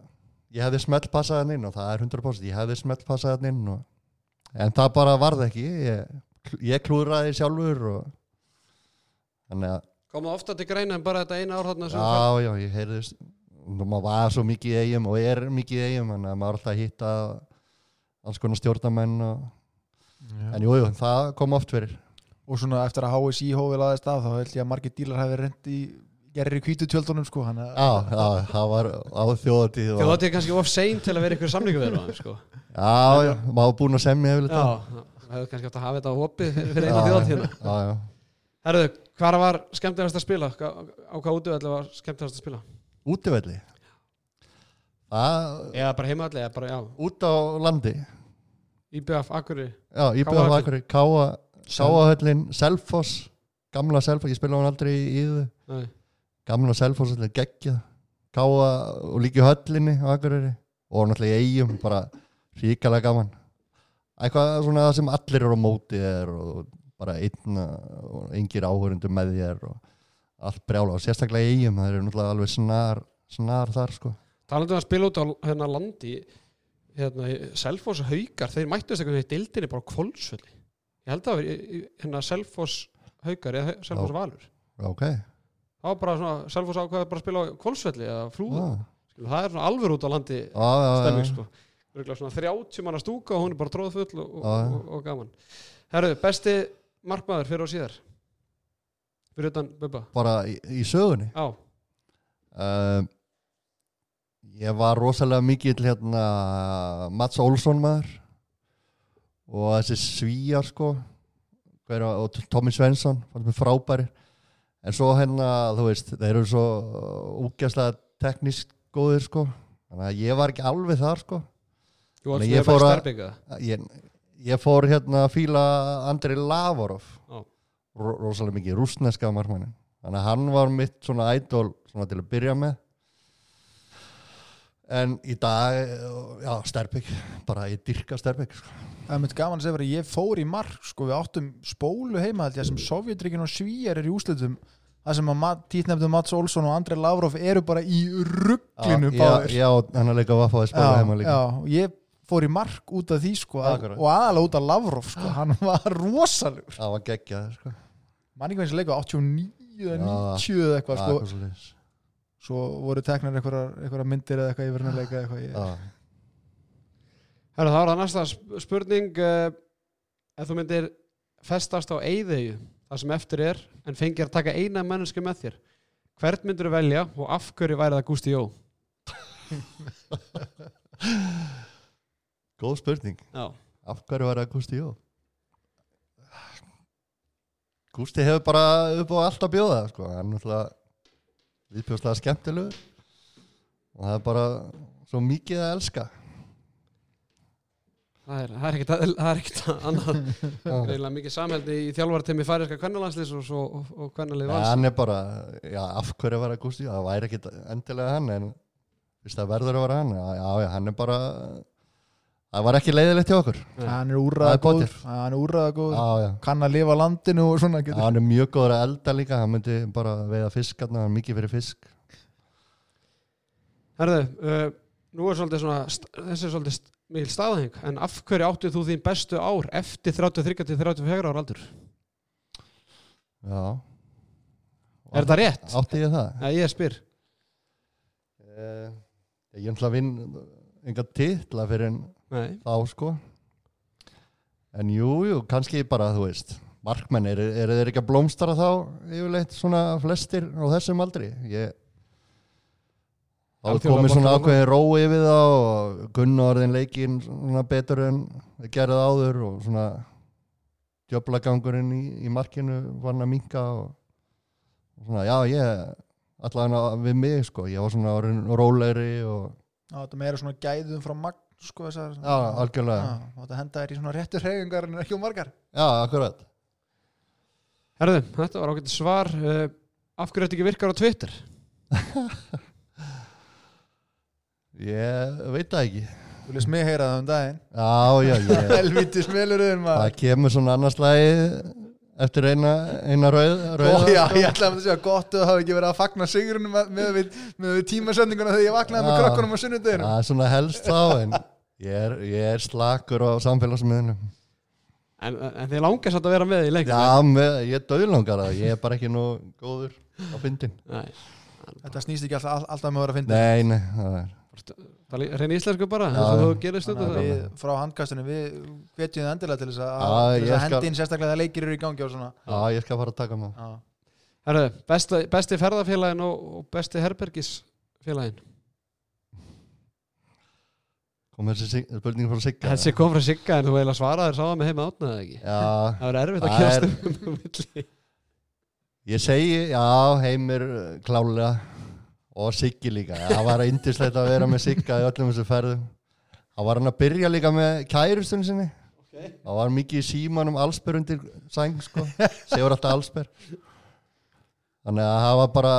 S4: ég hefði smelt passað hann inn og það er 100% ég hefði smelt passað hann inn og, en það bara varð ekki ég, ég klúðraði sjálfur og, þannig að
S1: Kom það ofta til greina en bara þetta eina ár þarna sem þú færð?
S4: Já, já, ég heyrðist og maður var svo mikið í eigum og er mikið í eigum þannig að maður er alltaf að hitta alls konar stjórnamenn og... en jú, jú, það kom oft fyrir
S5: og svona eftir að HSI hófið laðist af þá held ég að margir dílar hafi reynd í gerri kvítu tjöldunum sko hann að
S4: Já, já, það var á þjóðatíð og...
S1: Þjóðatíð er kannski of sein til að vera ykkur samlíku við það, sko.
S4: Já, já, maður var búinn að semja yfir
S1: Já, það hefur kannski átt að hafa þetta á hopið fyrir eina þjóðatíðina.
S4: Já, já,
S1: Herðu, hvað var skemmtilegast að spila? Hva- Á hvað útöðalli var skemmtilegast að spila?
S4: útivelli Það,
S1: Eða bara heimaðalli, eða bara, já,
S4: út á landi
S1: IBF, Akurri.
S4: Já,
S1: Káa
S4: íbjöf
S1: höllin.
S4: akkur, Káa Sáahöllin, Selfoss Gamla Selfoss, ég spila hann aldrei í íðu
S1: Nei.
S4: gamla Selfoss þetta er geggjað káa og líki höllinni á Akureyri og náttúrulega í eigum bara ríkalega gaman eitthvað svona sem allir eru á móti þér og bara einn og engir áhörundur með þér og allt brjála og sérstaklega í eigum það eru náttúrulega alveg snar, snar þar sko
S1: Talandi um að spila út á hérna landi, hérna, Selfoss og Haukar, þeir mættust einhvern veginn í dildinni bara á kvöldsvöldi. Ég held að það var, hérna, Selfoss Haukar eða Hau- Selfoss
S4: Já.
S1: Valur.
S4: ok,
S1: Það var bara svona, Selfoss ákvaði bara að spila á kvöldsvöldi eða flúðu.
S4: Á,
S1: Það er svona alveg út á landi
S4: á, á, á,
S1: stemming sko Örugglega svona 30 manna stúka og hún er bara tróðfull og, og,
S4: Já, Ah, já.
S1: og, og gaman Herru, besti markmaður fyrir og síðar fyrir utan Bubba
S4: bara í, í sögunni
S1: á,
S4: uh, ég var rosalega mikill hérna Mats Olsson maður og þessi svíjar sko hver, var- og Tommy Svensson fannst mér frábæri en svo hérna þú veist þeir eru svo úgjastlega teknísk góðir sko þannig að ég var ekki alveg þar sko
S1: þú
S4: Nei,
S1: varst
S4: ég
S1: með bara
S4: fór að-
S1: sterbinga
S4: ég, ég fór hérna að fíla Andrei Lavarov
S1: Já.
S4: Ro- rosalega mikið rúsneska markmannin þannig að hann var mitt svona idol svona til að byrja með en í dag já, Sterbik, bara ég dyrka Sterbik sko.
S5: það er mitt gaman að segja bara ég fór í mark sko við áttum spólu heima held ég sem Sovjetryggjum og Svíjar er í úslitum það sem að Mat- títnefndu Mats Olsson og Andrei Lavrov eru bara í rugglinu
S4: já,
S5: báðir
S4: já, hann er líka vaffaði spila heima
S5: já,
S4: líka
S5: og ég fór í mark út af því sko að,
S4: Akkurat. Ah.
S5: og aðalega út af Lavrov sko hann var rosalur
S4: það var geggjað sko.
S5: manningu eins og leika 89 eða 90 eða eitthvað
S4: sko,
S5: sko svo voru teknar einhverjar einhverjar myndir eða eitthvað yfir hann að leika eða eitthvað ég,
S1: Herru, þá er það næsta sp- spurning uh, ef þú myndir festast á eyðegu það sem eftir er en fengir að taka eina mennesku með þér hvern myndir velja og af hverju væri það Gústi Jó
S4: Góð spurning.
S1: Já,
S4: Af hverju var það Gústi Jó? Gústi hefur bara upp á allt að bjóða sko. hann er náttúrulega viðbjóðslega skemmtilegur og það er bara svo mikið að elska
S1: það er, það er ekkert að- það er ekkert að annað reyðilega mikið samhældi í þjálfartemi færiska kvennalandslis og, og, og, og kvennalið
S4: ja,
S1: vals
S4: hann er bara, já, af hverju var það Gústi Jó? það væri ekkit endilega hann en viðst það verður að vera hann já, já, já, hann er bara það var ekki leiðilegt hjá okkur já,
S5: Hann
S4: Það
S5: er úrraða
S4: er
S5: góður
S4: pottur.
S5: Hann er úrraða góður
S4: já.
S5: Kann að lifa á landinu og svona
S4: Já,
S5: getur
S4: hann er mjög góður að elda líka hann myndi bara veiða fisk hann er mikið fyrir fisk
S1: Herðu, uh, nú er svolítið svona st- þessi er svolítið st- mikil staðheng en af hverju áttið þú þín bestu ár eftir 33 til 34 ára aldur?
S4: já,
S1: Er þetta rétt?
S4: átti ég það?
S1: Já, ég spyr
S4: Uh, ég ætla að vinn enga titla fyrir en
S1: Nei,
S4: þá sko en jú, jú, kannski bara þú veist markmenn, eru er þeir ekki að blómstara þá yfirleitt svona flestir á þessum aldri ég þá er
S1: Alþjóðlega
S4: komið svona
S1: boltamanna.
S4: ákveðin rói yfir þá og gunnorðin leikinn svona betur en þeir gerði áður og svona djöflagangurinn í, í markinu var hann að minka og, og svona, já, ég allan að við mig sko, ég var svona orðin rólegri og
S5: Já, Þetta meira svona gæðum frá magn sko þessar
S4: já, algjörlega,
S5: Já, og Þetta henda þér í svona réttu hreyfingar en ekki um margar
S4: já, akkurat
S1: herðu, þetta var ágætt svar uh, af hverju þetta ekki virkar á Twitter?
S4: Ég veit það ekki.
S5: Þú lest mig heyra það um daginn
S4: Já, já, ég,
S5: Helvítið
S4: það
S5: smelurinn maður
S4: kemur svona annarslagi eftir eina, eina rauð,
S5: Ó,
S4: rauða.
S5: já, ég ætlaði að segja gott að það hafi ekki verið að fagna sigurinn með, með, við- með við tímasendinguna þegar ég vaknaði með
S4: Já.
S5: krökkunum á sunnudeginu
S4: Það er svona helst þá, en ég er, ég er slakur á samfélagsmiðunum.
S1: En, en þið langast að vera með í leikum
S4: Já, með, ég er döðlangar það, ég er bara ekki nú góður á fyndin.
S1: Nei,
S5: Þetta snýst ekki alltaf, alltaf með að vera að finna
S4: Nei, nei, það er.
S1: það er reyni íslensku bara
S4: Já,
S1: eins og
S4: já.
S1: þú gerir
S5: Þannig
S1: stundum
S5: að
S1: það
S5: við frá handkastunum við hvetjum það endilega til þess að,
S4: Já,
S5: til þess
S4: ég
S5: að
S4: skal-
S5: hendi inn sérstaklega þegar leikir eru í gangi og svona
S4: Já, ég skal fara að taka maður.
S5: Já.
S1: Herðu, besta, besti ferðafélagin og, og besti herbergisfélagin
S4: Kom þessi sig- spurning frá Sigga.
S1: Þessi kom frá Sigga en þú eiginlega svaraði þér sáða með heima átnaði það ekki
S4: Já,
S1: Það verður erfitt að
S4: Það er-
S1: kjast um milli
S4: Ég segi, já, heimir uh, klálega og Siggi líka. Það var indislegt að vera með Sigga í öllum þessu ferðum. Það var hann að byrja líka með kærustun sinni. Það var mikið í símanum allsber undir sæng, sko. Segur alltaf allsber. Þannig að það var bara,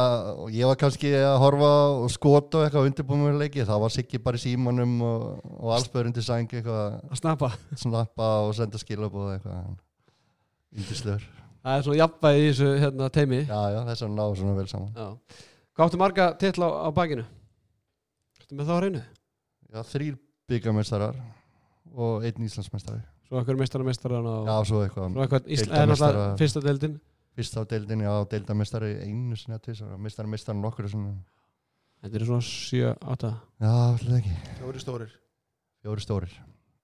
S4: og ég var kannski að horfa og skota og eitthvað undirbúinleiki. Það var Siggi bara í símanum og, og allsber undir sæng eitthvað
S1: að snappa
S4: að snappa og senda skilabóð eitthvað. Indislegur.
S1: Það er svona jafnvægi í þessu hérna, teimi
S4: Já, já, þess að ná svona vel saman.
S1: Já. Hvað áttu marga titla á, á bakinu? Þetta með þá á reynu
S4: Já, þrýr byggamestarar og einn Íslandsmestari.
S1: Svo eitthvað mestaramestaran og
S4: Já, svo eitthvað.
S1: Svo eitthvað Ísla, en
S4: Deildarmeistara.
S1: alltaf fyrsta deildin
S4: Fyrst á deildinni á deildamestari einu sinni að tvisar og mestarmestari nokkur sinni.
S1: Þetta er svona 7-8
S4: Já, alltaf ekki.
S5: Fjóri stórir
S4: Fjóri stórir.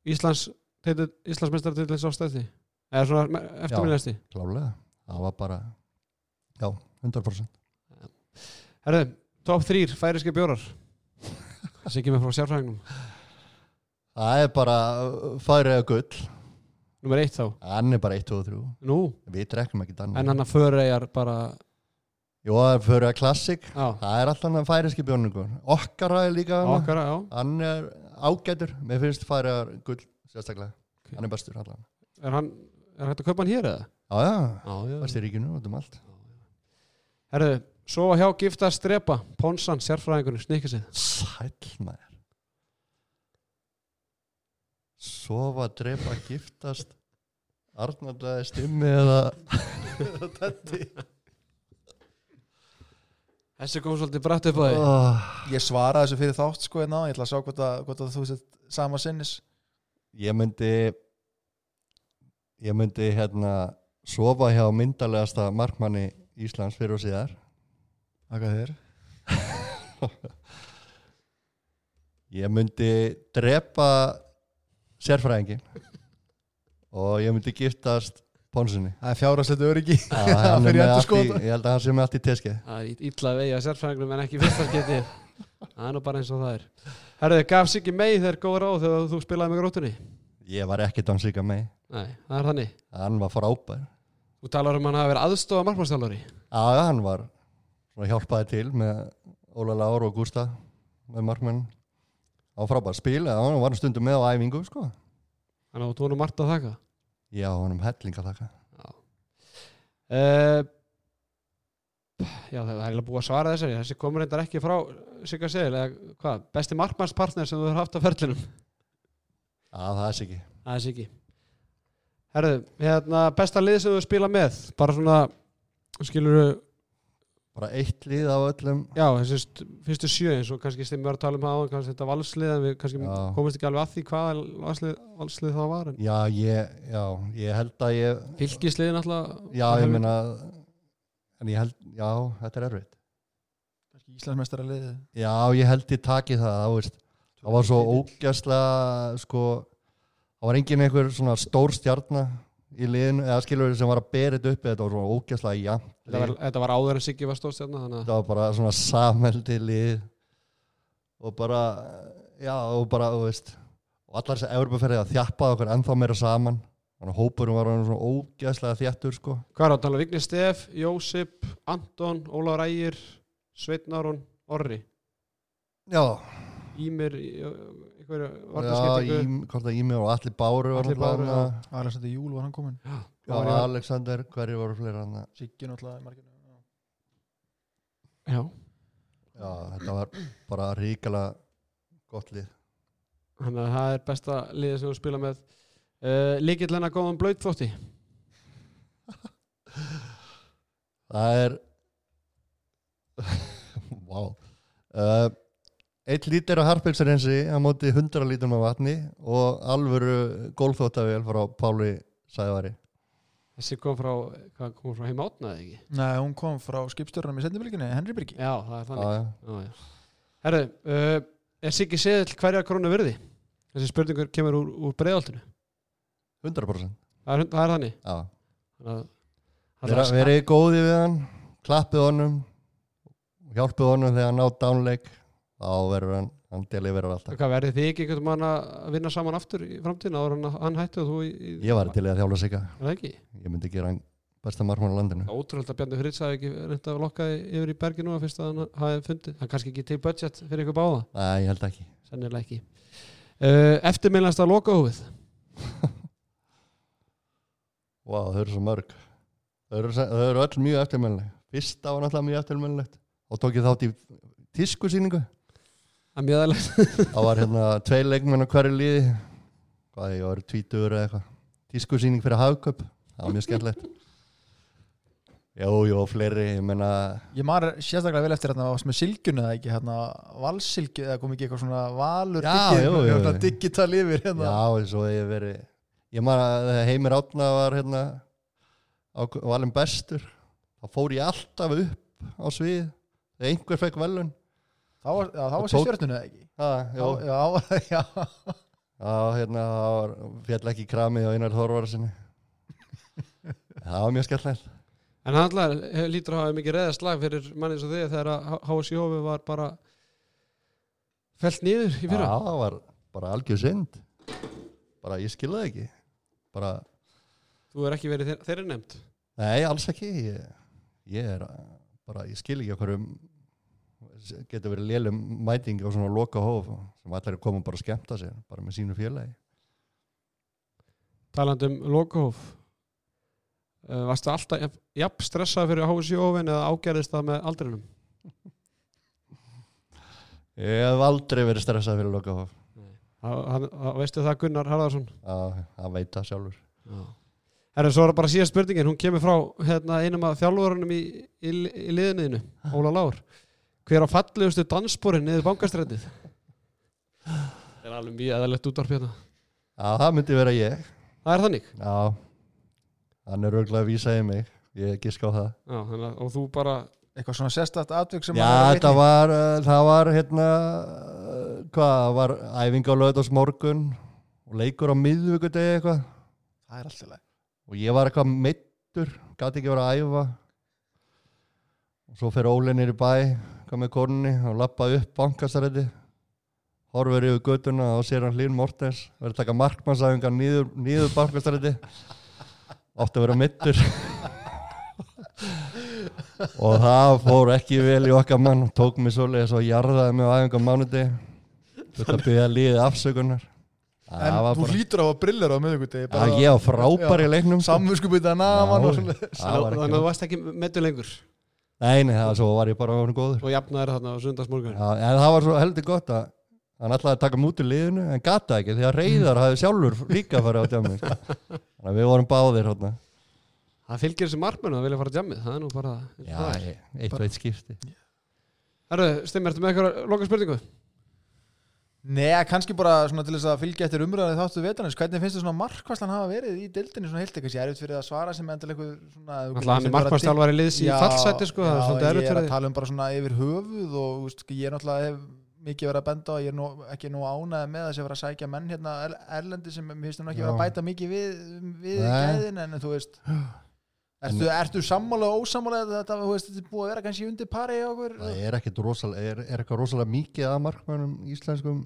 S1: Íslands titill- Íslandsmeistara titill sá stæði Eða svona eftirminnilegasti
S4: Klálega. Það var bara, já, 100%.
S1: Herðu, top 3 færiske bjórar Siggi með frá sérfræðingum
S4: Það er bara uh, færið að gull.
S1: Númer 1 þá
S4: Hann er bara 1, 2 og 3.
S1: Nú,
S4: Við drekkum ekki þannig.
S1: en hann að föreyjar bara
S4: Jó, það er fyrir að klassik.
S1: Já,
S4: Það er alltaf hann að færiðski bjóningur. Okkar er líka hann.
S1: okkar, já
S4: Hann er ágætur. Mér finnst færið að gull sérstaklega.
S1: Ok.
S4: Hann er bestur allan.
S1: Er hann, er hægt að kaupa hann hér eða?
S4: Já, já.
S1: Já, já
S4: Bestur í ríkinu og um allt.
S1: Herðu, sofa hjá gifta strepa Ponsan, sérfræðingunum, snikka sig
S4: Sæll maður Sofa, drepa, giftast Arnaldaði stimmi eða
S1: Þessi kom svolítið brætt upp á því
S4: oh,
S5: Ég svaraði þessu fyrir þátt sko hérna Ég ætla að sjá hvort að, hvort að þú sett sama sinnis
S4: Ég myndi Ég myndi hérna Sofa hjá myndalegasta markmanni Íslands fyrir og síðar
S5: Þakka þér
S4: Ég myndi drepa sérfræðingin og ég myndi giftast Ponsunni
S5: Það er fjára slettu öryggi
S4: Ég held
S5: fyrir
S4: að
S5: endurskoðun.
S4: hann sé með allt í teskið
S1: Það er illa að veiga sérfræðingunum en ekki fyrsta skipti Það er nú bara eins og það er Herðu, gaf sig ekki mei þegar góð ráð þegar þú spilaði með grótunni?
S4: Ég var ekki dansíka með,
S1: Nei, það er þannig
S4: hann var frábær.
S1: Þú talar um að hann hafa verið aðstofa markmannstjálfari
S4: Já, já, hann var svona hjálpaði til með Óla Lár og Gústa með markmenn á frábært spil, eða hann var stundum með á æfingu, sko.
S1: Þannig að þú tónum margt að þakka
S4: Já, hann um hellinga þakka.
S1: uh, Já, það er eiginlega búið að svara þessari Þessi komur reyndar ekki frá Sigga Segil eða hvað, besti markmannspartner sem þú hefur haft á ferlinum
S4: Já, það er sikki.
S1: Aðeins ekki Herðu, hérna, besta lið sem þú spila með bara svona, skilur
S4: Bara eitt lið af öllum.
S1: já, þessi st- fyrstu sjö eins og kannski stimmi var að tala um það áðan, kannski þetta valslið en við kannski
S4: Já.
S1: komumst ekki alveg að því hvað valslið, valslið það var en
S4: Já, ég, já, ég held að ég,
S1: fylgisliðin alltaf
S4: já, ég meina, en ég held, já, þetta er erfitt.
S5: Íslandsmeistara liðið
S4: Já, ég held ég taki það, þá veist, það var svo ógæslega, sko, það var engin einhver svona stór stjarnar í liðinu, eða skilur sem var að bera þetta upp, þetta var svona ógæslega jafn.
S1: þetta var, þetta var áður en Siggi var stóðstjarna þannig að
S4: þetta var bara svona samheldi lið og bara já og bara þú veist og allar þessi Evropaferðið að þjappaði okkur ennþá meira saman þannig að hópurum var orðinn svona ógæðslega þjættur sko
S1: hvað er að tala, Vigni Stef, Jósip Anton, Ólaur Ægir Sveinn Aron, Orri
S4: já,
S1: Ímir, eitthvað
S4: já
S1: vartarskiptingu
S4: Ím- hvort að Ími og Alli Báru var
S1: Atli Báru,
S4: þarna.
S5: Alexander Júl var hann kominn
S4: já,
S1: Báru var-
S4: Alexander, hverju voru fleira hann
S5: Siggi náttúrulega í marginu Já,
S1: já,
S4: já, þetta var bara ríkala gott lið
S1: þannig að það er besta liðið sem þú spila með uh, líkill hennar góðan blöytþótti
S4: það er vá uh, eitt lítir af harpilsreinsi á móti 100 lítrum af vatni og alvöru gólþóttavél frá Páli Sæðvari
S1: þessi kom frá, hvað kom hún frá heima átnaði ekki
S5: Nei, hún kom frá skipstjórnum í sendibylginni, Henry Birgi
S1: já, það er þannig
S4: Já, já.
S1: já, já. herru, uh, er Siggi Seðill hverja krónu virði? þessi spurningur kemur úr, úr breiðaltinu það
S4: 100%
S1: er, það er þannig
S4: já.
S1: Þannig að-
S4: Vera, verið góði við hann klappið honum hjálpið honum þegar hann á dánleik þá verður hann, hann deliverar alltaf
S1: Hvað verði þið ekki einhvern mann að vinna saman aftur í framtíðin áður en að hann hætti og þú í, í
S4: ég var til í að þjála sig
S1: Er það ekki?
S4: ég myndi gera hann besta margmann á landinu
S1: Það er ótrúlega að Bjarni Fritz hafi ekki reynda að lokka þig yfir í bergi núna fyrst að hann hafi fundið. Það er kannski ekki til budget fyrir ykkur báða,
S4: nei, ég held ekki
S1: sennilega ekki. Uh, Eftirminnast að loka hófið.
S4: Vá, þau eru svo mörg. Þau eru, þau eru öll mjög eftirmennilegt. Fyrsta var náttúrulega mjög eftirmennilegt. Og tók ég þátt í tískusýningu.
S1: Það er mjög aðeins.
S4: Það var hérna tvei leikmenn á hverju liði. Hvað ég var tvítur eða eitthvað. Tískusýning fyrir hagköp. Það var mjög skemmtilegt. Jó, jó, fleiri. Ég menna,
S5: Ég maður sérstaklega vel eftir hérna varst með silgjunu eða ekki, hérna valsilgju eða kom ekki eitthvað svona valur
S4: Já,
S5: diggið,
S4: jú, jú,
S5: hérna,
S4: jú.
S5: hérna, digital yfir hérna.
S4: já, svo hef ég verið. Ég man að þegar Heimir Átna var hérna á valin bestur. Þá fór ég alltaf upp á svið. Þegar einhver fekk velun.
S5: Þá var, já, þá var sér
S4: Tók-
S5: stjórnunu eða ekki
S4: Það,
S5: Já, já, þá var- já
S4: Já, hérna, það var fjall ekki kramið á einar Þorvarsinni. Það var mjög skemmtilegt.
S1: En hann alltaf lítur að hafa mikið reðast lag fyrir mannið svo þig þegar að HSI hófið var bara felt nýður í
S4: Já,
S1: fyrra.
S4: það var bara algjör synd. Bara, ég skilði ekki. Bara,
S1: Þú er ekki verið þeir, þeirri nefnd.
S4: nei, alls ekki. Ég, ég er að- bara, ég skil ekki okkur um, getur verið lélum mæting á svona loka hóf sem allir er komin bara að skemmta sér, bara með sínu félagi.
S1: Talandi um loka hóf. Uh, varstu alltaf jafn, jafn stressað fyrir HSI hófin eða ágerðist það með aldrinum?
S4: Ég hef aldrei verið stressað fyrir loka hóf.
S1: Það- það- það- Veistu það Gunnar Harðarsson?
S4: Já, það veit það sjálfur.
S1: Herra, svo er það bara síðast spurningin, hún kemur frá hérna, einum af þjálfurunum í, í, í liðinniðinu, Óla Lár. Hver á fallegustu dansborinn niður bankastrætið? Það er alveg mjög eðalegt útvarp hérna.
S4: Já, það myndi vera ég.
S1: Það er þannig.
S4: Já, hann er örgulega að vísa í mig. Ég giska á það.
S1: Já, þannig að, og þú bara,
S5: Eitthvað svona sérstætt atvik sem maður
S4: Já,
S5: var
S4: þetta
S5: vitni í.
S4: var, uh, það var hérna, uh, hvað, það var æfing á lögðast morgun og leikur á miðvíkudegi eitthvað
S5: Það er alltaf leið
S4: og ég var eitthvað meittur, gæti ekki verið að æfa og svo fer Óli nýr í bæ, hvað með konunni og lappa upp bankastræti horfur yfir götuna og sér hann Hlín Mortens verður að taka markmannsæðingar nýður, nýður bankastræti átti að vera mittur og það fór ekki vel í okkar mann tók mig svoleiðis og jarðaði mig á æfingu á mánuði þetta byrja að liða afsökunar
S5: En
S4: það var
S5: þú
S4: bara
S5: hlýtur á að brillera á miðugundi
S4: Já, ég var frábær í leiknum sko.
S5: Samvinskupið að
S4: Já,
S5: naða mann og svoleiðis.
S4: það var
S1: Þannig
S4: ekki
S1: að þú varst ekki metu lengur
S4: Nei, nei, það var svo var ég bara orðinn góður.
S1: og jafnaður þarna á sundagsmorgun.
S4: Já, en það var svo heldur gott að hann ætlaði að taka mútið liðinu en gata ekki því að reyðar hafði sjálfur líka farið á djammi. sko. Þannig að við vorum báðir hérna.
S1: Það fylgir þessi margmennu að vilja fara að djamið, það er nú bara...
S4: Já, ég- eitt og eitt skipti.
S1: Herru, Stimmi, ertu með eitthvað loka spurningu?
S5: Nei, kannski bara svona til þess að fylgja eftir umröðan þáttu vetarins, hvernig finnst þið svona markvarslan hafa verið í deildinni svona heilt eitthvað, ég er auðvitað fyrir það að svara sem endal eitthvað svona ef þú
S1: Náttúrulega hann er
S5: getur bara tippt-
S1: markmannstjálfari liðs í
S5: Já,
S1: fallseti sko, það er
S5: já,
S1: svolítið erfitt
S5: ég er
S1: fyrir
S5: að
S1: því.
S5: tala um bara svona yfir höfuð og úst, ég er náttúrulega hef mikið verið að benda á að ég er nú, ekki nú ánæði með þess að vera að sækja menn hérna er- erlendi sem mér finnst nú ekki
S4: Já.
S5: vera að bæta mikið við, við
S4: Nei.
S5: gæðin en þú veist Ertu, ertu sammála og ósammála að þetta, þú veist, þetta er búið að vera kannski undir pari hjá okkur?
S4: Það er ekkit rosalega, er, er eitthvað rosalega mikið að markmænum íslenskum.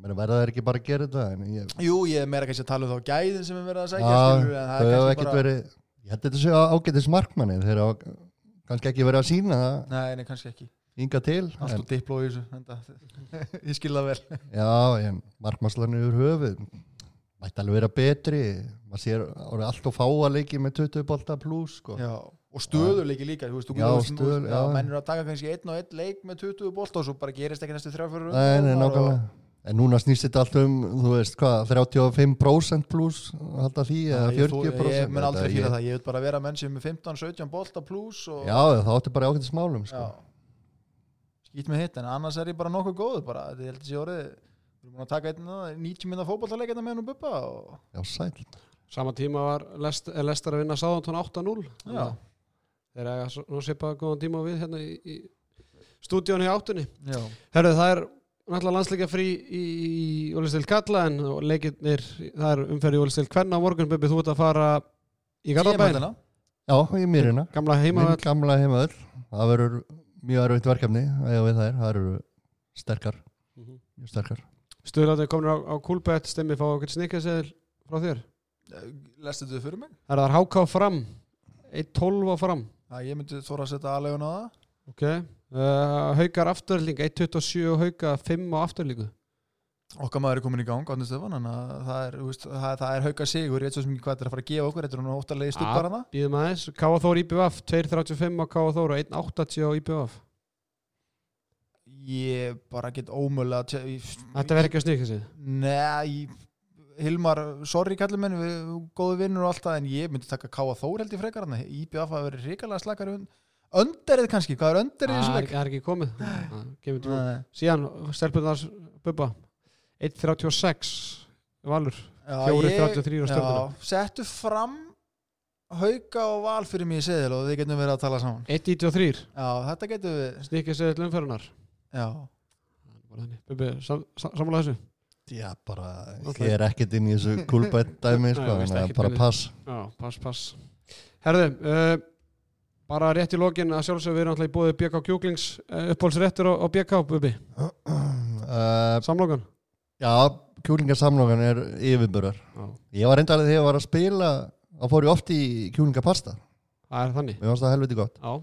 S4: Mér verða það ekki bara að gera þetta. En ég,
S5: Jú, ég er meira kannski að tala um þá gæðin sem er verið að
S4: já,
S5: sækja skilurðu, en
S4: þau
S5: er
S4: hefur
S5: kannski
S4: ekkit
S5: bara-
S4: verið, ég held þetta séu ágætis markmæni þeir hafa kannski ekki verið að sína það
S5: Nei, nei, kannski ekki
S4: ynga til.
S5: Allt
S4: En,
S5: og dipló í þessu enda. Ég skil það vel
S4: Já, en markmannslan yfir höfuð mætti alveg vera betri maður sér orðið allt og fáa leiki með 20 bolta pluss sko.
S5: já. Og stöðuleiki líka þú veist, þú
S4: Já,
S5: getur- þú
S4: stöðul-
S5: veist,
S4: já.
S5: Menn eru að taka kannski einn og einn leik með 20 bolt og svo bara gerist ekki næstu þrjáfjörur
S4: Nei, nei, nákvæmlega En núna snýst þetta allt um, þú veist hvað, 35% pluss halda því eða
S5: Ég,
S4: 40%
S5: ég mun aldrei
S4: Þetta-
S5: fýla
S4: ég-
S5: það, ég vil bara vera menn sem er með 15-17 bolta pluss og
S4: Já, það átti bara ákveðtis málum sko.
S5: skýt með hitt en annars er ég bara nokkuð góður bara, þetta er heldur sér orðið við erum búin að taka einn þarna, 90 minna fótballaleik þetta hérna með hennu bubba og
S4: Já, sæl
S1: Sama tíma var lest, eh, lestar að vinna Sáðantón 8-0.
S5: já,
S1: Þeir eiga svo- nú seipa góðan tíma og við hérna í, í stúdíónu í áttunni.
S5: já.
S1: Herru, það er náttúrulega landsleika frí í Ólistil Kalla en leikirnir, það er umferð í Ólistil Kvenna á morgun, Bubbi, þú ert að fara í Garðabæn,
S5: Tímandina.
S4: Já, í mýrina,
S1: gamla
S4: minn
S1: heimavall
S4: gamla heimaður Það verður mjög erfitt verkefni eða við þær, það eru sterkar
S1: Mhm.
S4: mjög sterkar
S1: Stöðlátið komin á, á Kúlbett, stemmi fá okkur snikkaseðil frá þér.
S5: lestu þetta fyrir mig?
S1: Það er það háká fram 1.12 á fram
S5: Já, ég myndi þóra að setja aðlegun á það
S1: ok uh, Haukar afturling 1.27 og hauka 5 á afturlingu
S5: okkar maður er komin í gang Átni Stefán þannig að það er, þú veist, það, það er hauka sigur ég veit svo sem ekki hvað þetta er að fara að gefa okkur þetta er nú óttalegi stubbar hana
S1: Býðum aðeins, Káa Þór IPVF 2.35 á Káa Þór og 1.80 á IPVF
S5: ég bara get ómögulega að tjá- ég-
S1: Þetta verður ekki að snikka sig
S5: Nei, ég- Hilmar, sorry kallum minn, við erum góðu vinnur og allt það en ég myndi taka Káa Þór held í frekar hana IBF hafa verið hrikalega slakar önderið kannski, hvað er önderið í
S1: Það
S5: þessum
S1: er
S5: leik?
S1: ekki- það er ekki komið Það kemur til-
S5: Nei,
S1: Síðan, stelpunars Bubba 1.36 Valur
S5: já,
S1: 4.33 á
S5: ég-
S1: stjórnuna.
S5: já, Settu fram hauka og val fyrir mig í seðil og við getum verið að tala saman
S1: 1.93
S5: Já, þetta getum við
S1: Snikka sig til umferðunar
S5: Já,
S1: Bubbi, sam, sam, sammála þessu
S4: Já, bara,
S1: Náttúrulega.
S4: ég er ekkert inn í þessu kulbætt dæmi, sko,
S1: Nei, veist
S4: þannig að
S1: ekkert
S4: bara
S1: hvernig-
S4: pass
S1: Já, pass, pass Herðu, uh, bara rétt í lokin að sjálfsög við erum alltaf í bóði BK Kjúklings uh, uppbólsréttur á, á BK, Bubi
S4: uh,
S1: Samlokan
S4: Já, kjúlingasamlokan er yfirbörðar
S1: Já.
S4: Ég var reyndalega þegar ég var að spila þá fór ég oft í kjúlingapasta
S1: Það er þannig
S4: Mér fannst það helviti gott
S1: Já,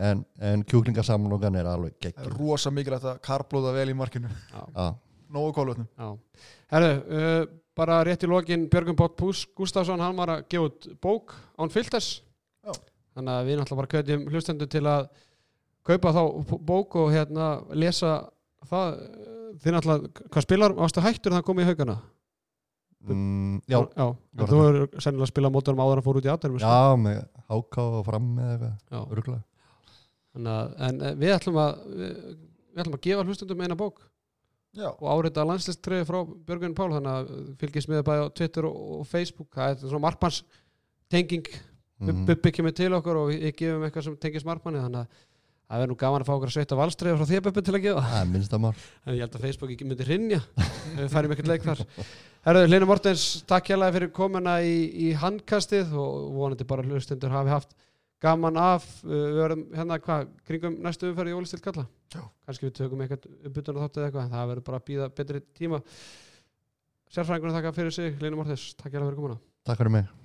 S4: En, en kjúlingasamlokan er alveg
S5: það er
S4: geggjur
S5: rosa mikilvægt að karblóða vel í markinu
S4: Já,
S5: Nógu kólvötnum
S1: já Herðu, uh, bara rétt í lokin Björgum Bótt Pús Gustafsson, hann var að gefa út bók án filters
S5: Já.
S1: Þannig að við náttúrulega bara kveðjum hlustendur til að kaupa þá b- bók og hérna lesa það eh, Þið náttúrulega, hvað spilar, varstu hættur það komið í haugana?
S4: mm, já,
S1: Já,
S4: var
S1: þú hefur sennilega spilað mótunum áður að fór út í aðdærum
S4: já með háká og fram með eitthvað,
S1: já.
S4: örgulega
S1: Þannig að, en eh, við ætlum að við, við ætlum að gefa hlustundum eina bók
S5: Já,
S1: og árita landsliströði frá Björgvin Pál þannig að eh, fylgist með bæði á Twitter og, og Facebook það er svona markmanns tenging mm.
S4: mm,
S1: Bubbi kemur til okkur og við, við gefum eitthvað sem tengist markmanni þannig að það er nú gaman að fá okkur að sveita valströði frá því Bubbi til að gefa
S4: Það er minnsta mál
S1: en Eh, ég held að Facebook ekki myndi hrinja ef við færum ekkert leik þar Herðu, Lina Mortens, takk hérlega fyrir komuna í, í handkastið og vonandi bara eh, hlustendur hafi haft gaman af Uh, við verðum hérna hvað, kringum næstu umferð í Ólistil Kalla kannski við tökum eitthvað uppbytun og þáttið eitthvað en það verður bara að býða betri tíma sérfræðingunum þakka fyrir sig, Linu Mortis, takk ég alveg fyrir komuna
S4: Takk fyrir mig